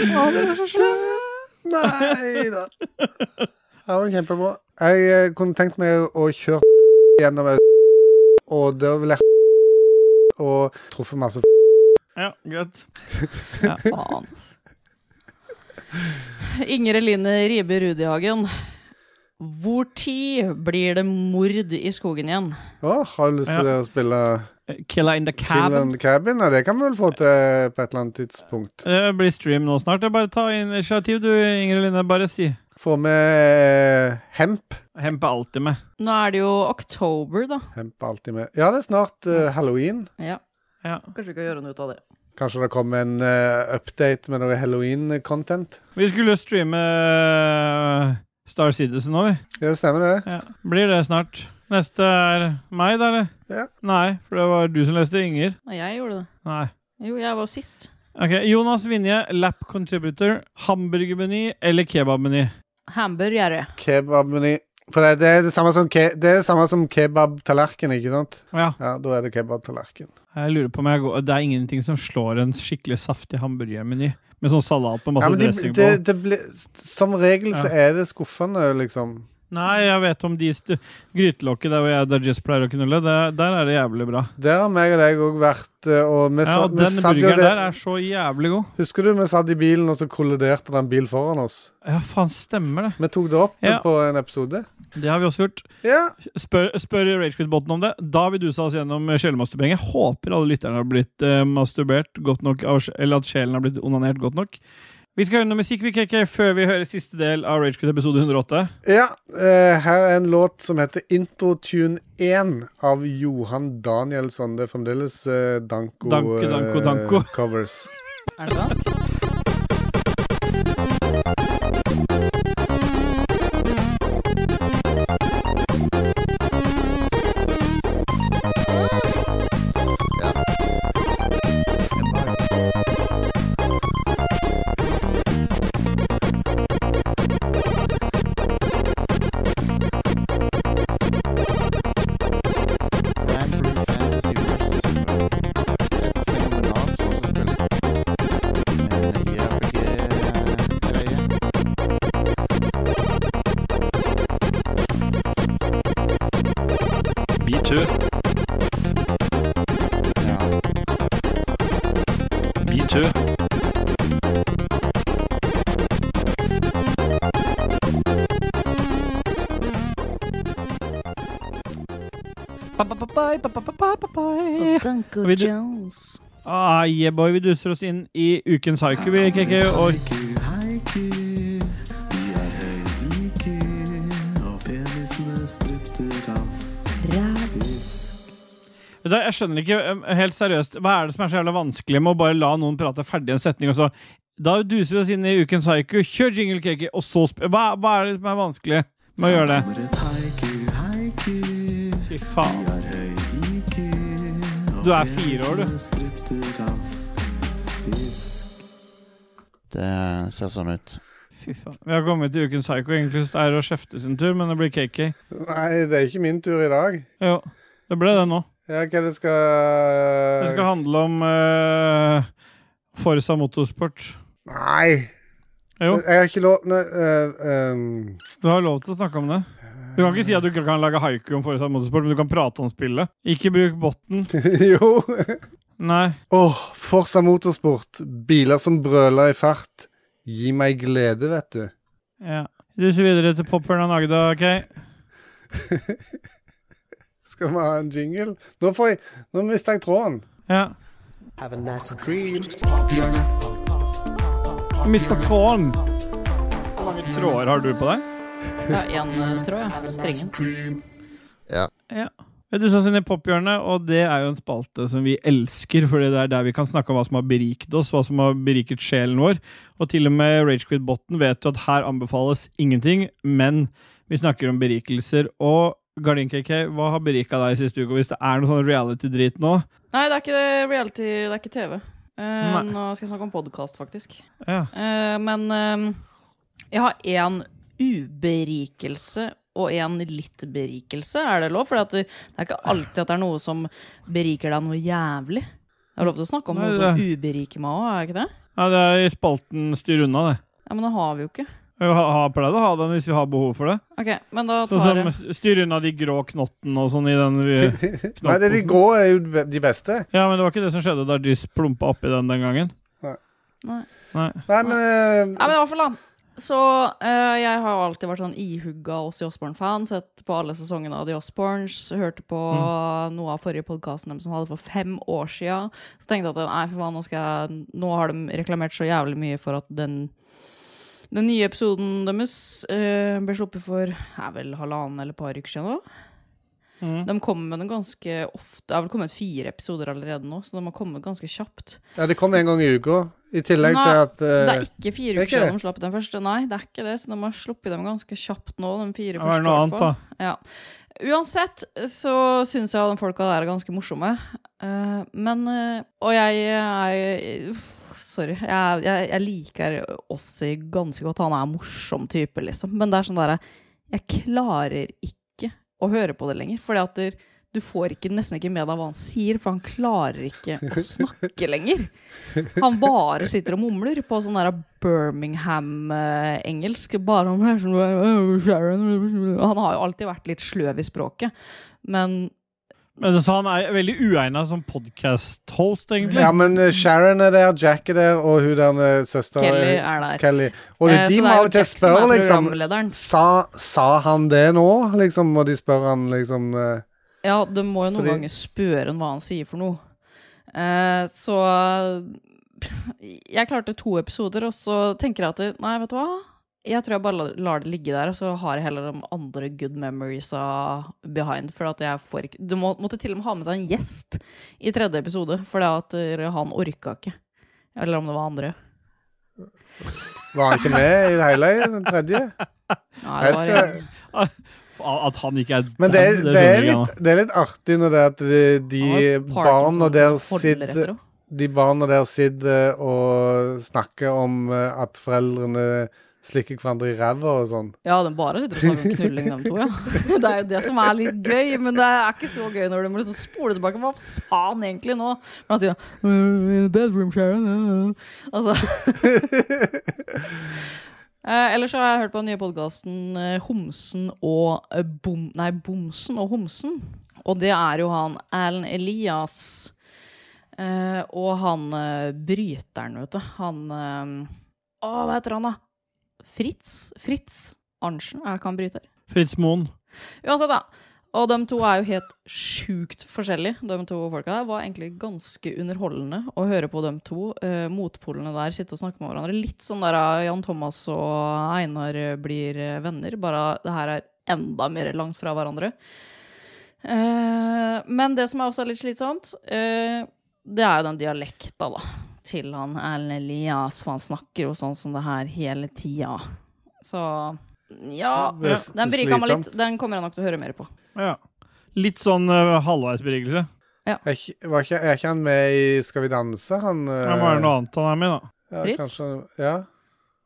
A: Å, det var så slemt.
D: Nei da. Ja, men kjempebra. Jeg eh, kunne tenkt meg å kjøre gjennom au- og da ville jeg og truffet masse
B: Ja, greit.
A: Faen. Inger Eline Ribe Rudihagen. Hvor tid blir det mord i skogen igjen?
D: Å, har du lyst til å spille
B: Killa in the
D: Kill
B: cabin.
D: and Cabin? Ja, det kan vi vel få til på et eller annet tidspunkt.
B: Det blir stream nå snart. Det er Bare ta initiativ, du, Ingrid Linne. Bare si.
D: Få med eh, hemp.
B: Hemp er alltid med.
A: Nå er det jo oktober, da.
D: Hemp er alltid med. Ja, det er snart eh, halloween.
A: Ja,
B: Ja.
A: Kanskje vi kan gjøre noe ut av det.
D: Kanskje det kommer en eh, update med noe halloween-content.
B: Vi skulle jo streame eh, Star Citizen nå, vi.
D: Ja, det stemmer det.
B: Ja. Blir det snart. Neste er meg, da, eller?
D: Ja.
B: Nei, for det var du som leste Inger.
A: Og jeg gjorde det.
B: Nei.
A: Jo, jeg var sist.
B: Ok, Jonas Vinje, lap contributor, hamburgermeny eller kebabmeny?
A: Hamburgere.
D: Kebabmeny. For det, det er det samme som, ke det er det samme som kebabtallerken, ikke sant?
B: Å Ja,
D: Ja, da er det kebabtallerken.
B: jeg lurer på om jeg går Det er ingenting som slår en skikkelig saftig hamburgermeny med sånn salat med
D: Ja,
B: masse
D: men det,
B: dressing på.
D: det, det blir- som regel så
B: Ja.
D: er det skuffende, liksom.
B: Nei, jeg vet om de stu- grytelokket der hvor jeg der Jess pleier å knulle, det, der er det jævlig bra.
D: Der har meg og deg òg vært, eh, og vi
B: Ja,
D: satt,
B: og
D: vi
B: den
D: satt jo
B: burgeren
D: det
B: der er så jævlig god.
D: Husker du vi satt i bilen, og så kolliderte det en bil foran oss?
B: Ja, faen, stemmer det.
D: Vi tok det opp
B: Ja.
D: på en episode.
B: Det har vi også gjort.
D: Ja.
B: Spør, spør Ragequit-botten om det. Da vil du sa oss gjennom sjelmasturbering. Jeg håper alle lytterne har blitt eh, masturbert godt nok, av, sj- eller at sjelen har blitt onanert godt nok. Vi skal høre noe musikk vi KK, før vi hører siste del av Ragequit episode 108.
D: ja eh, her er en låt som heter Introtune 1 av Johan Danielsson. Det er fremdeles eh, Danko,
B: Danko,
D: eh,
B: Danko, Danko.
D: covers.
A: Er det dansk?
E: Grand Blue Fantasy Versus Syndrome. Et fenomenalt rollespill. En JRPG-greie.
I: B2,
E: Ja.
I: B2,
B: Ba-ba-ba-bai, ba-ba-ba-ba-ba-bai.
A: Duncan
B: Vil du-
A: Jones.
B: Ah, yeah boy, vi duser oss inn i ukens haiku, vi, KK. Og
C: Haiku, vi har høy IQ, og penisene strutter av.
B: Vet du hva, jeg skjønner ikke um, helt seriøst Hva er det som er så jævla vanskelig med å bare la noen prate ferdig en setning, og så Da duser vi oss inn i ukens haiku, kjør jingle KK, og så sp hva, hva er det som er vanskelig med å gjøre det?
C: Kommer et haiku, haiku,
B: Fy faen.
C: vi har høy IQ, og
B: Du er fire år, du.
C: penisene strutter av. Fisk.
E: Det ser sånn ut.
B: Fy faen. Vi har kommet til ukens haiku. Egentlig så er det å kjefte sin tur, men det blir KK.
D: Nei, det er ikke min tur i dag.
B: Jo, det ble det nå.
D: Ja, hva det
B: Det
D: skal
B: skal handle om eh, Forza motorsport.
D: Nei!
B: Jo,
D: Jeg har ikke lov Nei, eh, ehm,
B: du har lov til å snakke om det. Du kan ikke si at du ikke kan lage haiku om Forza motorsport, men du kan prate om spillet. Ikke bruk botten.
D: eh, Jo.
B: Nei.
D: Åh, Forsa motorsport. Biler som brøler i fart. Gi meg glede, vet du.
B: Ja. Duser videre til Popperen av Agda, OK?
D: Skal vi ha en jingle? Nå, får jeg, nå mista jeg tråden.
B: Ja. Mista tåen. Hvor mange tråder har du på deg?
A: Ja, én tråd, ja. Strengen.
B: Ja. Du sa sin i pophjørnet, og det er jo en spalte som vi elsker, fordi det er der vi kan snakke om hva som har beriket oss, hva som har beriket sjelen vår. Og til og med Ragequid Botten vet jo at her anbefales ingenting, men vi snakker om berikelser. Og Gardin KK, hva har berika deg siste uke? Og hvis det er noe sånn reality-drit nå
A: Nei, det er ikke reality, det er ikke TV. Eh,
B: Nei.
A: nå skal jeg snakke om podkast, faktisk.
B: ja.
A: Eh, men eh, jeg har én uberikelse og én litt berikelse. Er det lov? For det, det er ikke alltid at det er noe som beriker deg noe jævlig. Det er lov til å snakke om
B: Nei,
A: noe som uberiker meg òg, er det ikke det?
B: ja, det er i spalten styr unna, det.
A: Ja, Men det har vi jo ikke.
B: Vi har har pleid å ha den hvis vi har behov for det.
A: Ok, men da
B: Sånn
A: tar jeg
B: som styr unna de grå knottene og sånn i den vi-
D: Nei, det er de grå er jo de be- de beste.
B: Ja, men det var ikke det som skjedde da Jizz plumpa oppi den den gangen.
A: Nei.
B: Nei.
D: Nei, men
A: Ja,
D: eh,
A: men i hvert fall da Så eh, jeg har jo alltid vært sånn ihugga Ås Osborn-fan Sett på alle sesongene av The Osborns Hørte på noe av forrige podcasten Dem som hadde for fem år siden Så tenkte jeg at nei, for faen, nå, skal jeg, nå har de reklamert så jævlig mye For at den den nye episoden deres eh, ble sluppet for er vel halvannen eller et par uker siden. Da. De kommer med den ganske ofte. Det har vel kommet fire episoder allerede nå, så de har kommet ganske kjapt.
D: ja, det kom en gang i uka. I tillegg
A: Nei,
D: til at
A: Det
D: eh,
A: er ikke fire
D: det er
A: uker
D: ikke det.
A: siden de slapp den første. Nei, det er ikke det, så de har sluppet dem ganske kjapt nå. De fire
B: Det var
A: første, i
B: noe annet,
A: hvert
B: da.
A: fall. Ja. Uansett så syns jeg de folka der er ganske morsomme. Eh, men eh, Og jeg er uff, Sorry. Jeg, jeg, jeg liker Ossi ganske godt. Han er morsom type, liksom. Men det er sånn derre Jeg klarer ikke å høre på det lenger. Fordi at der, du får ikke, nesten ikke med deg hva han sier, for han klarer ikke å snakke lenger. Han bare sitter og mumler på sånn der Birmingham-engelsk. Bare om sånn Han har jo alltid vært litt sløv i språket, men
B: Men så han er veldig uegnet som podcast-host, egentlig.
D: Ja, men eh, Sharon er der, Jack er der, og hun der eh, søstera
A: Kelly er der.
D: Kelly. Og det,
A: Eh,
D: er
A: så
D: de
A: det
D: må
A: er jo
D: av og til
A: Jack som
D: spørre,
A: er
D: liksom
A: programlederen.
D: sa, sa han det nå, liksom? Og de spør han liksom eh,
A: Ja, du må jo noen
D: Fordi-
A: ganger spørre han hva han sier for noe. Eh, så jeg klarte to episoder, og så tenker jeg at det- nei, vet du hva? Jeg tror jeg bare la- lar det ligge der, og så har jeg heller de andre good memories av behind. For at jeg får ikke Du må, måtte til og med ha med seg en gjest i tredje episode, for at eh, han orka ikke. Eller om det var andre.
D: Var han ikke med i det hele i den tredje?
A: Nei,
D: Jeg
A: det var
D: skal,
A: en-
B: At han ikke er
D: men
B: den,
D: det, det,
B: skjønner
D: er
B: jeg
D: litt, det er litt artig når det er at de, de
A: det var Parkinson
D: barna der
A: som holder etter
D: sitter
A: henne.
D: de barna der sitter og snakker om eh, at foreldrene slikker hverandre i ræva og sånn.
A: Ja, de bare sitter og snakker om knulling, de to. ja. Det er jo det som er litt gøy, men det er ikke så gøy når du må liksom spole tilbake. Hva sa han egentlig nå? Når han sier "Uh, in the bedroom, Sharon. uh." Altså. Eh, ellers så har jeg hørt på den nye podkasten Homsen og eh, Bom... Nei, Bomsen og Homsen. Og det er jo han Erlend Elias eh, og han eh, bryteren, vet du. Han eh, Å, hva heter han, da? Fritz Fritz Arntzen er ikke han bryter.
B: Fritz Moen.
A: Uansett, da. Og de to er jo helt sjukt forskjellige. De to folka der var egentlig ganske underholdende å høre på dem to. Eh, motpolene der sitte og snakke med hverandre. Litt sånn der eh, Jan Thomas og Einar eh, blir eh, venner. Bare det her er enda mer langt fra hverandre. Eh, men det som er også litt slitsomt, eh, det er jo den dialekta, da. Til han Erlend Elias, for han snakker jo sånn som det her hele tida. Så ja,
D: Det er s-
A: den berika meg litt.
D: slitsomt.
A: Den kommer jeg nok til å høre mer på.
B: Ja. Litt sånn uh, halvveisberikelse.
D: Er ikke, var ikke, er ikke han med i Skal vi danse, han? eh,
B: Det må være noe annet han er med, da.
D: ja,
A: Fritz?
D: kanskje- ja.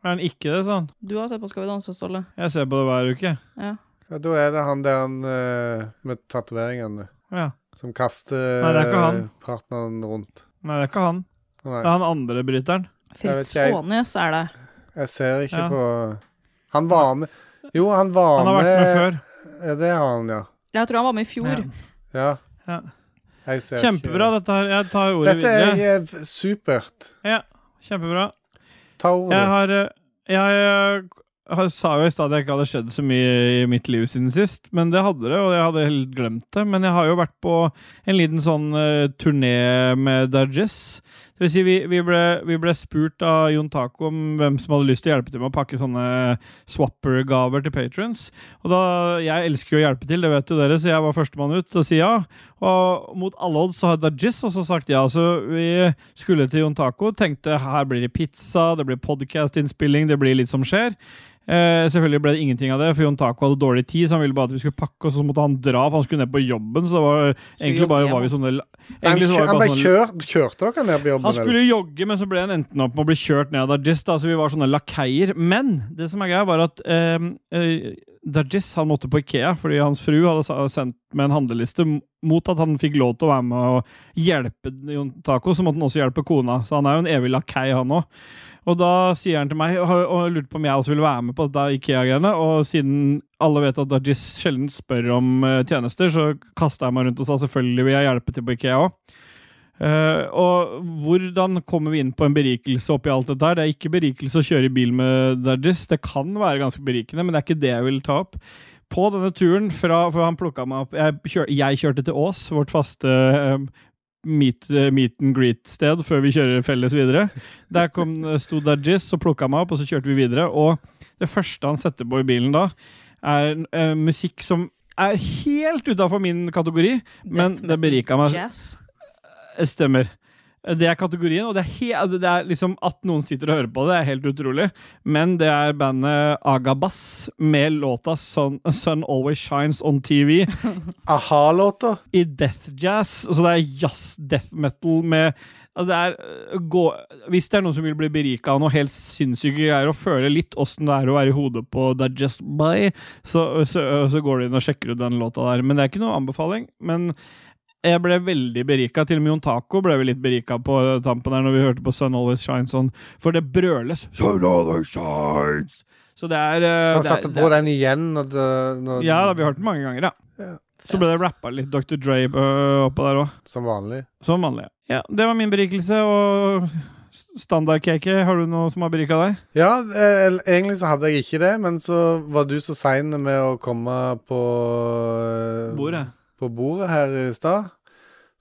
B: Er han ikke det, sånn?
A: Du har sett på Skal vi danse, Ståle.
B: Jeg ser på det hver uke.
A: Ja.
D: ja, da er det han der han, eh, med tatoveringene
B: Ja.
D: som kaster
B: Nei, det er ikke han.
D: eh, partneren rundt.
B: Nei, det er ikke han.
D: Nei,
B: Det er han andre bryteren.
D: Jeg vet
A: Fritz
D: ikke, jeg-
A: Aanes er det.
D: jeg ser ikke
B: Ja.
D: på Han var med Jo, han var
B: Han har vært med før.
D: Ja, det har han, ja.
A: Jeg tror han var med i fjor.
D: ja.
B: Ja.
D: Jeg ser
B: Kjempebra,
D: ikke
B: dette her. Jeg tar ordet
D: Dette er
B: videre.
D: eh, f- supert.
B: Kjempebra.
D: Ta ordet.
B: Jeg har eh, Jeg eh, har- sa jo i stad at det ikke hadde skjedd så mye i mitt liv siden sist, men det hadde det, og jeg hadde helt glemt det. Men jeg har jo vært på en liten sånn eh, turné med Dajess. Det vil si, vi, vi, ble, vi ble spurt av Jon Taco om hvem som hadde lyst til å hjelpe til med å pakke sånne swapper-gaver til patrons. Og da, jeg elsker jo å hjelpe til, det vet jo dere, så jeg var førstemann ut til å si ja. Og mot alle odds så har Dajis også sagt ja. Så vi skulle til Jon Taco, tenkte her blir det pizza, det blir podcast-innspilling, det blir litt som skjer. Eh, selvfølgelig ble det ingenting av det, for Jon Taco hadde dårlig tid, så han ville bare at vi skulle pakke, og så måtte han dra, for han skulle ned på jobben, så det var egentlig
A: jogge
B: bare
A: hjem,
B: var vi sånne
D: Han,
B: egentlig så var
D: kjø-
B: vi
D: han
B: bare
D: ble
B: sånne
D: kjørt Kjørte dere ned på jobben?
B: han
D: eller?
B: skulle jogge, men så ble han enten opp med å bli kjørt ned av Dajis. Da, så vi var sånne lakeier. Men det som er greia, var at eh, eh, Dajis han måtte på Ikea fordi hans fru hadde sa- sendt med en handleliste m- mot at han fikk lov til å være med og hjelpe Jon Taco. Så måtte han også hjelpe kona. Så han er jo en evig lakei, han òg. Og da sier han til meg og har- og lurte på om jeg også ville være med på dette Ikea-greiene. Og siden alle vet at Dajis sjelden spør om eh, tjenester, så kasta jeg meg rundt og sa selvfølgelig vil jeg hjelpe til på Ikea òg. Eh, og hvordan kommer vi inn på en berikelse oppi alt dette her? Det er ikke berikelse å kjøre i bil med Dajis. Det kan være ganske berikende, men det er ikke det jeg vil ta opp. På denne turen fra For han plukka meg opp Jeg, kjør, jeg kjørte til Ås, vårt faste eh, meet, eh, meet and greet-sted, før vi kjører felles videre. Der kom, eh, sto Dajis og plukka meg opp, og så kjørte vi videre. Og det første han setter på i bilen da, er eh, musikk som er helt utafor min kategori, men
A: Death
B: det
A: metal
B: berika meg.
A: Jazz.
B: Eh, Stemmer. Eh, Det er kategorien, og det er, he altså, det er liksom at noen sitter og hører på det, er helt utrolig. Men det er bandet Agabass med låta Sun, Sun Always Shines On TV
D: A-ha-låter.
B: i death jazz. Så det er jazz death metal med altså det er, øh, gå, Hvis det er noen som vil bli berika av noe helt sinnssyke greier og føle litt åssen det er å være i hodet på Digest By, så, øh, så, så går du inn og sjekker ut den låta der. Men det er ikke noe anbefaling. Men jeg ble veldig berika. Til og med Jon Taco ble vi litt berika på tampen der når vi hørte på Sun Always Shines On, for det brøles Sun Always Shines! Så det er øh,
D: Så
B: det
D: han
B: er-
D: satte
B: det
D: på
B: er-
D: den igjen. Når det, når,
B: Ja, da, vi har hørt den mange ganger, ja. Så ble det rappa litt Dr. Dre øh, oppå der òg.
D: Som vanlig.
B: Som vanlig. Ja, det var min berikelse, og s- standardcake, har du noe som har berika deg?
D: Ja, eh, eller egentlig så hadde jeg ikke det, men så var du så sein med å komme på eh, På bordet her i stad.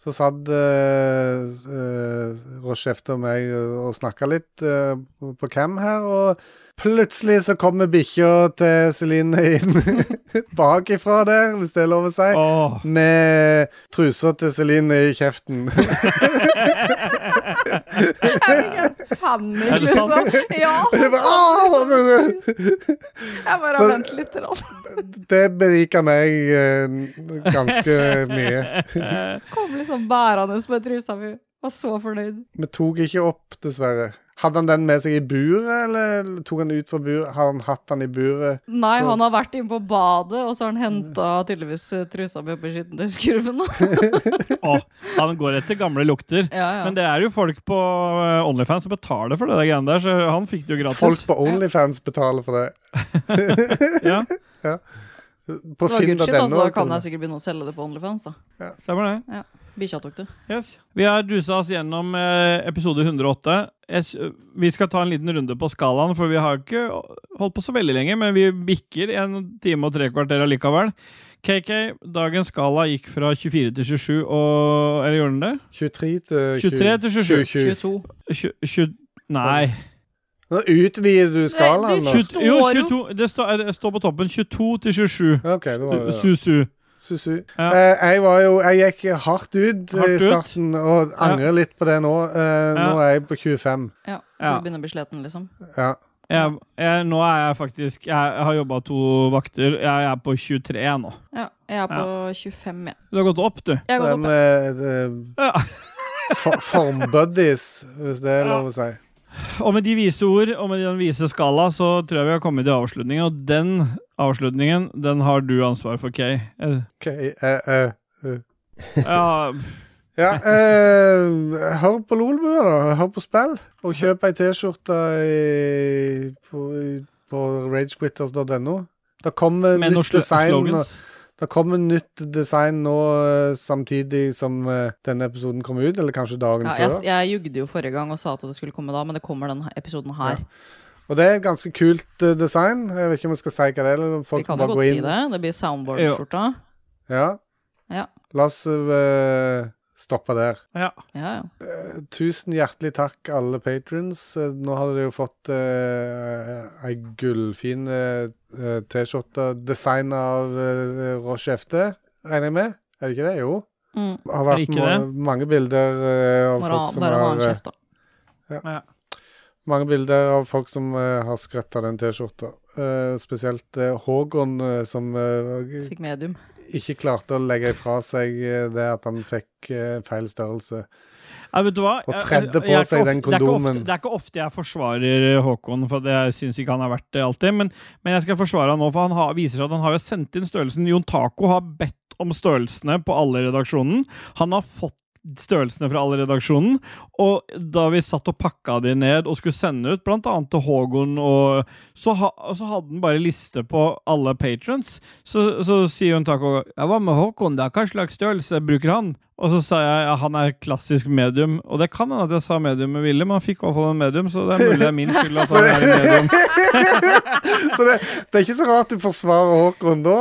D: Så satt eh, s- eh, Rochefte og meg og snakka litt eh, på- på cam her, og plutselig så kommer bikkja til Celine inn bakifra der, hvis det er lov å si.
B: Åh.
D: Med trusa til Celine i kjeften.
B: Er
A: Panikk,
B: det sant?
A: liksom. Ja.
D: Jeg bare, «Åh!» men, eh,
A: Jeg bare
D: Så-
A: vent litt. til han
D: Det beriker meg eh, ganske mye.
A: Kom liksom bærende med trusa mi. Var så fornøyd.
D: Vi tok ikke opp, dessverre. Hadde han den med seg i buret, eller tok han ut fra buret? Har han hatt den i buret?
A: Nei, han har vært inne på badet, og så har han henta tydeligvis eh, trusa mi oppi skittentøyskurven.
B: Åh, han går etter gamle lukter.
A: Ja, ja.
B: Men det er jo folk på øh, Onlyfans som betaler for det der greiene der, så han fikk det jo gratis.
D: Folk på Onlyfans betaler for det.
B: Ja,
D: På
A: Det var good shit, altså.
D: finn.no.
A: Da kan jeg sikkert begynne å selge det på OnlyFans. da.
B: stemmer det.
A: Bikkja tok det.
B: Yes. Vi har dusa oss gjennom eh, episode 108. Jeg, s- vi skal ta en liten runde på skalaen, for vi har ikke holdt på så veldig lenge, men vi bikker en time og tre kvarter allikevel. KK, dagens skala gikk fra 24 til 27, og Eller gjorde den det?
D: 23 til
B: 23 til 27.
D: 27.
A: 22.
B: Tju- tju- nei.
D: Nå utvider du skalaen.
A: Nei,
D: nå.
A: du-
B: Tju- Jo,
A: står jo-
B: 22, det står, det står på toppen 22 til 27.
D: OK, det var det. ja.
B: Susu.
D: Susu.
B: Ja.
D: Eh, jeg var jo Jeg gikk hardt ut eh,
B: Hardt
D: i
B: ut.
D: starten, og angrer litt på det nå. Eh,
B: Ja.
D: Nå er jeg på 25.
A: Ja,
B: Ja.
A: Du begynner å bli sliten, liksom.
D: Ja.
B: Jeg, jeg, nå er jeg faktisk Jeg, jeg har jobba to vakter. Jeg er på 23 nå.
A: Ja, jeg er på 25, jeg.
B: Du har gått opp, du.
A: Jeg har gått
D: Det
A: opp, jeg.
D: med eh,
B: Ja.
D: for, Formbuddies, hvis det er lov å si.
B: Og med de vise ord og med den vise skala så tror jeg vi har kommet til avslutningen. Og den avslutningen, den har du ansvar for, Kay. Eh,
D: Ok, eh, eh.
B: Ja,
D: Ja, eh, hør på Lolbua, da. Hør på spill. Og kjøp ei T-skjorte i- på, i- på ragequitters.no. Det kommer
B: med
D: nytt
B: norske
D: design. og-
B: slogans.
D: Det kommer nytt design nå eh, samtidig som eh, denne episoden kommer ut, eller kanskje dagen
A: Ja, jeg,
D: før.
A: jeg jugde jo forrige gang og sa at det skulle komme da, men det kommer denne episoden her.
D: Og det er et ganske kult eh, design. Jeg vet ikke om jeg skal si hva det er. Eller om
A: Vi
D: folk
A: kan
D: bare
A: jo godt
D: går
A: si
D: inn.
A: det. Det blir soundboard-skjorta.
D: Ja.
A: Ja.
D: La oss eh, stoppe der.
B: Ja.
A: Ja, ja.
D: Tusen hjertelig takk, alle patrons. Eh, Nå har dere jo fått eh, ei gullfin eh, T-skjorte designa av eh, Roche Efte, regner jeg med? Er det ikke det? Jo.
A: Mm.
D: Det har vært
B: Ikke
D: ma
B: det.
D: mange bilder eh, av
A: Bare,
D: folk som
A: bare ha en
D: har eh,
A: kjeft, da.
B: Ja.
D: Mange bilder av folk som eh, har skrøtt av den T-skjorta. Eh, spesielt eh, Hågon, eh, som eh,
A: Fikk medium.
D: ikke klarte å legge ifra seg eh, det at han fikk eh, feil størrelse.
B: Nei, vet du hva?
D: Og
B: Jeg-
D: tredde på
B: jeg er ikke ofte-
D: seg den
B: det er ikke ofte-
D: kondomen.
B: Det er ikke ofte jeg forsvarer eh, Håkon, for det syns ikke han er verdt det alltid. Men, men jeg skal forsvare han nå, for han har, viser seg at han har jo sendt inn størrelsen. Jon Taco har bedt om størrelsene på alle i redaksjonen. Han har fått størrelsene fra alle i redaksjonen, og da vi satt og pakka de ned og skulle sende ut, blant annet til Hågon, og så, ha, og så hadde han bare liste på alle patrons. Så, så sier hun Taco ja, 'Hva med Håkon, da? Hva slags størrelse bruker han?' Og så sa jeg ja, han er klassisk medium. Og det kan hende at jeg sa medium med vilje, men han fikk i hvert fall en medium, så det er mulig det er min skyld at han er en medium.
D: Så det, det er ikke så rart du forsvarer Håkon da.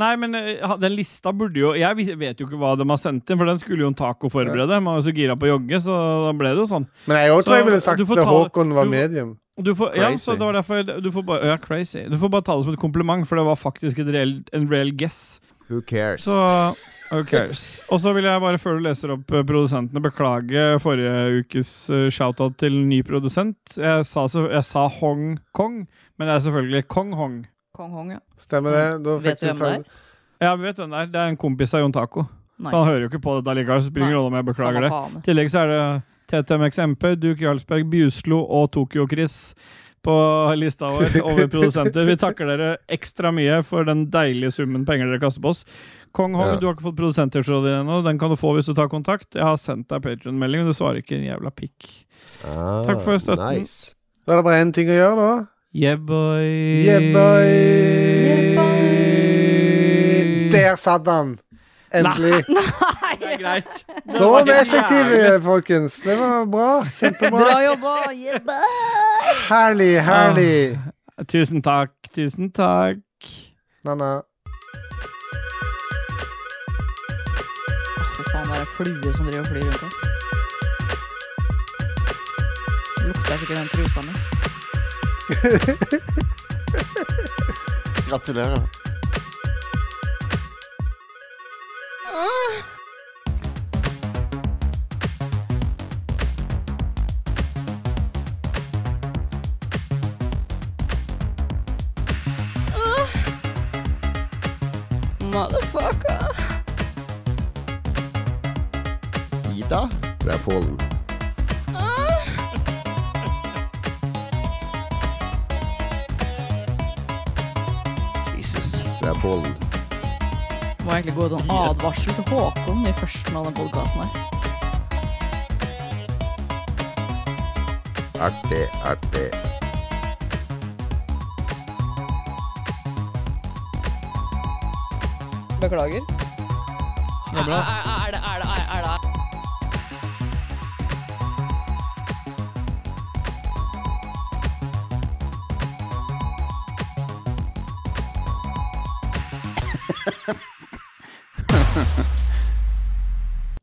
B: Nei, men eh, ha- den lista burde jo Jeg vis- vet jo ikke hva de har sendt inn, for den skulle jo en taco forberede. Man var jo så gira på å jogge, så da ble det jo sånn.
D: Men jeg òg
B: Så
D: tror jeg ville sagt
B: du får
D: at
B: ta-
D: Håkon var
B: du-
D: medium.
B: Du får, ja,
D: Crazy.
B: så det var derfor jeg- du får bare, ja, crazy. Du får bare ta det som et kompliment, for det var faktisk et reell, en reell guess.
F: Who cares?
B: Så OK. Og så vil jeg bare, før du leser opp eh, produsentene, beklage forrige ukes eh, shoutout til ny produsent. Jeg sa, så, jeg sa Hong Kong, men det er selvfølgelig Kong Hong.
A: Kong Hong, ja.
D: Stemmer det? Da
A: Vet
D: fikk
A: du hvem
D: ta-
A: det
B: Ja, vi vet hvem det er. Det er en kompis av Jon Taco.
A: Nice.
B: Han hører jo ikke på dette likevel, så det spiller ingen
A: Nei,
B: rolle om jeg beklager det.
A: Samme faen.
B: I tillegg så er det TTMX MP, Duke Jarlsberg, Bjuslo og Tokyo-Chris på lista vår over produsenter. Vi takker dere ekstra mye for den deilige summen penger dere kaster på oss. Kong Hong,
F: Ja.
B: du har ikke fått produsenttidsrådet din ennå. Den kan du få hvis du tar kontakt. Jeg har sendt deg Patreon-melding, men du svarer ikke en jævla pikk.
F: Ah,
B: Takk for støtten.
F: Nice.
D: Da er det bare én ting å gjøre, da.
B: Yeah, boy.
D: Yeah, boy. Der satt han! Endelig.
B: Det er greit.
D: Da var vi effektive, folkens. Det var bra. Kjempebra.
A: Bra jobba! Jebba!
D: Herlig, herlig.
B: Ah. Tusen takk. Tusen takk.
D: Na-na.
A: Fy faen, det er en flue som driver og flyr rundt her. Lukter jeg ikke den trusa mi?
F: Gratulerer.
A: Motherfucker!
F: Ida fra Polen. Jesus fra Polen.
A: Må egentlig gå ut en advarsel til Håkon i førsten av den podkasten her.
F: Artig, artig.
A: Beklager.
B: Det er bra.
A: Er det, er det, er det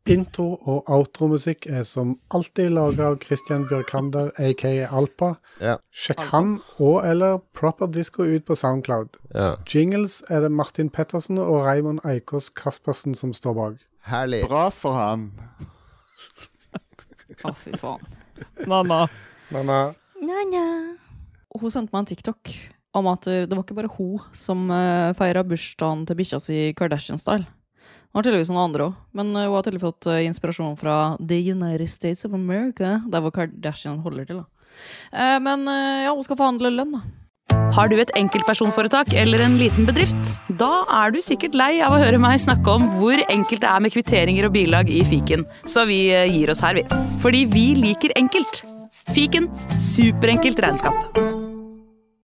D: Intro- og outromusikk er som alltid laga av Christian Bjørkander, aka Alpa.
F: Ja.
D: Sjekk han og eller Proper Disco ut på Soundcloud.
F: Ja.
D: Jingles er det Martin Pettersen og Raymond Eikås Kaspersen som står bak.
F: Herlig.
E: Bra for han.
A: Å, fy faen.
B: Na-na.
D: Men eh,
A: Og Hun sendte meg en TikTok om at det var ikke bare hun som uh, feira bursdagen til bikkja si Kardashian-style. Det var tydeligvis noen andre òg, men eh, hun har tydeligvis fått eh, inspirasjon fra The United States of America, der hvor Kardashian holder til. da. Eh, men eh, ja, hun skal forhandle lønn, da.
H: Har du et enkeltpersonforetak eller en liten bedrift? Da er du sikkert lei av å høre meg snakke om hvor enkelt det er med kvitteringer og bilag i fiken, så vi eh, gir oss her, vi. Fordi vi liker enkelt. Fiken superenkelt regnskap.